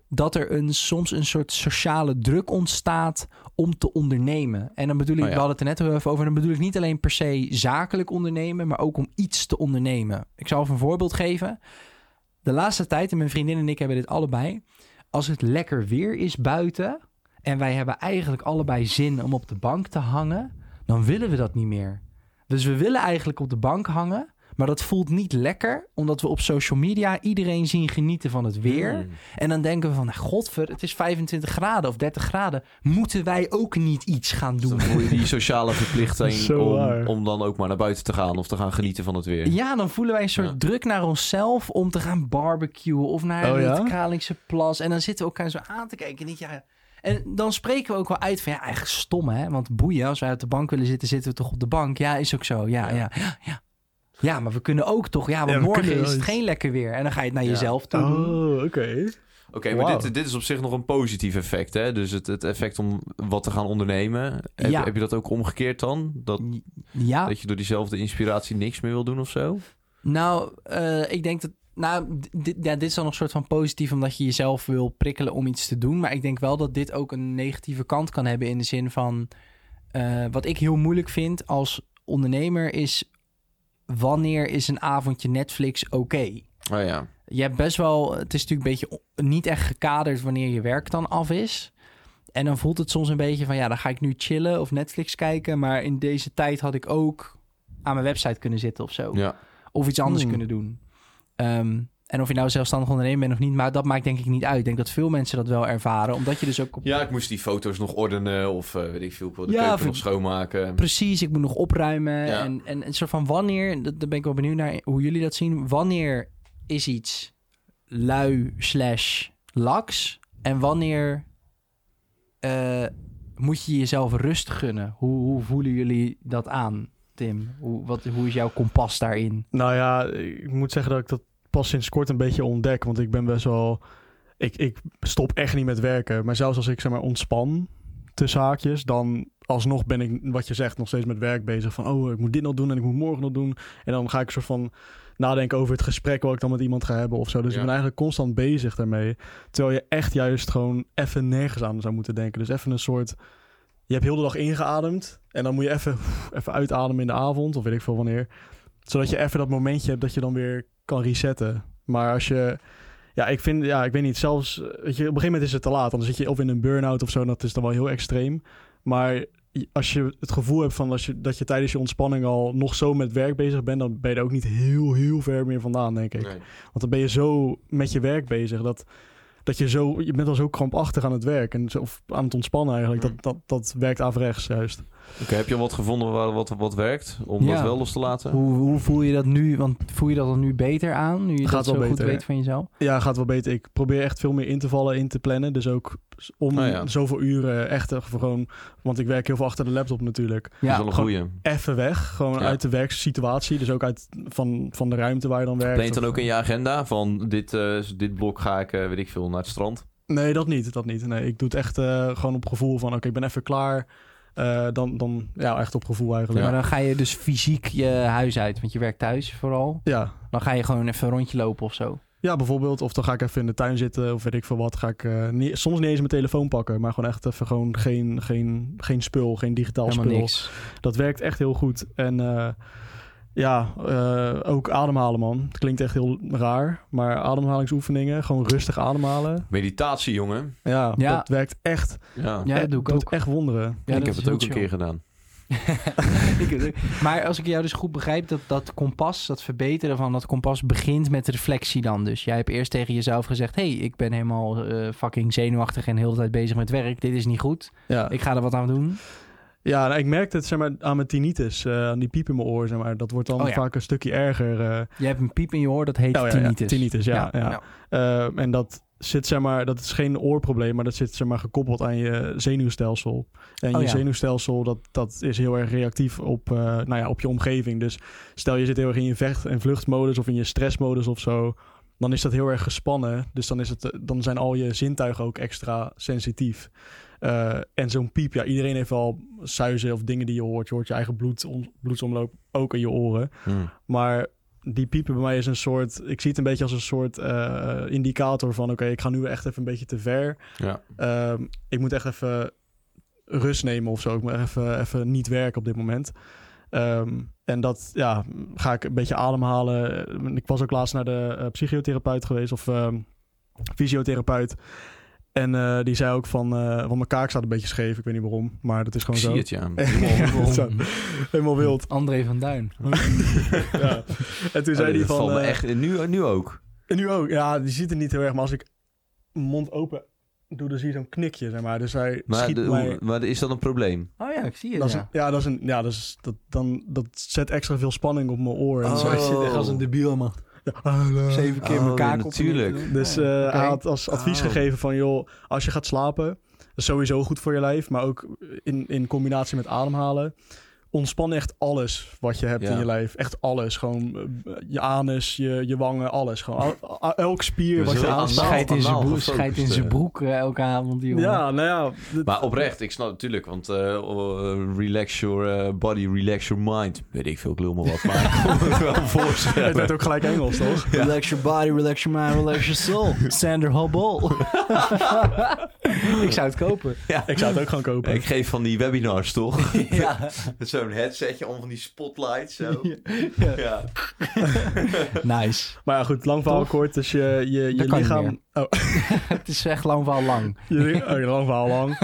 Speaker 2: dat er een, soms een soort sociale druk ontstaat om te ondernemen. En dan bedoel ik,
Speaker 3: Oh ja.
Speaker 2: we hadden het er net al even over... dan bedoel ik niet alleen per se zakelijk ondernemen... maar ook om iets te ondernemen. Ik zal even een voorbeeld geven. De laatste tijd, en mijn vriendin en ik hebben dit allebei... als het lekker weer is buiten... en wij hebben eigenlijk allebei zin om op de bank te hangen... dan willen we dat niet meer. Dus we willen eigenlijk op de bank hangen... maar dat voelt niet lekker... omdat we op social media iedereen zien genieten van het weer...
Speaker 3: Hmm.
Speaker 2: En dan denken we van, nou, godver, het is 25 graden of 30 graden. Moeten wij ook niet iets gaan
Speaker 3: Dus Dan
Speaker 2: doen?
Speaker 3: voel je die sociale verplichting
Speaker 1: Zo
Speaker 3: om,
Speaker 1: waar.
Speaker 3: om dan ook maar naar buiten te gaan of te gaan genieten van het weer.
Speaker 2: Ja, dan voelen wij een soort
Speaker 3: Ja.
Speaker 2: druk naar onszelf om te gaan barbecuen of naar
Speaker 1: Oh,
Speaker 2: het
Speaker 1: ja?
Speaker 2: Kralingse plas. En dan zitten we elkaar zo aan te kijken. En, denk je, ja. en dan spreken we ook wel uit van, ja, eigenlijk stom hè. Want boeien, als wij op de bank willen zitten, zitten we toch op de bank. Ja, is ook zo. Ja, ja, ja. ja. Ja, maar we kunnen ook toch. Ja, want
Speaker 1: Ja, we
Speaker 2: morgen
Speaker 1: kunnen
Speaker 2: is het
Speaker 1: wel
Speaker 2: geen lekker weer. En dan ga je het naar
Speaker 3: Ja.
Speaker 2: jezelf toe doen.
Speaker 1: Oh, oké.
Speaker 3: Oké, maar
Speaker 1: Wauw.
Speaker 3: dit, dit is op zich nog een positief effect, hè? Dus het, het effect om wat te gaan ondernemen. Heb,
Speaker 2: Ja.
Speaker 3: heb je dat ook omgekeerd dan? Dat,
Speaker 2: Ja,
Speaker 3: dat je door diezelfde inspiratie niks meer wil doen of zo?
Speaker 2: Nou, eh, ik denk dat. Nou, d- dit, ja, dit is dan nog een soort van positief, omdat je jezelf wil prikkelen om iets te doen. Maar ik denk wel dat dit ook een negatieve kant kan hebben in de zin van. eh, wat ik heel moeilijk vind als ondernemer is. Wanneer is een avondje Netflix oké?
Speaker 3: Oh ja.
Speaker 2: Je hebt best wel. Het is natuurlijk een beetje o- niet echt gekaderd wanneer je werk dan af is. En dan voelt het soms een beetje van ja, dan ga ik nu chillen of Netflix kijken. Maar in deze tijd had ik ook aan mijn website kunnen zitten of zo
Speaker 3: ja.
Speaker 2: of iets anders
Speaker 1: Hmm.
Speaker 2: kunnen doen. Ehm, en of je nou zelfstandig ondernemer bent of niet, maar dat maakt denk ik niet uit. Ik denk dat veel mensen dat wel ervaren, omdat je dus ook op...
Speaker 3: Ja, ik moest die foto's nog ordenen of eh, weet ik veel, ik wil de
Speaker 2: Ja,
Speaker 3: keuken
Speaker 2: voor-
Speaker 3: nog schoonmaken.
Speaker 2: Precies, ik moet nog opruimen.
Speaker 3: Ja.
Speaker 2: En, en een soort van wanneer, en dat- daar ben ik wel benieuwd naar hoe jullie dat zien. Wanneer is iets lui slash laks? En wanneer eh, moet je jezelf rust gunnen? Hoe, hoe voelen jullie dat aan, Tim? Hoe, wat, hoe is jouw kompas daarin?
Speaker 1: Nou ja, ik moet zeggen dat ik dat pas sinds kort een beetje ontdek. Want ik ben best wel... Ik, ik stop echt niet met werken. Maar zelfs als ik zeg maar ontspan tussen haakjes, dan alsnog ben ik, wat je zegt, nog steeds met werk bezig. Van, oh, ik moet dit nog doen en ik moet morgen nog doen. En dan ga ik een soort van nadenken over het gesprek wat ik dan met iemand ga hebben of zo. Dus
Speaker 3: Ja.
Speaker 1: ik ben eigenlijk constant bezig daarmee. Terwijl je echt juist gewoon even nergens aan zou moeten denken. Dus even een soort... Je hebt heel de dag ingeademd en dan moet je even, even uitademen in de avond of weet ik veel wanneer. Zodat je even dat momentje hebt dat je dan weer kan resetten. Maar als je. Ja, ik vind, ja, ik weet niet, zelfs, eh, weet je, op een gegeven moment is het te laat. Dan zit je of in een burn-out of zo, en dat is dan wel heel extreem. Maar je- als je het gevoel hebt van als je, dat je tijdens je ontspanning al nog zo met werk bezig bent, dan ben je er ook niet heel, heel ver meer vandaan, denk ik.
Speaker 3: Nee.
Speaker 1: Want dan ben je zo met je werk bezig dat, dat je zo, je bent al zo krampachtig aan het werk en zo, of aan het ontspannen eigenlijk. Dat, dat, dat werkt averechts juist.
Speaker 3: Oké, heb je al wat gevonden waar, wat, wat werkt? Om
Speaker 2: Ja.
Speaker 3: dat wel los te laten?
Speaker 2: Hoe, hoe voel je dat nu? Want voel je dat dan nu beter aan? Nu je
Speaker 1: Gaat
Speaker 2: dat zo
Speaker 1: wel
Speaker 2: goed
Speaker 1: beter,
Speaker 2: weet van jezelf?
Speaker 1: Ja, gaat wel beter. Ik probeer echt veel meer in te vallen, in te plannen. Dus ook om
Speaker 3: Ah, ja.
Speaker 1: zoveel uren echt eh, gewoon, want ik werk heel veel achter de laptop natuurlijk.
Speaker 3: Dat is
Speaker 2: Ja,
Speaker 3: wel een
Speaker 1: gewoon-
Speaker 3: goeie.
Speaker 1: Even weg, gewoon
Speaker 3: Ja.
Speaker 1: uit de werksituatie. Dus ook uit van, van de ruimte waar je dan werkt.
Speaker 3: Plant dan
Speaker 1: Of-
Speaker 3: ook in je agenda van dit, eh, dit blok ga ik, eh, weet ik veel, naar het strand.
Speaker 1: Nee, dat niet. Dat niet. Nee, ik doe het echt eh, gewoon op gevoel van oké, ik ben even klaar. Eh, dan, dan ja, echt op gevoel eigenlijk.
Speaker 2: maar
Speaker 1: Ja.
Speaker 2: dan ga je dus fysiek je huis uit. Want je werkt thuis vooral.
Speaker 1: Ja.
Speaker 2: Dan ga je gewoon even een rondje lopen of zo.
Speaker 1: bijvoorbeeld. Of dan ga ik even in de tuin zitten of weet ik veel wat. Ga ik eh, niet- soms niet eens mijn telefoon pakken, maar gewoon echt even gewoon geen, geen, geen spul, geen digitaal
Speaker 2: Helemaal
Speaker 1: spul.
Speaker 2: niks.
Speaker 1: Dat werkt echt heel goed. En eh, ja, eh, ook ademhalen man. Het klinkt echt heel raar, maar ademhalingsoefeningen, gewoon rustig ademhalen.
Speaker 3: Meditatie, jongen.
Speaker 1: Ja,
Speaker 2: Ja.
Speaker 1: dat werkt echt.
Speaker 3: Ja.
Speaker 2: Ja, dat doe ik
Speaker 1: doet
Speaker 2: ook.
Speaker 1: echt wonderen.
Speaker 2: Ja,
Speaker 3: ik
Speaker 2: dat
Speaker 3: heb
Speaker 2: is
Speaker 3: het
Speaker 2: heel
Speaker 3: ook een
Speaker 2: chill.
Speaker 3: keer gedaan.
Speaker 2: Ik heb het ook. maar als ik jou dus goed begrijp, dat, dat kompas, dat verbeteren van dat kompas begint met reflectie dan. Dus jij hebt eerst tegen jezelf gezegd: hey, ik ben helemaal eh, fucking zenuwachtig en heel de tijd bezig met werk. Dit is niet goed.
Speaker 1: Ja.
Speaker 2: Ik ga er wat aan doen.
Speaker 1: Ja, nou, ik merkte het zeg maar, aan mijn tinnitus, eh, aan die piep in mijn oor. Zeg maar. Dat wordt dan
Speaker 2: Oh, ja.
Speaker 1: vaak een stukje erger. eh.
Speaker 2: Je hebt een piep in je oor, dat heet
Speaker 1: Oh, ja, ja,
Speaker 2: tinnitus.
Speaker 1: tinnitus, ja, ja. Eh, en dat, zit, zeg maar, dat is geen oorprobleem, maar dat zit zeg maar, gekoppeld aan je zenuwstelsel. En
Speaker 2: Oh,
Speaker 1: je
Speaker 2: ja.
Speaker 1: zenuwstelsel dat, dat is heel erg reactief op, eh, nou ja, op je omgeving. Dus stel je zit heel erg in je vecht- en vluchtmodus of in je stressmodus of zo. Dan is dat heel erg gespannen. Dus dan, is het, eh, dan zijn al je zintuigen ook extra sensitief. Eh, en zo'n piep, ja, iedereen heeft wel suizen of dingen die je hoort. Je hoort je eigen bloed, om- bloedsomloop ook in je oren.
Speaker 3: Hm.
Speaker 1: Maar die piepen bij mij is een soort. Ik zie het een beetje als een soort eh, indicator van: oké, ik ga nu echt even een beetje te ver.
Speaker 3: Ja.
Speaker 1: Ehm, ik moet echt even rust nemen of zo. Ik moet echt even, even niet werken op dit moment. Ehm, en dat ja, ga ik een beetje ademhalen. Ik was ook laatst naar de eh, psychotherapeut geweest of ehm, fysiotherapeut. En eh, die zei ook van, eh want mijn kaak staat een beetje scheef. Ik weet niet waarom, maar dat is
Speaker 3: Ik
Speaker 1: gewoon zo.
Speaker 3: zie het, ja.
Speaker 1: Ja,
Speaker 2: Waarom?
Speaker 1: zo. Helemaal wild.
Speaker 2: André van Duin.
Speaker 1: ja. En toen zei
Speaker 3: Oh, dit
Speaker 1: hij
Speaker 3: valt
Speaker 1: van...
Speaker 3: me
Speaker 1: eh,
Speaker 3: echt, nu, nu ook.
Speaker 1: En nu ook. Ja, die ziet er niet heel erg. Maar als ik mijn mond open doe, dan zie je zo'n knikje, zeg maar. Dus hij
Speaker 3: Maar,
Speaker 1: schiet
Speaker 3: de-
Speaker 1: mij...
Speaker 3: hoe- maar is dat een probleem?
Speaker 2: Oh ja, ik zie
Speaker 1: dat
Speaker 2: het.
Speaker 1: is een-
Speaker 2: Ja.
Speaker 1: ja, dat is een... Ja, dat, is, dat, dan, dat zet extra veel spanning op mijn oor. En
Speaker 3: Oh.
Speaker 1: zo.
Speaker 3: hij zit echt als een
Speaker 2: debiel, man.
Speaker 1: Ja.
Speaker 2: Zeven keer
Speaker 3: Oh,
Speaker 2: mijn kaak op.
Speaker 3: natuurlijk.
Speaker 1: Dus eh,
Speaker 2: oké.
Speaker 1: hij had als advies
Speaker 3: Oh.
Speaker 1: gegeven van, joh, als je gaat slapen... dat is sowieso goed voor je lijf, maar ook in, in combinatie met ademhalen... Ontspan echt alles wat je hebt
Speaker 3: Ja.
Speaker 1: in je lijf. Echt alles. Gewoon eh, je anus, je, je wangen, alles. Gewoon al- al- elk spier
Speaker 3: We
Speaker 1: wat je
Speaker 3: zullen
Speaker 1: aanstaat.
Speaker 3: anaal-
Speaker 2: Scheidt in zijn
Speaker 3: anaal
Speaker 2: broek,
Speaker 3: gefocust,
Speaker 2: scheidt in
Speaker 3: eh.
Speaker 2: zijn broek eh, elke avond, die jongen.
Speaker 1: Ja, nou ja. dit-
Speaker 3: Maar oprecht, ik snap natuurlijk, want eh, oh, relax your eh, body, relax your mind. Weet ik veel, ik lul me wat, maar ik kon het wel
Speaker 1: Het
Speaker 3: voorstellen.
Speaker 1: werd ook gelijk Engels, toch?
Speaker 2: Relax your body, relax your mind, relax your soul. Sander Hobbol. ik zou het kopen.
Speaker 1: Ik zou het ook gewoon kopen.
Speaker 3: Ik geef van die webinars, toch?
Speaker 2: ja.
Speaker 3: Met zo'n headsetje om van die spotlights, zo.
Speaker 2: Ja.
Speaker 3: Ja.
Speaker 2: Nice.
Speaker 1: Maar ja, goed, lang verhaal
Speaker 2: Toch?
Speaker 1: kort. Dus je, je, je
Speaker 2: Dat kan niet
Speaker 1: lichaam... Oh,
Speaker 2: Het is echt lang van lang.
Speaker 1: je, li- oh, lang verhaal lang.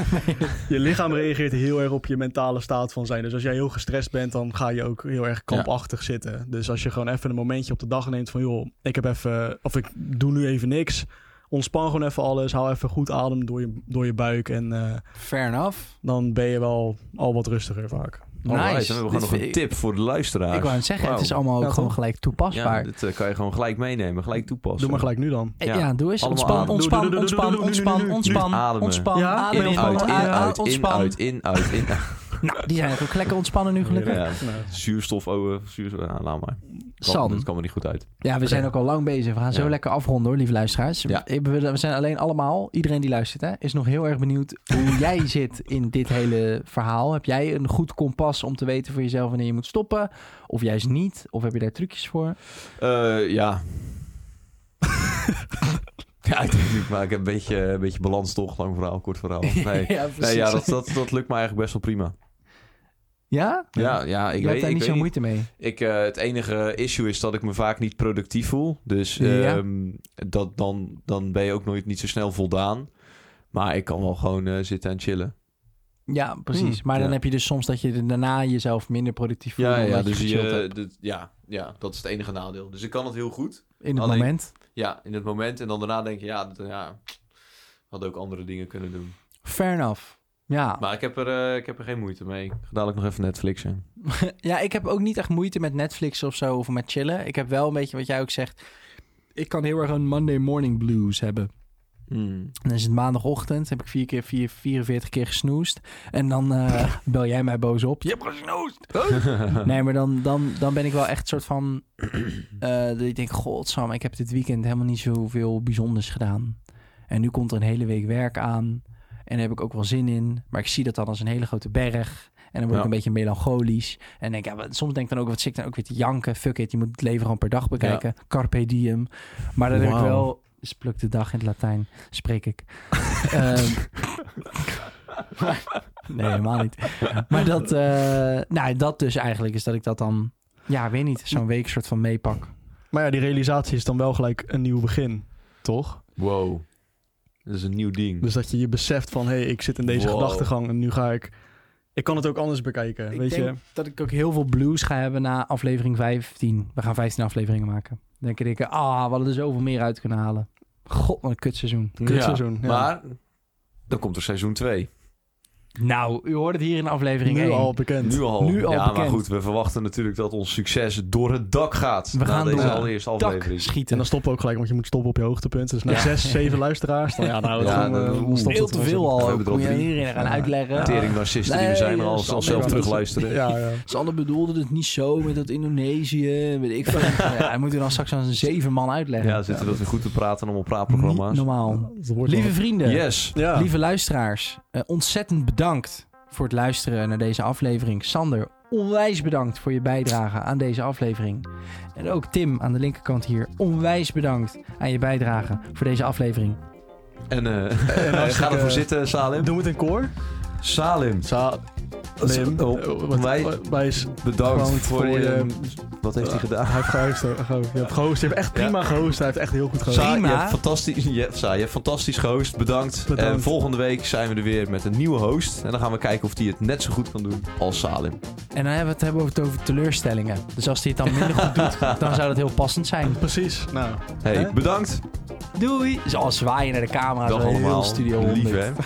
Speaker 1: Je lichaam reageert heel erg op je mentale staat van zijn. Dus als jij heel gestrest bent, dan ga je ook heel erg kampachtig zitten. Dus als je gewoon even een momentje op de dag neemt van... joh, ik heb even... of ik doe nu even niks. Ontspan gewoon even alles. Hou even goed adem door je, door je buik. En eh,
Speaker 2: Fair enough.
Speaker 1: dan ben je wel al wat rustiger vaak.
Speaker 3: Alright,
Speaker 2: Nice. Dit
Speaker 3: dan hebben we gewoon nog
Speaker 2: vind
Speaker 3: een
Speaker 2: ik-
Speaker 3: tip voor de luisteraars.
Speaker 2: Ik wou het zeggen, het
Speaker 3: Wauw.
Speaker 2: is allemaal ook
Speaker 1: Ja,
Speaker 2: gewoon
Speaker 1: toch?
Speaker 2: gelijk
Speaker 3: Ja,
Speaker 2: toepasbaar.
Speaker 3: dit eh, kan je gewoon gelijk meenemen, gelijk toepassen.
Speaker 1: Doe maar gelijk nu dan.
Speaker 2: Eh, Ja,
Speaker 3: Ja.
Speaker 2: doe eens.
Speaker 3: Allemaal
Speaker 2: Ontspan,
Speaker 3: ademen.
Speaker 2: ontspan,
Speaker 1: Doe, doe, doe, doe,
Speaker 2: ontspan,
Speaker 1: doe, doe, doe, doe,
Speaker 2: ontspan,
Speaker 1: doe.
Speaker 2: ontspan,
Speaker 3: Ademen.
Speaker 2: ontspan.
Speaker 1: Ja,
Speaker 2: Ademen,
Speaker 1: in,
Speaker 3: In, uit, in,
Speaker 2: ontspan,
Speaker 3: uit, in,
Speaker 2: ontspan.
Speaker 3: uit, in, uit, in, uit.
Speaker 2: Nou, die zijn eigenlijk lekker ontspannen nu gelukkig.
Speaker 3: Ja.
Speaker 1: Nou,
Speaker 3: Zuurstof, oh, zuurstof, nou, laat maar. Kan,
Speaker 2: San,
Speaker 3: dat kan me niet goed uit.
Speaker 2: Ja, we zijn ook al lang bezig. We gaan zo
Speaker 3: Ja.
Speaker 2: lekker afronden hoor, lieve luisteraars.
Speaker 3: Ja.
Speaker 2: Ik- We we zijn alleen allemaal, iedereen die luistert, hè, is nog heel erg benieuwd hoe jij zit in dit hele verhaal. Heb jij een goed kompas om te weten voor jezelf wanneer je moet stoppen? Of juist niet? Of heb je daar trucjes voor?
Speaker 3: Eh, ja. ja, ik denk natuurlijk, maar ik heb een beetje, een beetje balans toch. Lang verhaal, kort verhaal. Nee,
Speaker 2: ja,
Speaker 3: nee
Speaker 2: precies.
Speaker 3: ja, dat, dat, dat lukt me eigenlijk best wel prima.
Speaker 2: Ja?
Speaker 3: Ja, ja
Speaker 2: Ik
Speaker 3: ik
Speaker 2: heb
Speaker 3: weet,
Speaker 2: daar
Speaker 3: ik
Speaker 2: niet
Speaker 3: weet
Speaker 2: zo moeite mee.
Speaker 3: Ik, eh, het enige issue is dat ik me vaak niet productief voel. Dus
Speaker 2: Ja.
Speaker 3: ehm, dat, dan, dan ben je ook nooit niet zo snel voldaan. Maar ik kan wel gewoon eh, zitten en chillen.
Speaker 2: Ja, precies. maar dan
Speaker 3: Hm, ja.
Speaker 2: heb je dus soms dat je er daarna jezelf minder productief voelt.
Speaker 3: Ja, ja,
Speaker 2: omdat
Speaker 3: dus je,
Speaker 2: gechilled hebt
Speaker 3: dit- ja, ja, dat is het enige nadeel. Dus ik kan het heel goed.
Speaker 2: in het
Speaker 3: alleen-
Speaker 2: moment.
Speaker 3: Ja, in het moment. En dan daarna denk je, ja, dat, ja Had ook andere dingen kunnen doen.
Speaker 2: Fair enough. Ja.
Speaker 3: Maar ik heb er, eh, ik heb er geen moeite mee. Ik ga dadelijk nog even Netflixen.
Speaker 2: ja, ik heb ook niet echt moeite met Netflix of zo of met chillen. Ik heb wel een beetje wat jij ook zegt. Ik kan heel erg een Monday morning blues hebben.
Speaker 3: Hmm.
Speaker 2: Dan is het maandagochtend, heb ik vier keer, vier, 44 keer gesnoest. En dan eh, bel jij mij boos op. Je hebt gesnoest! nee, maar dan, dan, dan ben ik wel echt soort van... eh, dat ik denk, godsam, ik heb dit weekend helemaal niet zoveel bijzonders gedaan. En nu komt er een hele week werk aan. En daar heb ik ook wel zin in. Maar ik zie dat dan als een hele grote berg. En dan word ik
Speaker 3: Ja.
Speaker 2: een beetje melancholisch. En denk, ja, wat- soms denk ik dan ook, wat zit ik dan ook weer te janken? Fuck it, je moet het leven gewoon per dag bekijken. Carpe diem. Maar dan heb ik
Speaker 3: Wauw.
Speaker 2: wel... Dus pluk de dag in het Latijn spreek ik. Ehm, maar- nee, helemaal niet. Maar dat, eh, nou, dat dus eigenlijk is dat ik dat dan, ja, weet niet, zo'n week soort van meepak.
Speaker 1: Maar ja, die realisatie is dan wel gelijk een nieuw begin, toch?
Speaker 3: Wow. Dat is een nieuw ding.
Speaker 1: Dus dat je je beseft van, hé, hey, ik zit in deze
Speaker 3: Wow.
Speaker 1: gedachtegang en nu ga ik... Ik kan het ook anders bekijken, weet je.
Speaker 2: dat ik ook heel veel blues ga hebben na aflevering 15. We gaan 15 afleveringen maken. Dan denk ik, ah, we hadden er zoveel meer uit kunnen halen. God, wat een kutseizoen.
Speaker 1: Kutseizoen, ja.
Speaker 3: Maar dan komt er seizoen 2.
Speaker 2: Nou, u hoort het hier in aflevering
Speaker 1: Nu
Speaker 2: 1.
Speaker 1: al bekend.
Speaker 3: Nu al.
Speaker 2: Nu al
Speaker 3: ja, maar
Speaker 2: bekend.
Speaker 3: goed, we verwachten natuurlijk dat ons succes door het dak gaat.
Speaker 2: We
Speaker 3: na
Speaker 2: gaan
Speaker 3: deze
Speaker 1: door het
Speaker 3: allereerste
Speaker 2: Tak
Speaker 3: aflevering.
Speaker 1: En
Speaker 2: schieten.
Speaker 1: dan stoppen we ook gelijk, want je moet stoppen op je hoogtepunt. Dus na
Speaker 2: Ja.
Speaker 1: zes, zeven luisteraars, dan ja, nou,
Speaker 3: Ja,
Speaker 1: dan, eh,
Speaker 3: dat-
Speaker 1: dan
Speaker 3: oeh.
Speaker 1: stopt
Speaker 2: Veel
Speaker 1: het
Speaker 2: te
Speaker 1: wel zo.
Speaker 2: veel
Speaker 3: We
Speaker 2: al.
Speaker 3: hebben
Speaker 2: ook.
Speaker 3: er al
Speaker 2: Moet je
Speaker 3: drie.
Speaker 2: hierin gaan
Speaker 3: Ja.
Speaker 2: uitleggen.
Speaker 3: Tering narcisten die we
Speaker 2: Nee,
Speaker 3: zijn er al
Speaker 2: dat is-
Speaker 3: als zelf
Speaker 2: dat is-
Speaker 3: terugluisteren.
Speaker 1: Ja, ja.
Speaker 2: Ze bedoelden het niet zo met dat Indonesië, weet ik veel. ja, hij moet er dan straks aan zeven man uitleggen.
Speaker 3: Ja, zitten we dat weer goed te praten om op
Speaker 2: Niet
Speaker 3: praatprogramma's.
Speaker 2: normaal.
Speaker 1: Dat wordt
Speaker 2: Lieve
Speaker 1: wel-
Speaker 2: vrienden,
Speaker 3: Yes.
Speaker 1: ja.
Speaker 2: lieve luisteraars, eh, ontzettend bedankt voor het luisteren naar deze aflevering. Sander, onwijs bedankt voor je bijdrage aan deze aflevering. En ook Tim aan de linkerkant hier, onwijs bedankt aan je bijdrage voor deze aflevering.
Speaker 3: En eh ga
Speaker 1: hartstikke-
Speaker 3: ervoor zitten, Salim.
Speaker 1: Doen we het in koor?
Speaker 3: Salim,
Speaker 1: Lim. Eh,
Speaker 3: Oh, wij-
Speaker 1: wij is,
Speaker 3: bedankt
Speaker 1: Bedankt
Speaker 3: voor
Speaker 1: voor
Speaker 3: je...
Speaker 1: je-
Speaker 3: Wat heeft hij gedaan?
Speaker 1: hij heeft gehost. hè. Gewoon, Je hebt gehost. Je hebt echt
Speaker 3: Ja.
Speaker 1: prima gehost. Hij heeft echt heel goed gehost.
Speaker 3: Sa, je
Speaker 2: Prima.
Speaker 3: hebt fantastisch, je, hebt- Sa, je hebt fantastisch gehost. Bedankt.
Speaker 1: Bedankt.
Speaker 3: En volgende week zijn we er weer met een nieuwe host. En dan gaan we kijken of die het net zo goed kan doen als Salim.
Speaker 2: En dan hebben we het hebben we het over teleurstellingen. Dus als hij het dan minder goed doet, dan zou dat heel passend zijn.
Speaker 1: Precies. Nou,
Speaker 3: Hey,
Speaker 1: Hè?
Speaker 3: bedankt.
Speaker 2: Doei! Ze al zwaaien naar de camera.
Speaker 3: Dag
Speaker 2: zo heel
Speaker 3: allemaal.
Speaker 2: Studio 100.
Speaker 3: Lief hè.